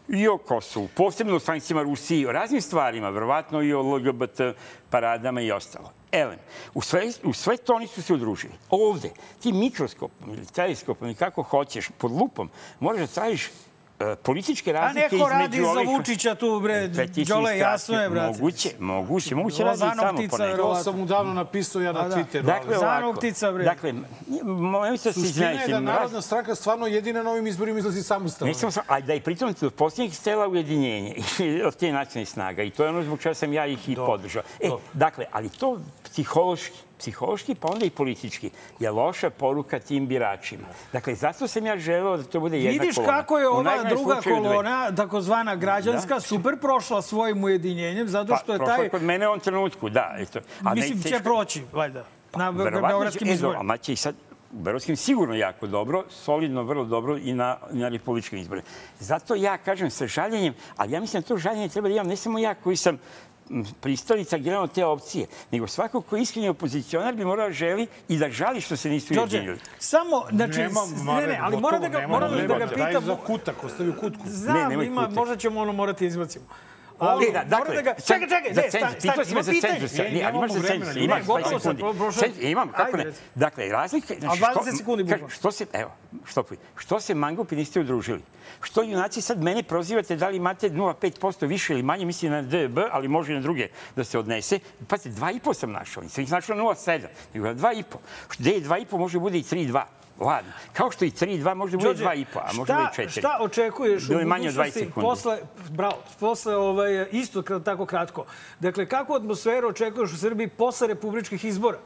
Speaker 12: I o Kosovu, posebno o sankcijama Rusiji, o raznim stvarima, verovatno i o LGBT paradama i ostalo. Elem, u sve, u sve to oni su se udružili. Ovde, ti mikroskopom ili teleskopom ili kako hoćeš, pod lupom, moraš da tražiš e, političke
Speaker 2: A
Speaker 12: razlike između
Speaker 2: neko radi za
Speaker 12: ovih-
Speaker 2: Vučića tu, bre,
Speaker 12: Sve ti si
Speaker 2: Đole,
Speaker 12: strašno.
Speaker 2: jasno je, brate.
Speaker 12: Moguće, moguće, moguće
Speaker 2: Ovo
Speaker 12: radi i
Speaker 2: zanog
Speaker 12: tamo
Speaker 2: ptica,
Speaker 12: ponekad.
Speaker 2: verovatno.
Speaker 13: To sam mu davno napisao ja na
Speaker 2: A da.
Speaker 13: Twitteru.
Speaker 12: Dakle,
Speaker 13: ali-
Speaker 2: Zanog
Speaker 12: ovako.
Speaker 2: ptica, bre.
Speaker 12: Dakle, mojem se da se
Speaker 13: Suština je
Speaker 12: iznenađete.
Speaker 13: da Narodna stranka stvarno jedina na ovim izborima izlazi samostalno.
Speaker 12: Nisam sam, a da je pritom od posljednjih stela ujedinjenje i od te nacionalne snaga. I to je ono zbog čega sam ja ih i podržao. E, dakle, ali to psihološki, psihološki pa onda i politički je loša poruka tim biračima. Dakle, zato sam ja želeo da to bude jedna
Speaker 2: Vidiš
Speaker 12: kolona.
Speaker 2: kako je
Speaker 12: U
Speaker 2: ova
Speaker 12: najmanjem
Speaker 2: druga
Speaker 12: slučaju dve.
Speaker 2: kolona, takozvana građanska, super prošla svojim ujedinjenjem, zato
Speaker 12: Pa,
Speaker 2: što je
Speaker 12: prošla
Speaker 2: taj...
Speaker 12: kod mene u ovom trenutku, da. Eto. A
Speaker 2: Mislim, će
Speaker 12: teško-
Speaker 2: proći, valjda, na be-
Speaker 12: Verovatno
Speaker 2: beogradskim
Speaker 12: će- e,
Speaker 2: izborima.
Speaker 12: dobro, A će i sad u Beogradskim sigurno jako dobro, solidno, vrlo dobro i na, i na republičkim izborima. Zato ja kažem sa žaljenjem, ali ja mislim da to žaljenje treba da imam ne samo ja koji sam pristalica generalno te opcije, nego svako ko je iskreni opozicionar bi morao želi i da žali što se nisu
Speaker 2: Đorđe,
Speaker 12: ujedinili.
Speaker 2: samo, znači,
Speaker 1: Nemam,
Speaker 2: s- ne,
Speaker 1: Mare,
Speaker 2: ne, ali
Speaker 1: gotovo,
Speaker 2: moram da ga,
Speaker 1: nemam,
Speaker 2: moram da
Speaker 1: nemam.
Speaker 2: ga
Speaker 1: Daj
Speaker 2: pitam.
Speaker 1: za kutak, ostavi u kutku.
Speaker 2: Znam,
Speaker 12: Ne, nemoj
Speaker 2: ima,
Speaker 12: kutak.
Speaker 2: možda ćemo ono morati da izbacimo.
Speaker 12: Ali,
Speaker 2: Ali,
Speaker 12: da,
Speaker 2: moram
Speaker 12: dakle,
Speaker 2: da ga...
Speaker 12: sad-
Speaker 2: Čekaj, čekaj,
Speaker 12: za
Speaker 2: ne,
Speaker 12: cenzus.
Speaker 2: stani,
Speaker 12: Pitao
Speaker 2: stani,
Speaker 12: si
Speaker 2: ima
Speaker 12: me za
Speaker 2: pitanje.
Speaker 12: cenzus, sad,
Speaker 1: E,
Speaker 12: ne, ali
Speaker 1: nemamo
Speaker 12: imaš za
Speaker 1: vremena,
Speaker 12: cenzus,
Speaker 1: ljudi,
Speaker 12: imaš
Speaker 2: gotovo
Speaker 12: 20
Speaker 2: sam,
Speaker 12: sekundi.
Speaker 2: pro- prošlo-
Speaker 12: Cenzus, imam, kako
Speaker 2: Ajde,
Speaker 12: ne.
Speaker 2: reci.
Speaker 12: Dakle, razlika... znači,
Speaker 2: A 20
Speaker 12: što-
Speaker 2: sekundi,
Speaker 12: kaže,
Speaker 2: bukvalno.
Speaker 12: Što se, evo, štopuj. Što se mangupi niste udružili? Što junaci sad mene prozivate da li imate 0,5% više ili manje, mislim na DB, ali može i na druge da se odnese. Pazite, 2,5 sam našao, nisam ih našao na 0,7, nego na 2,5. Gde je 2,5 može da bude i 3,2. Ladno. Kao što i 3,2 može da bude
Speaker 2: Đorđe,
Speaker 12: 2,5, a može da
Speaker 2: šta,
Speaker 12: bude i 4.
Speaker 2: Šta očekuješ
Speaker 12: Bilo
Speaker 2: u
Speaker 12: je manje od 20
Speaker 2: budućnosti
Speaker 12: sekundi.
Speaker 2: posle, bravo, posle ovaj, isto krat- tako kratko. Dakle, kakvu atmosferu očekuješ u Srbiji posle republičkih izbora?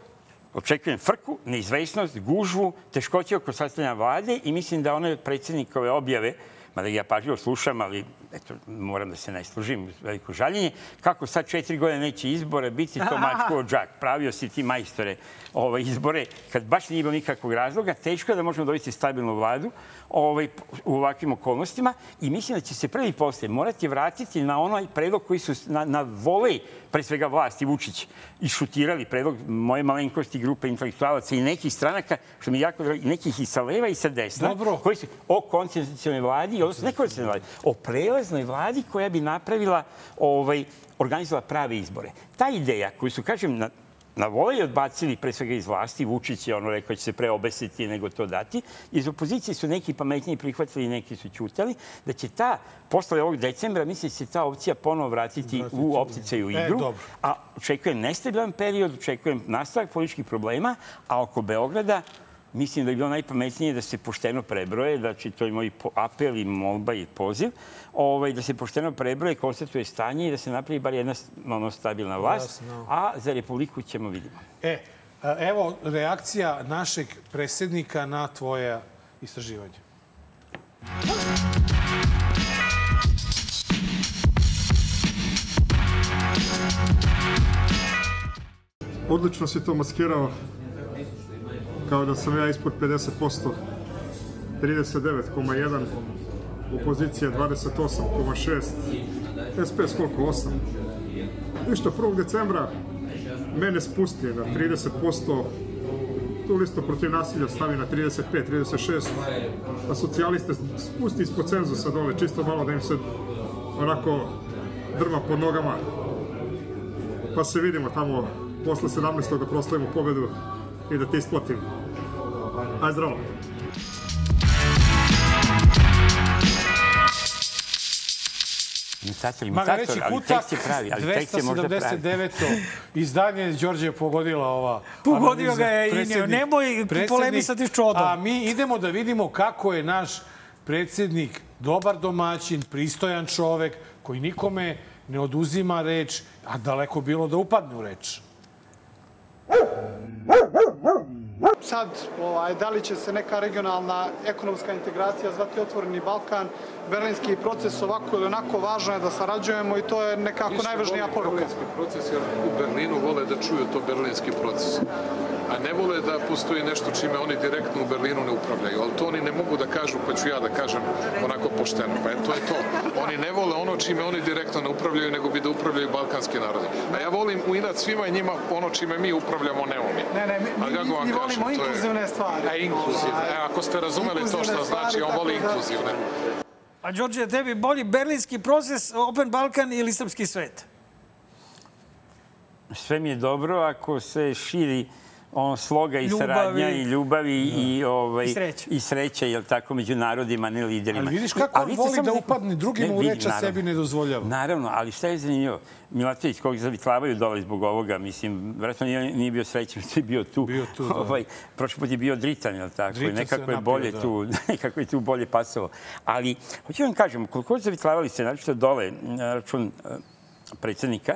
Speaker 12: Očekujem frku, neizvesnost, gužvu, teškoće oko sastavljanja vlade i mislim da one predsjednikove objave, mada ja pažljivo slušam, ali eto, moram da se ne služim, uz veliko žaljenje, kako sad četiri godine neće izbora biti, to mačko od džak. Pravio si ti majstore ove izbore, kad baš nije bilo nikakvog razloga, teško je da možemo dobiti stabilnu vladu ovaj, u ovakvim okolnostima i mislim da će se prvi posle morati vratiti na onaj predlog koji su na, na volej, pre svega vlasti Vučić, išutirali predlog moje malenkosti grupe intelektualaca i nekih stranaka, što mi je jako drago, i nekih i sa leva i sa desna,
Speaker 1: Dobro.
Speaker 12: koji su o koncentracijalnoj vladi, odnosno ne koncentracijalnoj vladi, o prelaznoj vladi koja bi napravila, ovaj, organizovala prave izbore. Ta ideja koju su, kažem, na, na volej odbacili pre svega iz vlasti, Vučić je ono rekao da će se pre obesiti nego to dati, iz opozicije su neki pametniji prihvatili, neki su ćutali, da će ta, posle ovog decembra, mislim da će se ta opcija ponovo vratiti u opticaju
Speaker 1: E,
Speaker 12: igru.
Speaker 1: dobro.
Speaker 12: A očekujem nestabilan period, očekujem nastavak političkih problema, a oko Beograda mislim da je bilo najpametnije da se pošteno prebroje, znači to je moj po- apel i molba i poziv, ovaj, da se pošteno prebroje, konstatuje stanje i da se napravi bar jedna s- ono, stabilna vlast, a za Republiku ćemo vidimo.
Speaker 1: E, a, evo reakcija našeg predsjednika na tvoje istraživanje.
Speaker 14: Odlično si to maskirao. Kao da sam ja ispod 50%. 39,1. Opozicija 28,6. SPS koliko? 8. Ništa, 1. decembra mene spusti na 30%. Tu listu protiv nasilja stavi na 35-36, a socijaliste spusti ispod cenzusa dole, čisto malo da im se onako drma pod nogama. Pa se vidimo tamo posle 17. da proslavimo pobedu i da te isplatim. Aj zdravo!
Speaker 12: Imitator, imitator,
Speaker 1: Magareći
Speaker 12: ali
Speaker 1: Kutak,
Speaker 12: tekst je pravi, ali tekst je možda pravi.
Speaker 1: 279. izdanje Đorđe je pogodila ova
Speaker 2: Pogodio
Speaker 1: analiza.
Speaker 2: ga je i
Speaker 1: Predsjednik-
Speaker 2: ne- nemoj
Speaker 1: predsjednik-
Speaker 2: polemisati s čodom.
Speaker 1: A mi idemo da vidimo kako je naš predsjednik dobar domaćin, pristojan čovek koji nikome ne oduzima reč, a daleko bilo da upadne u reč.
Speaker 15: Sad, ovaj, da li će se neka regionalna ekonomska integracija zvati Otvoreni Balkan, berlinski proces ovako ili onako, važno je da sarađujemo i to je nekako
Speaker 6: Više
Speaker 15: najvažnija
Speaker 6: vole
Speaker 15: poruka.
Speaker 6: Berlinski proces, jer u Berlinu vole da čuju to berlinski proces. A ne vole da postoji nešto čime oni direktno u Berlinu ne upravljaju. Ali to oni ne mogu da kažu, pa ću ja da kažem onako pošteno. Pa eto je to. Oni ne vole ono čime oni direktno ne upravljaju, nego bi da upravljaju balkanski narodi. A ja volim u inat svima i njima ono čime mi upravljamo, ne oni.
Speaker 15: Ne, ne, mi,
Speaker 6: A
Speaker 15: mi,
Speaker 6: kako vam
Speaker 15: mi
Speaker 6: kažem,
Speaker 15: volimo
Speaker 6: to je-
Speaker 15: inkluzivne stvari.
Speaker 6: A inkluzivne. E, ako ste razumeli to
Speaker 15: Inkluzivne
Speaker 6: što znači, on
Speaker 15: stvari,
Speaker 6: voli
Speaker 15: tako da-
Speaker 6: inkluzivne.
Speaker 2: A Đorđe, tebi bolji berlinski proces, Open Balkan ili srpski svet?
Speaker 12: sve mi je dobro ako se širi on sloga i
Speaker 2: Ljubavi.
Speaker 12: saradnja i ljubavi i, ovaj,
Speaker 2: I sreće.
Speaker 12: i sreće, jel tako, među narodima, ne liderima.
Speaker 1: Ali vidiš kako on
Speaker 12: vi ste
Speaker 1: voli
Speaker 12: samo
Speaker 1: da
Speaker 12: neko-
Speaker 1: upadne drugima u
Speaker 12: vidi,
Speaker 1: reč, a
Speaker 12: naravno.
Speaker 1: sebi ne dozvoljava.
Speaker 12: Naravno, ali šta je zanimljivo? Milatović, kog zavitlavaju dole zbog ovoga, mislim, vratno nije, nije bio srećan što je bio tu. Bio
Speaker 1: tu, da.
Speaker 12: Ovaj, prošli put je bio dritan, jel tako?
Speaker 1: Dritan se
Speaker 12: nekako je
Speaker 1: napio,
Speaker 12: bolje
Speaker 1: da.
Speaker 12: tu nekako je tu bolje pasalo. Ali, hoću vam kažem, koliko god zavitlavali se, naročito dole, na račun e, predsjednika,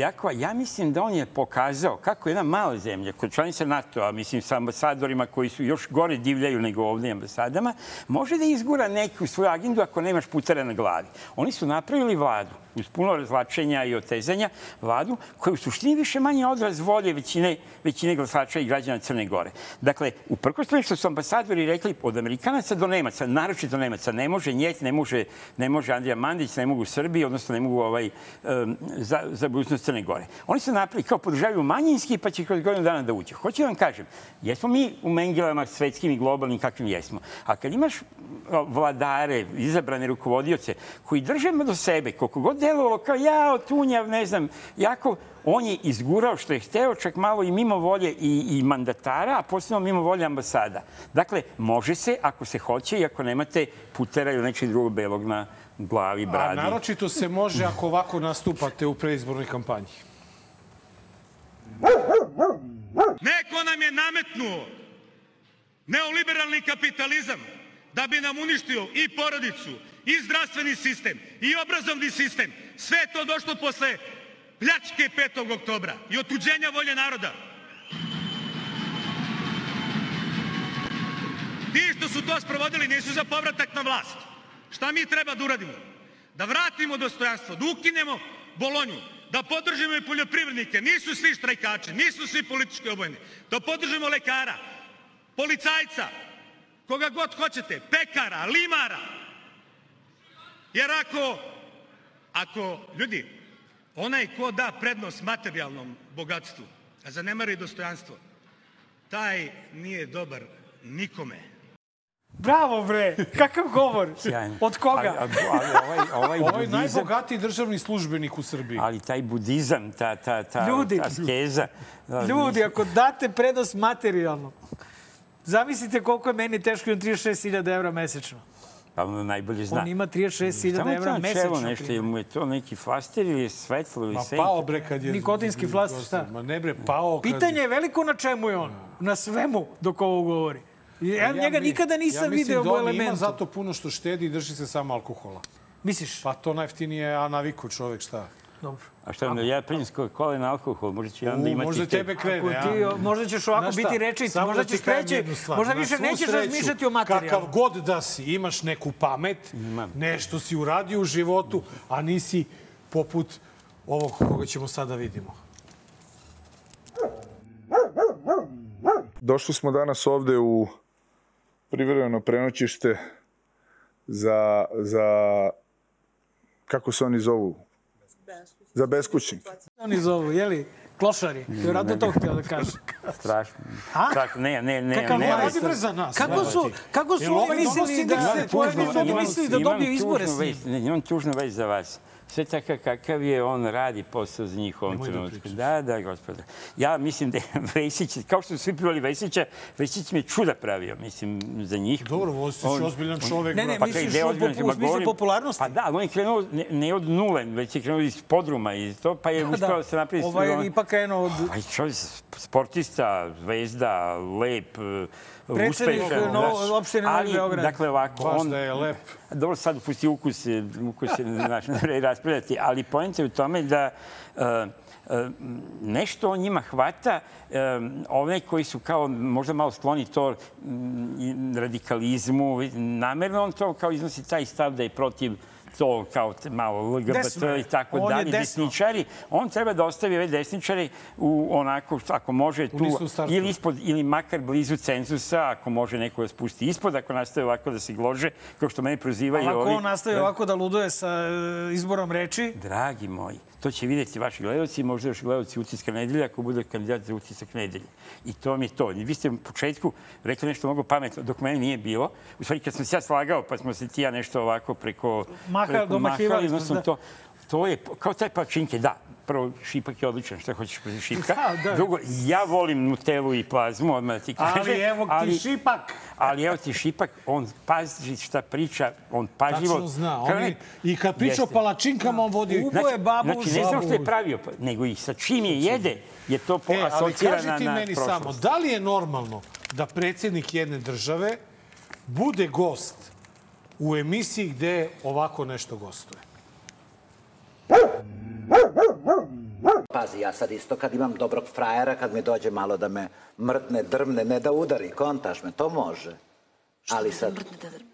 Speaker 12: Ljakova, ja mislim da on je pokazao kako jedna mala zemlja, kod članica NATO-a, mislim sa ambasadorima koji su još gore divljaju nego ovdje ambasadama, može da izgura neku svoju agendu ako nemaš putera na glavi. Oni su napravili vladu uz puno razlačenja i otezanja vladu, koja je u suštini više manje odraz volje većine, većine glasača i građana Crne Gore. Dakle, uprkos tome što su ambasadori rekli od Amerikanaca do Nemaca, naročito Nemaca, ne može Njet, ne može, ne može Andrija Mandić, ne mogu Srbi, odnosno ne mogu ovaj, em, za, za budućnost Crne Gore. Oni su napravili kao podržavaju manjinski, pa će kroz godinu dana da uđe. Hoću da vam kažem, jesmo mi u mengelama svetskim i globalnim kakvim jesmo, a kad imaš o, vladare, izabrane rukovodioce, koji držemo do sebe, koliko god delovalo kao ja, otunjav, ne znam, jako, on je izgurao što je hteo, čak malo i mimo volje i, i mandatara, a posebno mimo volje ambasada. Dakle, može se ako se hoće i ako nemate putera ili nečeg drugog belog na glavi,
Speaker 1: A
Speaker 12: bradi.
Speaker 1: naročito se može ako ovako nastupate u preizbornoj kampanji.
Speaker 16: Neko nam je nametnuo neoliberalni kapitalizam da bi nam uništio i porodicu, i zdravstveni sistem, i obrazovni sistem. Sve je to došlo posle pljačke 5. oktobra i otuđenja volje naroda. Ti što su to sprovodili nisu za povratak na vlast. Šta mi treba da uradimo? Da vratimo dostojanstvo, da ukinemo Bolonju, da podržimo i poljoprivrednike, nisu svi štrajkači, nisu svi politički obojeni, da podržimo lekara, policajca, koga god hoćete, pekara, limara. Jer ako, ako, ljudi, onaj ko da prednost materijalnom bogatstvu, a zanemari dostojanstvo, taj nije dobar nikome.
Speaker 2: Bravo, bre! Kakav govor!
Speaker 12: Sjajno.
Speaker 2: Od koga?
Speaker 12: Ali, ali, ali ovaj, ovaj,
Speaker 1: Ovo je
Speaker 12: budizam-
Speaker 1: najbogatiji državni službenik u Srbiji.
Speaker 12: Ali taj budizam, ta, ta, ta
Speaker 2: Ljudi.
Speaker 12: askeza... da,
Speaker 2: Ljudi, ako date prednost materijalno, zamislite koliko je meni teško, imam 36.000 evra mesečno.
Speaker 12: Pa on najbolje zna.
Speaker 2: On ima 36.000 evra
Speaker 12: Samo
Speaker 2: mesečno.
Speaker 12: to nešto, je mu je to neki flaster ili je svetlo ili
Speaker 1: Ma
Speaker 12: senka.
Speaker 1: pao bre kad je...
Speaker 2: Nikotinski flaster, šta?
Speaker 1: Ma ne bre, pao kad...
Speaker 2: Pitanje je veliko na čemu je on. Na svemu dok ovo govori. Ja, njega
Speaker 1: mi-
Speaker 2: nikada nisam
Speaker 1: ja mislim
Speaker 2: video
Speaker 1: da
Speaker 2: u
Speaker 1: on Ima
Speaker 2: elementu.
Speaker 1: zato puno što štedi i drži se samo alkohola.
Speaker 2: Misliš?
Speaker 1: Pa to najftinije, a naviku čovek šta?
Speaker 2: Dobro.
Speaker 12: A šta onda, ja prinsko kole na alkohol, možda će onda
Speaker 1: U,
Speaker 12: imati...
Speaker 1: možda
Speaker 12: te-
Speaker 1: tebe krene,
Speaker 2: Ako ti,
Speaker 1: a?
Speaker 2: o, možda ćeš ovako
Speaker 1: Znaš šta,
Speaker 2: biti rečit,
Speaker 1: samo
Speaker 2: možda
Speaker 1: da ti
Speaker 2: ćeš
Speaker 1: kažem
Speaker 2: preći,
Speaker 1: jednu stvar.
Speaker 2: možda
Speaker 1: Na
Speaker 2: više
Speaker 1: svu
Speaker 2: nećeš
Speaker 1: sreću,
Speaker 2: razmišljati o materijalu.
Speaker 1: Kakav god da si, imaš neku pamet, nešto si uradio u životu, a nisi poput ovog koga ćemo sada vidimo.
Speaker 17: Došli smo danas ovde u privremeno prenoćište za, za kako se oni zovu? Za beskućnike.
Speaker 2: Oni zovu, jeli? Klošari. Vjerojatno to htio da kaže.
Speaker 12: Strašno.
Speaker 2: A?
Speaker 12: Strašno, ne, ne, ne.
Speaker 2: Kakav
Speaker 12: ne,
Speaker 2: vlada
Speaker 12: ne,
Speaker 2: si bre za nas, Kako su- brate? kako su
Speaker 12: Jel
Speaker 2: oni
Speaker 12: ovaj
Speaker 2: mislili
Speaker 12: donosi
Speaker 2: da
Speaker 12: neki
Speaker 2: se- koji
Speaker 12: tužnu
Speaker 2: su oni
Speaker 12: vest?
Speaker 2: mislili da
Speaker 12: Imam
Speaker 2: dobiju izbore
Speaker 12: tužnu
Speaker 2: s njim?
Speaker 12: vest, Ne, imam tužnu vest za vas. Sve takav kakav je, on radi posao za njih u ovom trenutku. Da, da, gospoda. Ja mislim da je Vesić, kao što su svi pljuvali Vesića, Vesić mi je čuda pravio, mislim, za njih. Pa Dobro,
Speaker 1: Vosić je ozbiljan čovek,
Speaker 2: Ne, ne,
Speaker 12: Pa
Speaker 2: misliš u popu- u smislu
Speaker 12: popularnosti? Pa da, ali on je krenuo ne, ne od nule, već je krenuo iz podruma i to, pa je
Speaker 2: Da,
Speaker 12: uspeo
Speaker 2: da.
Speaker 12: da se napravi... ono-
Speaker 2: Ovaj je ipak krenuo od...
Speaker 12: Ovaj čovjek sportista, zvezda, lep, e,
Speaker 2: Predsednik,
Speaker 12: uspešan.
Speaker 2: no,
Speaker 12: znaš.
Speaker 2: opštine Novi
Speaker 12: Ali,
Speaker 2: Beograd.
Speaker 12: Dakle, ovako,
Speaker 2: Baš
Speaker 12: on...
Speaker 2: da je
Speaker 1: lep.
Speaker 12: Dobro, sad pusti ukus, e, ukus se znaš, ne vredi raspravljati, ali pojenta je u tome da e, e, nešto on njima hvata, e, one koji su kao možda malo skloni to m, i radikalizmu, namerno on to kao iznosi taj stav da je protiv to kao te- malo LGBT
Speaker 2: Desno je.
Speaker 12: i tako
Speaker 2: On je
Speaker 12: dalje,
Speaker 2: desno.
Speaker 12: desničari, on treba da ostavi ove desničare u onako, što- ako može,
Speaker 1: nisu
Speaker 12: tu,
Speaker 1: u startu.
Speaker 12: ili ispod, ili makar blizu cenzusa, ako može neko da spusti ispod, ako nastaje ovako da se glože, kao što mene prozivaju
Speaker 2: Ali ako
Speaker 12: Pa, ovi.
Speaker 2: on nastavi
Speaker 12: Da.
Speaker 2: ovako da luduje sa e, izborom reči,
Speaker 12: Dragi moji, to će vidjeti vaši gledalci, možda još gledalci utiska nedelja ako bude kandidat za utisak nedelje. I to mi je to. Vi ste u početku rekli nešto mnogo pametno, dok meni nije bilo. U stvari, kad sam se ja slagao, pa smo se ti i ja nešto ovako preko...
Speaker 2: Maha-
Speaker 12: preko
Speaker 2: domahivali smo,
Speaker 12: odnosno
Speaker 2: da.
Speaker 12: to, to je kao taj pačinke, da. Prvo, šipak je odličan, šta hoćeš protiv šipka.
Speaker 2: Da, da.
Speaker 12: Drugo, ja volim nutelu i plazmu, odmah da ti kažem.
Speaker 1: Ali evo ti šipak.
Speaker 12: Ali evo ti šipak, on pazi šta priča, on pažljivo...
Speaker 1: Tačno zna.
Speaker 12: Kao
Speaker 1: On je,
Speaker 12: ne-
Speaker 1: I kad priča o
Speaker 12: Jeste.
Speaker 1: palačinkama, on vodi...
Speaker 12: Znači, ne znam što je pravio, pa- nego i sa čim je jede, je to po,
Speaker 1: Znači, E, ali
Speaker 12: asocira
Speaker 1: kaži
Speaker 12: na,
Speaker 1: ti
Speaker 12: na
Speaker 1: meni
Speaker 12: prošlost.
Speaker 1: samo, da li je normalno da predsjednik jedne države bude gost u emisiji gde ovako nešto gostuje?
Speaker 18: Pazi, ja sad isto kad imam dobrog frajera, kad mi dođe malo da me mrtne, drmne, ne da udari, kontaš me, to može. Ali sad...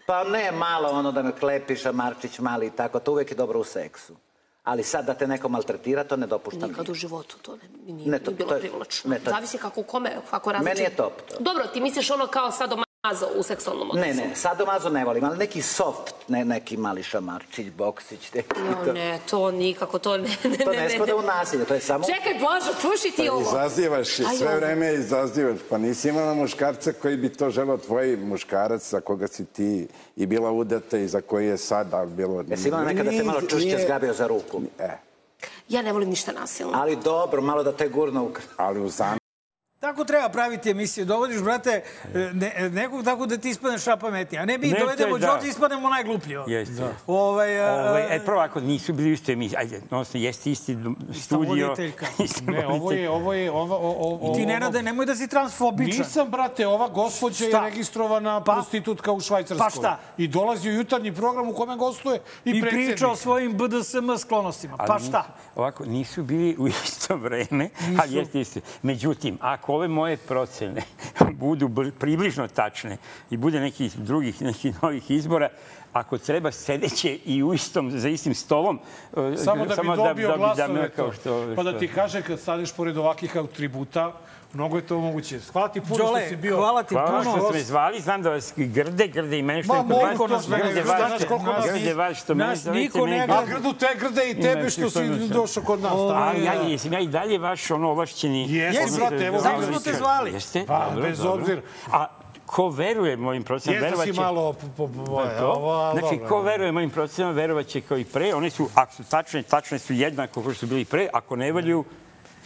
Speaker 18: Pa ne, malo ono da me klepi šamarčić mali i tako, to uvek je dobro u seksu. Ali sad da te neko maltretira, to ne dopuštam.
Speaker 19: Nikad u životu to ne, nije,
Speaker 18: Ne, to-
Speaker 19: nije bilo
Speaker 18: to je-
Speaker 19: privlačno.
Speaker 18: ne, to-
Speaker 19: Zavisi kako kome, kako različit.
Speaker 18: Meni je top to.
Speaker 19: Dobro, ti misliš ono kao sadomazo u seksualnom odnosu.
Speaker 18: Ne, ne, sadomazo ne volim, ali neki soft, ne, neki mali šamarčić, boksić, neki
Speaker 19: Jo,
Speaker 18: to.
Speaker 19: ne, to nikako, to ne, ne,
Speaker 18: To ne spada u nasilje, to je samo...
Speaker 19: Čekaj, Božo, slušaj ti ovo.
Speaker 20: Izazivaš i
Speaker 19: Aj,
Speaker 20: sve
Speaker 19: ovo.
Speaker 20: vreme izazivaš. Pa nisi imala muškarca koji bi to želao tvoj muškarac za koga si ti i bila udata i za koji je sada bilo...
Speaker 18: Jesi imala nekada te malo čušće zgabio za ruku?
Speaker 20: E,
Speaker 19: Ja ne volim ništa nasilno.
Speaker 18: Ali dobro, malo da te gurno ukr...
Speaker 20: ali u zam...
Speaker 2: Tako treba praviti emisije. Dovodiš, brate, e, ne, nekog tako da ti ispadneš šta pametnije. A ne mi
Speaker 12: Ne, to je
Speaker 2: dovedemo
Speaker 12: da.
Speaker 2: Đođe i ispadnemo najgluplji. ono.
Speaker 12: Jeste.
Speaker 2: Ovaj, a-
Speaker 12: Ovaj, e, prvo ako nisu bili u istoj emisiji, ajde, odnosno jeste isti dom- studio.
Speaker 2: voditeljka.
Speaker 12: Ista
Speaker 1: Ne, ovo je, ovo je, ovo, ovo, ovo,
Speaker 2: I ti, Nenade, nemoj da si transfobičan.
Speaker 1: Nisam, brate, ova gospođa
Speaker 2: Šta?
Speaker 1: je registrovana prostitutka u Švajcarskoj.
Speaker 2: Pa šta?
Speaker 1: I dolazi u jutarnji program u kome gostuje i,
Speaker 2: I
Speaker 1: predsjednik.
Speaker 2: priča o svojim BDSM sklonostima. Pa
Speaker 12: Ali
Speaker 2: šta?
Speaker 12: nisu- Ovako, nisu bili u isto vreme, ali
Speaker 2: Nisu.
Speaker 12: jeste isto. Međutim, ako ove moje procene budu bl- približno tačne i bude nekih drugih, nekih novih izbora, ako treba sedeće i u istom, za istim stolom, e,
Speaker 1: Samo da bi dobio
Speaker 12: da
Speaker 1: glasove.
Speaker 12: me kao
Speaker 1: to.
Speaker 12: što-
Speaker 1: pa da
Speaker 12: što-
Speaker 1: ti kaže kad staneš pored ovakvih atributa, mnogo je to moguće. Hvala ti puno
Speaker 2: Đole,
Speaker 1: što si bio.
Speaker 2: hvala ti
Speaker 12: Hvala što ste me
Speaker 1: Gost.
Speaker 12: zvali, znam da vas grde, grde i mene što
Speaker 1: Ma,
Speaker 12: je kod
Speaker 1: molim
Speaker 12: vas,
Speaker 1: te, nas
Speaker 12: grde
Speaker 1: ne
Speaker 12: vas,
Speaker 1: znaš koliko nas-
Speaker 12: grde vas što mene
Speaker 1: nas
Speaker 12: zovete,
Speaker 1: niko
Speaker 12: mene
Speaker 1: ne
Speaker 12: grde.
Speaker 1: gleda. A grdu te, grde i
Speaker 12: Ima
Speaker 1: tebe
Speaker 12: još
Speaker 1: što si
Speaker 12: nešto.
Speaker 1: došao kod nas, tako
Speaker 12: Ali ja,
Speaker 1: je, da.
Speaker 12: jesam ja i dalje vaš ono ovlašćeni...
Speaker 1: Jesi,
Speaker 12: Ono-
Speaker 1: brate, evo,
Speaker 12: Zato
Speaker 1: videli ste.
Speaker 12: Jeste?
Speaker 1: Pa,
Speaker 12: Dobro,
Speaker 1: bez
Speaker 12: dobro.
Speaker 1: obzira.
Speaker 12: A ko veruje mojim procenama,
Speaker 1: Jeste
Speaker 12: verovat
Speaker 1: si
Speaker 12: će...
Speaker 1: malo... po- po- po-
Speaker 12: Pa to.
Speaker 1: ovo, ali
Speaker 12: Znači,
Speaker 1: dobro.
Speaker 12: ko veruje mojim procenama, verovat će kao i pre. One su, ako su tačne, tačne su jednako kao što su bili pre. Ako ne valju,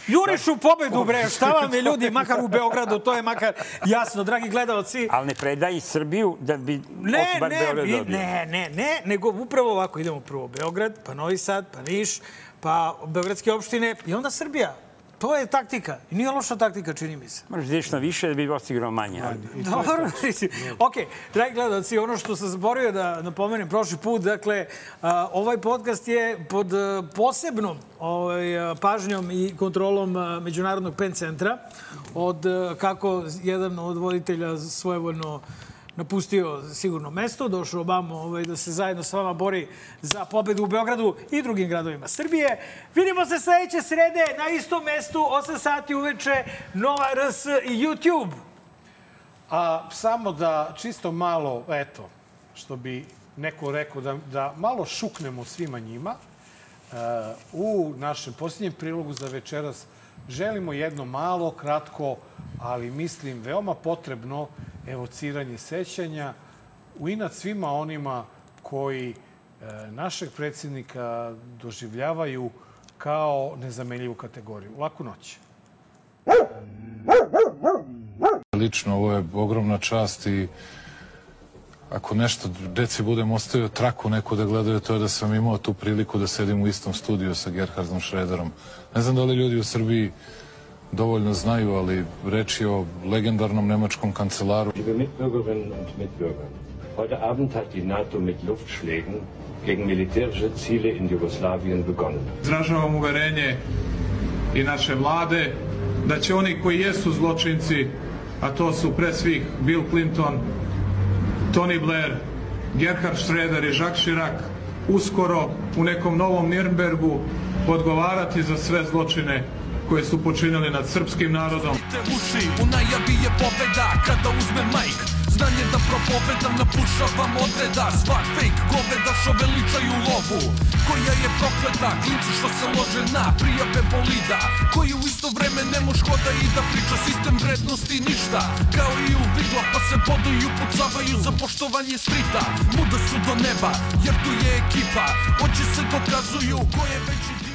Speaker 2: Juriš u pobedu, bre, šta vam je ljudi, makar u Beogradu, to je makar jasno, dragi gledalci.
Speaker 12: ali ne predaj Srbiju da bi
Speaker 2: Ne,
Speaker 12: bar
Speaker 2: ne,
Speaker 12: Beograd
Speaker 2: vi-
Speaker 12: dobio.
Speaker 2: ne, ne, ne, nego upravo ovako idemo prvo Beograd, pa Novi Sad, pa Niš, pa Beogradske opštine i onda Srbija. To je taktika. I nije loša taktika, čini mi se.
Speaker 12: Moraš da ideš na više da bi osigurao manje.
Speaker 2: Dobro, mislim, ok, dragi gledalci, ono što sam zaboravio da napomenem prošli put, dakle, a, ovaj podcast je pod a, posebnom ovaj, a, pažnjom i kontrolom a, Međunarodnog PEN centra, od a, kako jedan od voditelja svojevoljno napustio sigurno mesto, došao obamo ovaj, da se zajedno s vama bori za pobedu u Beogradu i drugim gradovima Srbije. Vidimo se sledeće srede na istom mestu, 8 sati uveče, Nova RS i YouTube.
Speaker 1: A samo da čisto malo, eto, što bi neko rekao, da, da malo šuknemo svima njima. E, u našem posljednjem prilogu za večeras želimo jedno malo, kratko, ali mislim veoma potrebno evociranje sećanja u inat svima onima koji e, našeg predsjednika doživljavaju kao nezamenljivu kategoriju. Laku noć.
Speaker 21: Lično, ovo je ogromna čast i ako nešto deci budem ostavio traku neku da gledaju, to je da sam imao tu priliku da sedim u istom studiju sa Gerhardom Šrederom. Ne znam da li ljudi u Srbiji dovoljno znaju, ali reč je o legendarnom nemačkom kancelaru.
Speaker 22: Liebe Mitbürgerinnen und Mitbürger, heute Abend hat die NATO mit Luftschlägen gegen militärische Ziele in Jugoslawien begonnen.
Speaker 4: Izražavam uverenje i naše vlade da će oni koji jesu zločinci, a to su pre svih Bill Clinton, Tony Blair, Gerhard Schroeder i Jacques Chirac, uskoro u nekom novom Nirnbergu odgovarati za sve zločine koje su počinili nad srpskim narodom.
Speaker 23: te uši U najavi je pobeda kada uzme majk Znanje da propovedam, napušavam odreda Svak fake goveda što veličaju lovu Koja je prokleta, klinci što se lože na prijave bolida Koji u isto vreme ne moš hoda i da priča Sistem vrednosti ništa, kao i u vidla Pa se boduju, pucavaju za poštovanje strita Muda su do neba, jer tu je ekipa Oči se dokazuju, ko je veći dio